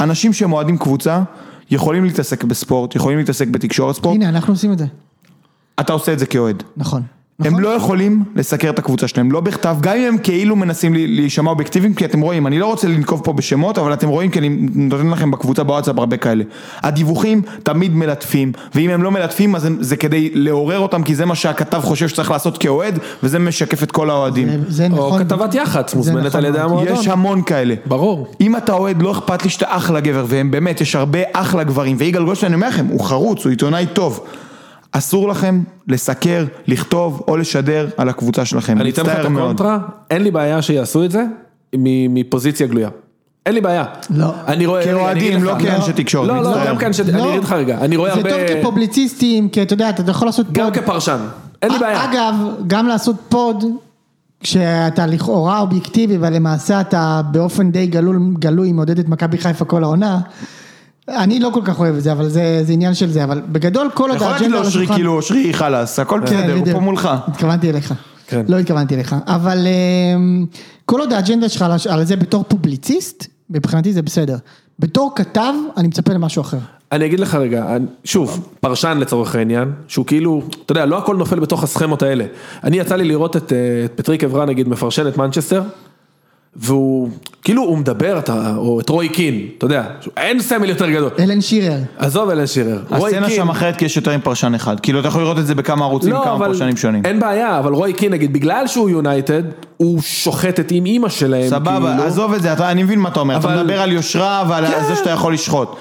Speaker 1: אנשים שהם אוהדים קבוצה, יכולים להתעסק בספורט, יכולים להתעסק בתקשורת ספורט,
Speaker 4: הנה, אנחנו עושים את זה.
Speaker 1: אתה עושה את זה כאוהד.
Speaker 4: נכון.
Speaker 1: הם
Speaker 4: נכון?
Speaker 1: לא יכולים לסקר את הקבוצה שלהם, לא בכתב, גם אם הם כאילו מנסים לי- להישמע אובייקטיביים, כי אתם רואים, אני לא רוצה לנקוב פה בשמות, אבל אתם רואים, כי אני נותן לכם בקבוצה בוואטסאפ הרבה כאלה. הדיווחים תמיד מלטפים, ואם הם לא מלטפים, אז הם- זה כדי לעורר אותם, כי זה מה שהכתב חושב שצריך לעשות כאוהד, וזה משקף את כל האוהדים.
Speaker 4: זה
Speaker 2: או
Speaker 4: נכון.
Speaker 2: כתבת יח"צ מוזמנת
Speaker 4: נכון
Speaker 2: על ידי
Speaker 4: מאוד.
Speaker 2: המועדון.
Speaker 1: יש המון כאלה.
Speaker 2: ברור.
Speaker 1: אם אתה אוהד, לא אכפת לי שאתה אחלה גבר, והם באמת, יש הרבה אחלה גברים, ויגאל גולדשטיין, אני אומר לכם, הוא חרוץ, הוא עיתונאי טוב. אסור לכם לסקר, לכתוב או לשדר על הקבוצה שלכם.
Speaker 2: אני אתן לך את
Speaker 1: מצטער מאוד.
Speaker 2: הקונטרה, אין לי בעיה שיעשו את זה מ- מפוזיציה גלויה. אין לי בעיה.
Speaker 4: לא.
Speaker 2: אני רואה...
Speaker 1: כאוהדים,
Speaker 2: אני אגיד
Speaker 1: לא
Speaker 2: לך.
Speaker 1: כאנשי תקשורת,
Speaker 2: לא, לא,
Speaker 1: מצטער.
Speaker 2: גם כאנשי...
Speaker 4: לא.
Speaker 2: אני אגיד לך רגע, אני רואה הרבה...
Speaker 4: זה טוב כפובליציסטים, כי אתה יודע, אתה יכול לעשות
Speaker 2: גם
Speaker 4: פוד.
Speaker 2: כפרשן. אין לי
Speaker 1: אה,
Speaker 4: א-
Speaker 2: בעיה.
Speaker 4: אגב, גם לעשות פוד, כשאתה לכאורה אובייקטיבי, אבל למעשה אתה באופן די גלול, גלוי מעודד את מכבי חיפה כל העונה, אני לא כל כך אוהב את זה, אבל זה, זה עניין של זה, אבל בגדול כל עוד
Speaker 1: יכול להגיד
Speaker 4: האג'נדה
Speaker 1: לו
Speaker 4: על
Speaker 1: אושרי,
Speaker 4: השולחן... כן,
Speaker 1: כאילו אושרי, חלאס, הכל בסדר, הוא
Speaker 4: בדיוק.
Speaker 1: פה מולך.
Speaker 4: התכוונתי אליך.
Speaker 2: כן.
Speaker 4: לא התכוונתי אליך, אבל אמ, כל עוד האג'נדה שלך על הש- על זה בתור פובליציסט, מבחינתי זה בסדר. בתור כתב, אני מצפה למשהו אחר.
Speaker 2: אני אגיד לך רגע, אני- שוב, פרשן לצורך העניין, שהוא כאילו, אתה יודע, לא הכל נופל בתוך הסכמות האלה. אני יצא לי לראות את, אה, את פטריק אברן, נגיד, מפרשן את מנצ'סטר, והוא, כאילו הוא מדבר, אתה, או את רוי קין, אתה יודע, שהוא- אין סמל יותר גדול.
Speaker 4: אלן שירר.
Speaker 2: עזוב אלן שירר, רוי
Speaker 1: הסצנה
Speaker 2: קין,
Speaker 1: שם אחרת כי יש יותר עם פרשן אחד. כאילו, אתה יכול לראות את זה בכמה ערוצים,
Speaker 2: לא,
Speaker 1: כמה
Speaker 2: אבל
Speaker 1: פרשנים שונים.
Speaker 2: אין בעיה, אבל רוי קין, נגיד, בגלל שהוא יונייטד, הוא שוחט את עם אימא שלהם,
Speaker 1: סבבה, עזוב את זה, אתה- אני מבין מה אתה אומר. אתה
Speaker 2: כאילו, לא- אבל-
Speaker 1: מדבר על יושרה ועל
Speaker 2: כן.
Speaker 1: זה שאתה יכול לשחוט.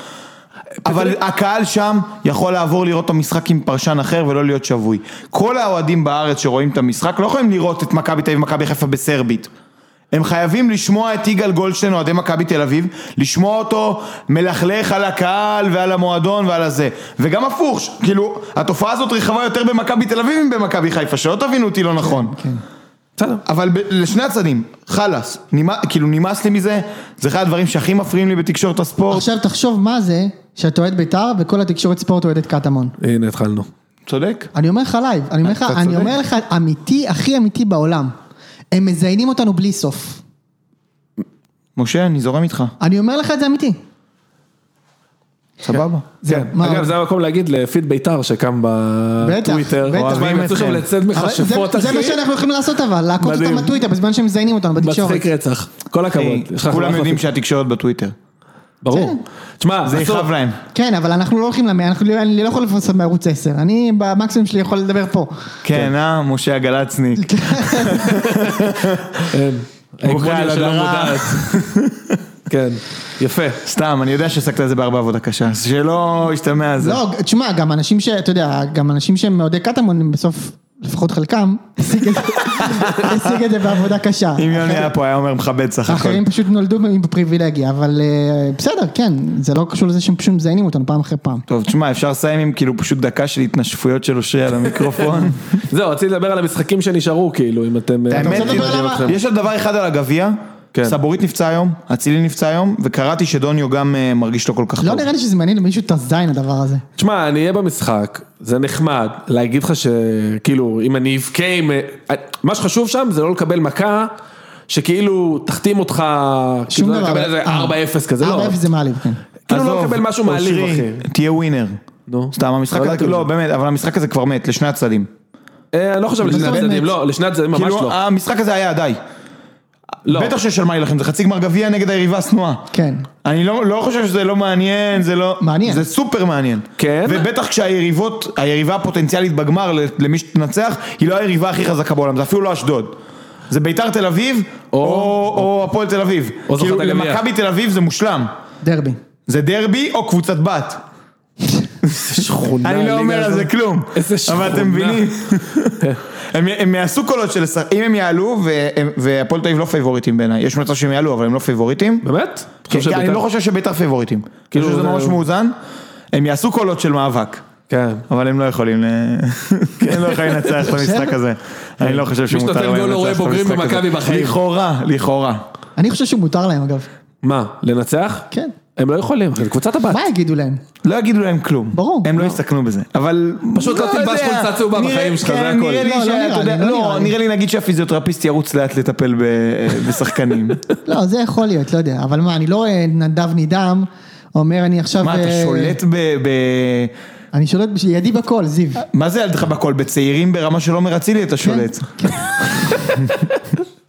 Speaker 1: אבל הקהל שם יכול לעבור לראות את המשחק עם פרשן אחר ולא להיות שבוי. כל האוהדים בארץ שרואים את המשחק לא יכולים לראות את מכבי תל אביב ומכבי חיפה בסרבית. הם חייבים לשמוע את יגאל גולדשטיין, אוהדי מכבי תל אביב, לשמוע אותו מלכלך על הקהל ועל המועדון ועל הזה. וגם הפוך, ש- כאילו, התופעה הזאת רחבה יותר במכבי תל אביב מבמכבי חיפה, שלא תבינו אותי לא
Speaker 2: כן,
Speaker 1: נכון.
Speaker 2: בסדר.
Speaker 1: אבל ב- לשני הצדדים, חלאס, נמא- כאילו נמאס לי מזה, זה אחד הדברים שהכי מפריעים לי בתקשורת הספורט.
Speaker 4: עכשיו תחשוב מה זה שאתה אוהד בית"ר וכל התקשורת ספורט אוהדת קטמון.
Speaker 2: הנה התחלנו.
Speaker 1: צודק.
Speaker 4: אני אומר לך לייב, אני אומר לך,
Speaker 1: אתה
Speaker 4: אני
Speaker 1: צודק.
Speaker 4: אומר לך אמיתי, הכי אמיתי בעולם. הם מזיינים אותנו בלי סוף.
Speaker 1: משה, אני זורם איתך,
Speaker 4: אני אומר לך את זה אמיתי.
Speaker 1: סבבה.
Speaker 4: זהו,
Speaker 2: כן.
Speaker 4: מה
Speaker 2: אגב,
Speaker 4: עוד?
Speaker 2: זה המקום להגיד לפיד ביתר שקם
Speaker 4: בטח,
Speaker 2: בטוויטר.
Speaker 4: בטח. כן.
Speaker 2: תשמע, הם יצאו שם
Speaker 1: אוהבים
Speaker 2: לצאת
Speaker 4: אבל זה-
Speaker 2: מכשפות,
Speaker 4: זה מה
Speaker 2: אחי.
Speaker 4: שאנחנו יכולים לעשות אבל, לעקוף
Speaker 2: מדהים.
Speaker 4: אותם בטוויטר בזמן שהם מזיינים אותנו בתקשורת.
Speaker 2: מצחיק רצח. כל הכבוד.
Speaker 1: אחי,
Speaker 2: יש לך
Speaker 1: אה, כולם
Speaker 2: אחלה
Speaker 1: יודעים
Speaker 2: פיד.
Speaker 1: שהתקשורת בטוויטר.
Speaker 2: ברור. תשמע,
Speaker 1: זה
Speaker 2: בסוף-
Speaker 1: יכאב להם.
Speaker 4: כן, אבל אנחנו לא הולכים למאה, אנחנו לא- אני לא יכול לפרסם בערוץ 10, אני במקסימום שלי יכול לדבר פה.
Speaker 1: כן, אה, משה הגלצניק.
Speaker 2: אין.
Speaker 1: מוחה על
Speaker 2: ההגמוניה אה, שלא
Speaker 1: הדרה.
Speaker 2: מודעת. כן, יפה.
Speaker 1: סתם, אני יודע שעסקת על זה בהרבה עבודה קשה, אז שלא ישתמע על זה.
Speaker 4: לא, תשמע, גם אנשים ש... אתה יודע, גם אנשים שהם מאוהדי קטמון, הם בסוף, לפחות חלקם, השיג את זה- השיג את זה בעבודה קשה.
Speaker 1: אם יוני היה פה היה אומר מכבד סך הכל.
Speaker 4: האחרים פשוט נולדו עם פריבילגיה, אבל אה, בסדר, כן, זה לא קשור לזה שהם פשוט מזיינים אותנו פעם אחרי פעם.
Speaker 1: טוב, תשמע, אפשר לסיים עם כאילו פשוט דקה של התנשפויות של אושרי על המיקרופון.
Speaker 2: זהו, רציתי לדבר על המשחקים שנשארו, כאילו, אם אתם... אה,
Speaker 1: האמת,
Speaker 4: רוצה לדבר
Speaker 1: היא-
Speaker 4: למה?
Speaker 1: יש עוד דבר אחד על הגביע,
Speaker 2: כן.
Speaker 1: סבורית נפצע היום, אצילי נפצע היום, וקראתי שדוניו גם אה, מרגיש לא כל כך
Speaker 2: נכון.
Speaker 4: לא
Speaker 1: טוב.
Speaker 4: נראה לי שזה מעניין למישהו את הזין הדבר הזה.
Speaker 2: תשמע, אני אהיה במשחק, זה נחמד, להגיד לך שכאילו, אם אני אבכה עם... מה שחשוב שם זה לא לקבל מכה, שכאילו תחתים אותך,
Speaker 4: שום
Speaker 2: כאילו,
Speaker 4: דבר. אה.
Speaker 2: לקבל איזה 4-0 כזה, לא.
Speaker 4: 4-0 זה מעליב, כן.
Speaker 2: כאילו לא
Speaker 1: עזוב,
Speaker 2: לקבל משהו מעליב,
Speaker 1: אושרי,
Speaker 2: אחי.
Speaker 1: תהיה ווינר.
Speaker 2: נו.
Speaker 1: סתם, המשחק
Speaker 2: לא
Speaker 1: הזה,
Speaker 2: ידעתי
Speaker 1: לא,
Speaker 2: את זה.
Speaker 1: באמת, אבל המשחק הזה כבר מת, לשני הצדדים.
Speaker 2: אה, אני לא חושב לשני
Speaker 4: בסוף
Speaker 2: הצדדים,
Speaker 4: מת.
Speaker 2: לא, לשני הצדדים ממש
Speaker 1: כאילו,
Speaker 2: לא.
Speaker 1: המשחק הזה היה די.
Speaker 2: לא.
Speaker 1: בטח שיש על מה להילחם, זה חצי גמר גביע נגד היריבה השנואה.
Speaker 4: כן.
Speaker 1: אני לא, לא חושב שזה לא מעניין, זה לא...
Speaker 4: מעניין.
Speaker 1: זה סופר מעניין.
Speaker 2: כן?
Speaker 1: ובטח כשהיריבות, היריבה הפוטנציאלית בגמר ל- למי שתנצח, היא לא היריבה הכי חזקה בעולם, זה אפילו לא אשדוד. זה ביתר תל אביב, או, או, או הפועל תל אביב.
Speaker 2: או זוכת
Speaker 1: כאילו,
Speaker 2: הגביע.
Speaker 1: למכבי תל אביב זה מושלם.
Speaker 4: דרבי.
Speaker 1: זה דרבי או קבוצת בת.
Speaker 2: איזה שכונה.
Speaker 1: אני לא
Speaker 2: הליגה
Speaker 1: אומר על זה
Speaker 2: הזאת.
Speaker 1: כלום.
Speaker 2: איזה שכונה.
Speaker 1: אבל אתם מבינים? הם- הם יעשו קולות של... לשחק- אם הם יעלו, והם- והפועל תל אביב לא פייבוריטים בעיניי. יש מצב שהם יעלו, אבל הם לא פייבוריטים.
Speaker 2: באמת?
Speaker 1: כן,
Speaker 2: חושב
Speaker 1: כן, אני
Speaker 2: שבית"ר-
Speaker 1: לא חושב שביתר פייבוריטים.
Speaker 2: כאילו,
Speaker 1: כאילו שזה
Speaker 2: זה-
Speaker 1: ממש מאוזן. הם יעשו קולות של מאבק.
Speaker 2: כן.
Speaker 1: אבל הם לא יכולים, ל- הם לא יכולים לנצח את המשחק הזה. אני לא חושב
Speaker 2: שנותן
Speaker 1: שמותר
Speaker 2: גול
Speaker 1: להם
Speaker 2: לא רואה
Speaker 1: לנצח את
Speaker 2: בוגרים
Speaker 1: המשחק הזה.
Speaker 2: במכבי בחיים.
Speaker 1: לכאורה, לכאורה.
Speaker 4: אני חושב שמותר להם אגב.
Speaker 2: מה, לנצח?
Speaker 4: כן.
Speaker 2: הם לא יכולים, אחי, זה קבוצת הבת.
Speaker 4: מה יגידו להם?
Speaker 1: לא יגידו להם כלום.
Speaker 4: ברור.
Speaker 1: הם לא יסתכנו בזה. אבל...
Speaker 2: פשוט לא תלבש
Speaker 1: יודע.
Speaker 2: חולצה צהובה
Speaker 1: נראה-
Speaker 2: בחיים שלך, זה
Speaker 1: כן,
Speaker 2: הכל.
Speaker 1: נראה לי
Speaker 4: לא, לא
Speaker 1: שאתה
Speaker 4: נראה לי,
Speaker 1: יודע-
Speaker 4: לא
Speaker 1: לא,
Speaker 4: נראה לי.
Speaker 1: נראה לי נגיד שהפיזיותרפיסט ירוץ לאט לטפל ב- בשחקנים.
Speaker 4: לא, זה יכול להיות, לא יודע. אבל מה, אני לא רואה נדב נידם אומר אני עכשיו...
Speaker 1: מה, אתה
Speaker 4: אה,
Speaker 1: שולט ב... ב-
Speaker 4: אני שולט, בש- ידי בכל, זיו.
Speaker 1: מה זה ילדך בכל? בצעירים ברמה של עומר אצילי
Speaker 4: כן.
Speaker 1: אתה שולט.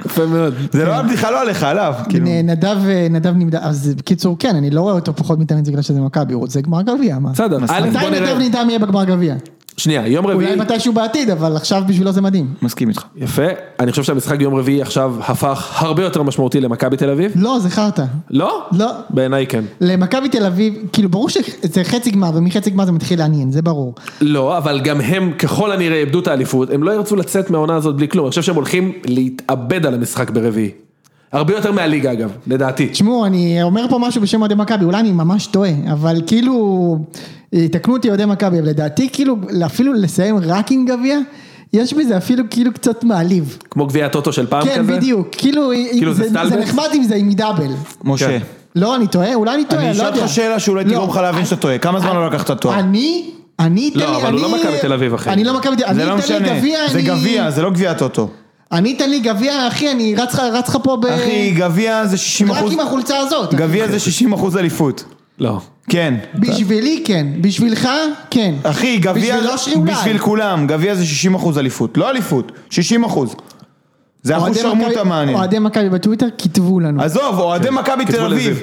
Speaker 2: יפה מאוד.
Speaker 1: זה
Speaker 4: כן.
Speaker 1: לא הבדיחה, לא עליך, עליו. כאילו.
Speaker 4: נ- נדב, אה, נדב נמדד, אז בקיצור כן, אני לא רואה אותו פחות מתאמץ בגלל שזה מכבי, הוא רוצה גמר גביע, מה?
Speaker 2: בסדר, א',
Speaker 4: מתי
Speaker 2: בוא
Speaker 4: נדב
Speaker 2: נראה.
Speaker 4: נדם יהיה בגמר גביע?
Speaker 2: שנייה, יום רביעי.
Speaker 4: אולי מתישהו בעתיד, אבל עכשיו בשבילו זה מדהים.
Speaker 1: מסכים איתך.
Speaker 2: יפה, אני חושב שהמשחק ביום רביעי עכשיו הפך הרבה יותר משמעותי למכבי תל אביב.
Speaker 4: לא, זה חרטא.
Speaker 2: לא?
Speaker 4: לא.
Speaker 2: בעיניי כן.
Speaker 4: למכבי תל אביב, כאילו ברור שזה חצי גמר, ומחצי גמר זה מתחיל לעניין, זה ברור.
Speaker 2: לא, אבל גם הם ככל הנראה איבדו את האליפות, הם לא ירצו לצאת מהעונה הזאת בלי כלום, אני חושב שהם הולכים להתאבד על המשחק ברביעי. הרבה יותר מהליגה אגב, לדעתי.
Speaker 4: תשמעו, אני אומר פה משהו בשם אוהדי מכבי, אולי אני ממש טועה, אבל כאילו, יתקנו אותי אוהדי מכבי, אבל לדעתי כאילו, אפילו לסיים רק עם גביע, יש בזה אפילו כאילו קצת מעליב.
Speaker 2: כמו גביע הטוטו של פעם כזה.
Speaker 4: כן, בדיוק, כאילו,
Speaker 2: כאילו, זה
Speaker 4: זה
Speaker 2: סטלבט?
Speaker 4: זה נחמד אם זה עם דאבל.
Speaker 1: משה,
Speaker 2: כן.
Speaker 4: לא, אני טועה, אולי אני טועה,
Speaker 1: אני
Speaker 4: לא יודע.
Speaker 1: אשאל אותך שאלה שאולי תגרום לך להבין
Speaker 4: אני-
Speaker 1: שאתה טועה. כמה זמן לא לקחת תואר?
Speaker 4: אני, אני, תן
Speaker 2: לא,
Speaker 4: לי,
Speaker 2: אבל הוא
Speaker 4: אני-
Speaker 2: לא מכבי תל אביב, אחי.
Speaker 4: אני לא מכבי תל אביב,
Speaker 1: זה לא
Speaker 4: אני תן לי
Speaker 1: משנה,
Speaker 4: גביע,
Speaker 1: זה
Speaker 4: אני-
Speaker 1: גביע, זה לא גביע טוטו.
Speaker 4: אני תן לי גביע, אחי, אני רץ לך- רץ לך פה ב...
Speaker 1: אחי, גביע זה 60
Speaker 4: אה, רק
Speaker 1: אחוז,
Speaker 4: עם החולצה הזאת. אוקיי.
Speaker 1: גביע
Speaker 2: אוקיי.
Speaker 1: זה 60 אחוז אליפות.
Speaker 2: לא.
Speaker 1: כן.
Speaker 4: בשבילי כן, בשבילך כן.
Speaker 1: אחי, גביע,
Speaker 4: בשביל אושרי אולי.
Speaker 1: בשביל כולם, גביע זה 60 אחוז אליפות. לא אליפות, 60 אחוז. זה אחוז
Speaker 4: אוהדי
Speaker 1: שרמוטה
Speaker 4: מכבי-
Speaker 1: מעניין.
Speaker 4: אוהדי מכבי בטוויטר כתבו לנו.
Speaker 1: עזוב, אוהדי מכבי תל
Speaker 2: כן, כתבו
Speaker 1: אביב.
Speaker 2: לזיו.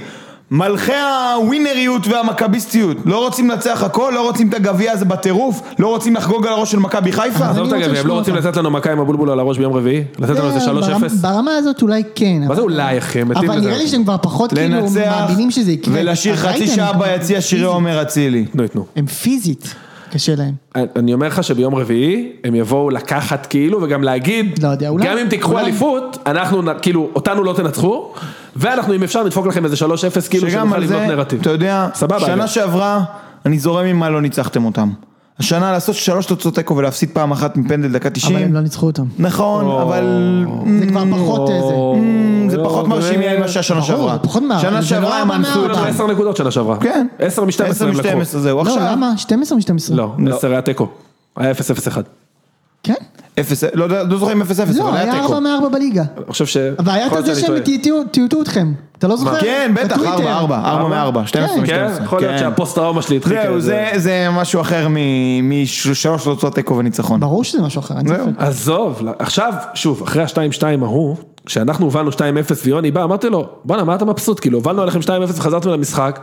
Speaker 1: מלכי הווינריות והמכביסטיות, לא רוצים לנצח הכל, לא רוצים את הגביע הזה בטירוף, לא רוצים לחגוג על הראש של מכבי חיפה.
Speaker 4: אני
Speaker 2: עזוב את
Speaker 4: רוצה
Speaker 2: הגביע, הם לא
Speaker 4: לשמוע
Speaker 2: רוצים
Speaker 4: אותך.
Speaker 2: לתת לנו מכה עם הבולבול על הראש ביום רביעי? לתת לנו איזה
Speaker 4: כן,
Speaker 2: 3-0?
Speaker 4: ברמה- ברמה הזאת אולי כן.
Speaker 2: מה
Speaker 4: אבל-
Speaker 2: זה אולי, אחי? הם מתים
Speaker 4: אבל
Speaker 2: לזה.
Speaker 4: נראה לי שהם כבר פחות כאילו
Speaker 1: לנצח
Speaker 4: מאמינים שזה יקרה.
Speaker 1: ולשיר
Speaker 4: אז
Speaker 1: חצי
Speaker 4: ראיתם,
Speaker 1: שעה
Speaker 4: הם-
Speaker 1: ביציע שירי עומר אצילי.
Speaker 2: נו, יתנו.
Speaker 4: הם פיזית, קשה להם.
Speaker 2: אני אומר לך שביום רביעי הם יבואו לקחת כאילו וגם להגיד,
Speaker 4: לא יודע, אולי-
Speaker 2: גם אם תיקחו
Speaker 4: אולי-
Speaker 2: אליפות, אנחנו נ- כאילו, אותנו לא תנצחו, ואנחנו אם אפשר נדפוק לכם איזה 3-0 כאילו
Speaker 1: שגם
Speaker 2: שנוכל
Speaker 1: על
Speaker 2: לבנות
Speaker 1: זה,
Speaker 2: נרטיב.
Speaker 1: אתה יודע,
Speaker 2: סבבה, אגב.
Speaker 1: שנה שעברה, אני זורם עם מה לא ניצחתם אותם. השנה לעשות שלוש תוצאות תיקו ולהפסיד פעם אחת מפנדל דקה
Speaker 4: אבל
Speaker 1: 90.
Speaker 4: הם לא ניצחו אותם.
Speaker 1: נכון, אבל... mm,
Speaker 4: זה כבר פחות איזה.
Speaker 1: אה, אמ, לא, זה
Speaker 2: לא,
Speaker 1: פחות מרשים לי ממה שהיה שנה
Speaker 4: ברור,
Speaker 1: שעברה.
Speaker 4: זה פחות מה-
Speaker 1: שנה
Speaker 4: זה לא
Speaker 1: שעברה הם
Speaker 4: ארבע
Speaker 1: אנסו
Speaker 4: מארבע.
Speaker 1: אותם.
Speaker 2: 10 נקודות שנה שעברה.
Speaker 1: כן.
Speaker 2: 10 מ-12
Speaker 1: 10
Speaker 2: הם לקחו.
Speaker 1: מ-12 זהו,
Speaker 4: לא,
Speaker 1: עכשיו.
Speaker 4: למה? 12 מ-12.
Speaker 2: לא, 10 היה תיקו. היה 0-0-1.
Speaker 4: כן?
Speaker 1: אפס, לא יודע, לא זוכר אם 0-0,
Speaker 4: לא,
Speaker 1: אבל
Speaker 4: היה
Speaker 1: היה
Speaker 4: 4
Speaker 1: תיקו.
Speaker 4: מ-4 בליגה.
Speaker 2: אני חושב ש...
Speaker 4: והיה
Speaker 2: יכול
Speaker 4: את
Speaker 2: להיות
Speaker 4: זה
Speaker 2: שאני טועה.
Speaker 4: שהם טיוטו- טיוטו אתכם. אתה לא זוכר?
Speaker 1: כן, בטח,
Speaker 4: בטוויטר.
Speaker 1: 4, 4, 4 מ-4, 12
Speaker 4: כן.
Speaker 1: מ-12.
Speaker 2: כן, יכול להיות שהפוסט טראומה שלי התחילה.
Speaker 1: זהו, זה- זה משהו אחר מ- משלוש תוצאות תיקו וניצחון.
Speaker 4: ברור שזה משהו אחר, אין
Speaker 1: זהו.
Speaker 4: ספק.
Speaker 2: עזוב, לא, עכשיו, שוב, אחרי ה-2-2 ההוא, כשאנחנו הובלנו 2-0 ויוני בא, אמרתי לו, בואנה, מה אתה מבסוט? כאילו, הובלנו עליכם 2-0 וחזרתם למשחק,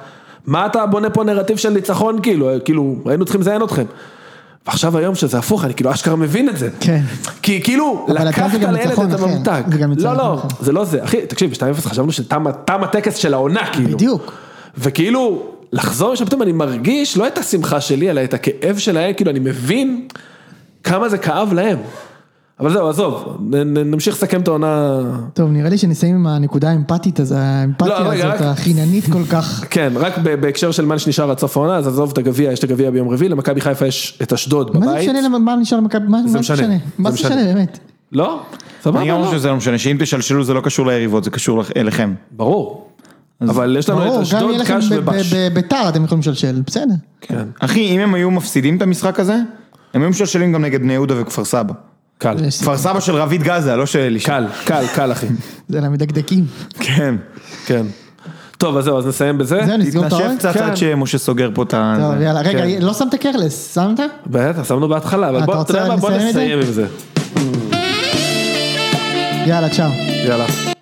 Speaker 2: מה אתה בונה פה נרטיב של ניצחון, כאילו, כאילו, היינו צריכים לזיין אתכם. ועכשיו היום שזה הפוך, אני כאילו אשכרה מבין את זה.
Speaker 4: כן.
Speaker 2: כי כאילו,
Speaker 4: אבל אתה זה
Speaker 2: לקחת
Speaker 4: גם
Speaker 2: לילד
Speaker 4: ניצחון
Speaker 2: את
Speaker 4: אחר.
Speaker 2: הממתק.
Speaker 4: זה גם
Speaker 2: לא,
Speaker 4: ניצחון
Speaker 2: לא,
Speaker 4: אחר.
Speaker 2: זה לא זה. אחי, תקשיב, 2-0 חשבנו שתם תם הטקס של העונה, כאילו.
Speaker 4: בדיוק.
Speaker 2: וכאילו, לחזור לשם פתאום, אני מרגיש לא את השמחה שלי, אלא את הכאב שלהם, כאילו, אני מבין כמה זה כאב להם. אבל זהו, עזוב, נ- נ- נמשיך לסכם את העונה.
Speaker 4: טוב, נראה לי שנסיים עם הנקודה האמפתית, אז האמפתיה
Speaker 2: לא, רגע,
Speaker 4: הזאת,
Speaker 2: רק-
Speaker 4: החיננית כל כך.
Speaker 2: כן, רק ב- בהקשר של מה שנשאר עד סוף העונה, אז עזוב את הגביע, יש את הגביע ביום רביעי, למכבי חיפה יש את אשדוד
Speaker 4: מה זה
Speaker 2: בבית.
Speaker 4: משנה למה- מה נשאר למכבי? מה מה זה
Speaker 2: משנה,
Speaker 4: משנה?
Speaker 2: זה
Speaker 4: מה זה משנה
Speaker 2: משנה.
Speaker 4: באמת?
Speaker 2: לא? סבבה,
Speaker 1: אני גם
Speaker 2: לא.
Speaker 1: חושב שזה לא משנה, שאם תשלשלו זה לא קשור ליריבות, זה קשור לכ- אליכם.
Speaker 2: ברור. אבל יש לנו
Speaker 4: ברור,
Speaker 2: את
Speaker 4: גם
Speaker 2: אשדוד,
Speaker 4: יהיה לכם
Speaker 2: קש
Speaker 4: ב-
Speaker 2: ובש.
Speaker 4: ב- בביתר אתם יכולים לשלשל, בסדר.
Speaker 2: כן,
Speaker 1: אחי, אם הם היו מפסידים את המשחק הזה, הם היו משלשלים גם נגד בני יהודה וכפר סבא.
Speaker 2: קל.
Speaker 4: יש-
Speaker 1: כפר סבא של רביד גזה, לא של אלישע.
Speaker 2: קל, קל, קל אחי.
Speaker 4: זה למדקדקים.
Speaker 1: כן.
Speaker 2: כן. טוב, אז זהו, אז נסיים בזה.
Speaker 4: זהו, נסגור את
Speaker 1: תתנשף
Speaker 4: האוהל?
Speaker 1: קצת
Speaker 2: כן.
Speaker 1: עד שמשה סוגר פה את ה...
Speaker 4: טוב, יאללה, רגע,
Speaker 2: כן.
Speaker 4: לא שמת קרלס, שמת?
Speaker 2: בטח, שמנו בהתחלה, אבל
Speaker 4: אתה
Speaker 2: בוא, אתה
Speaker 4: רוצה
Speaker 2: יודע מה, בוא
Speaker 4: לסיים את זה?
Speaker 2: נסיים עם זה.
Speaker 4: יאללה, צ'או.
Speaker 2: יאללה.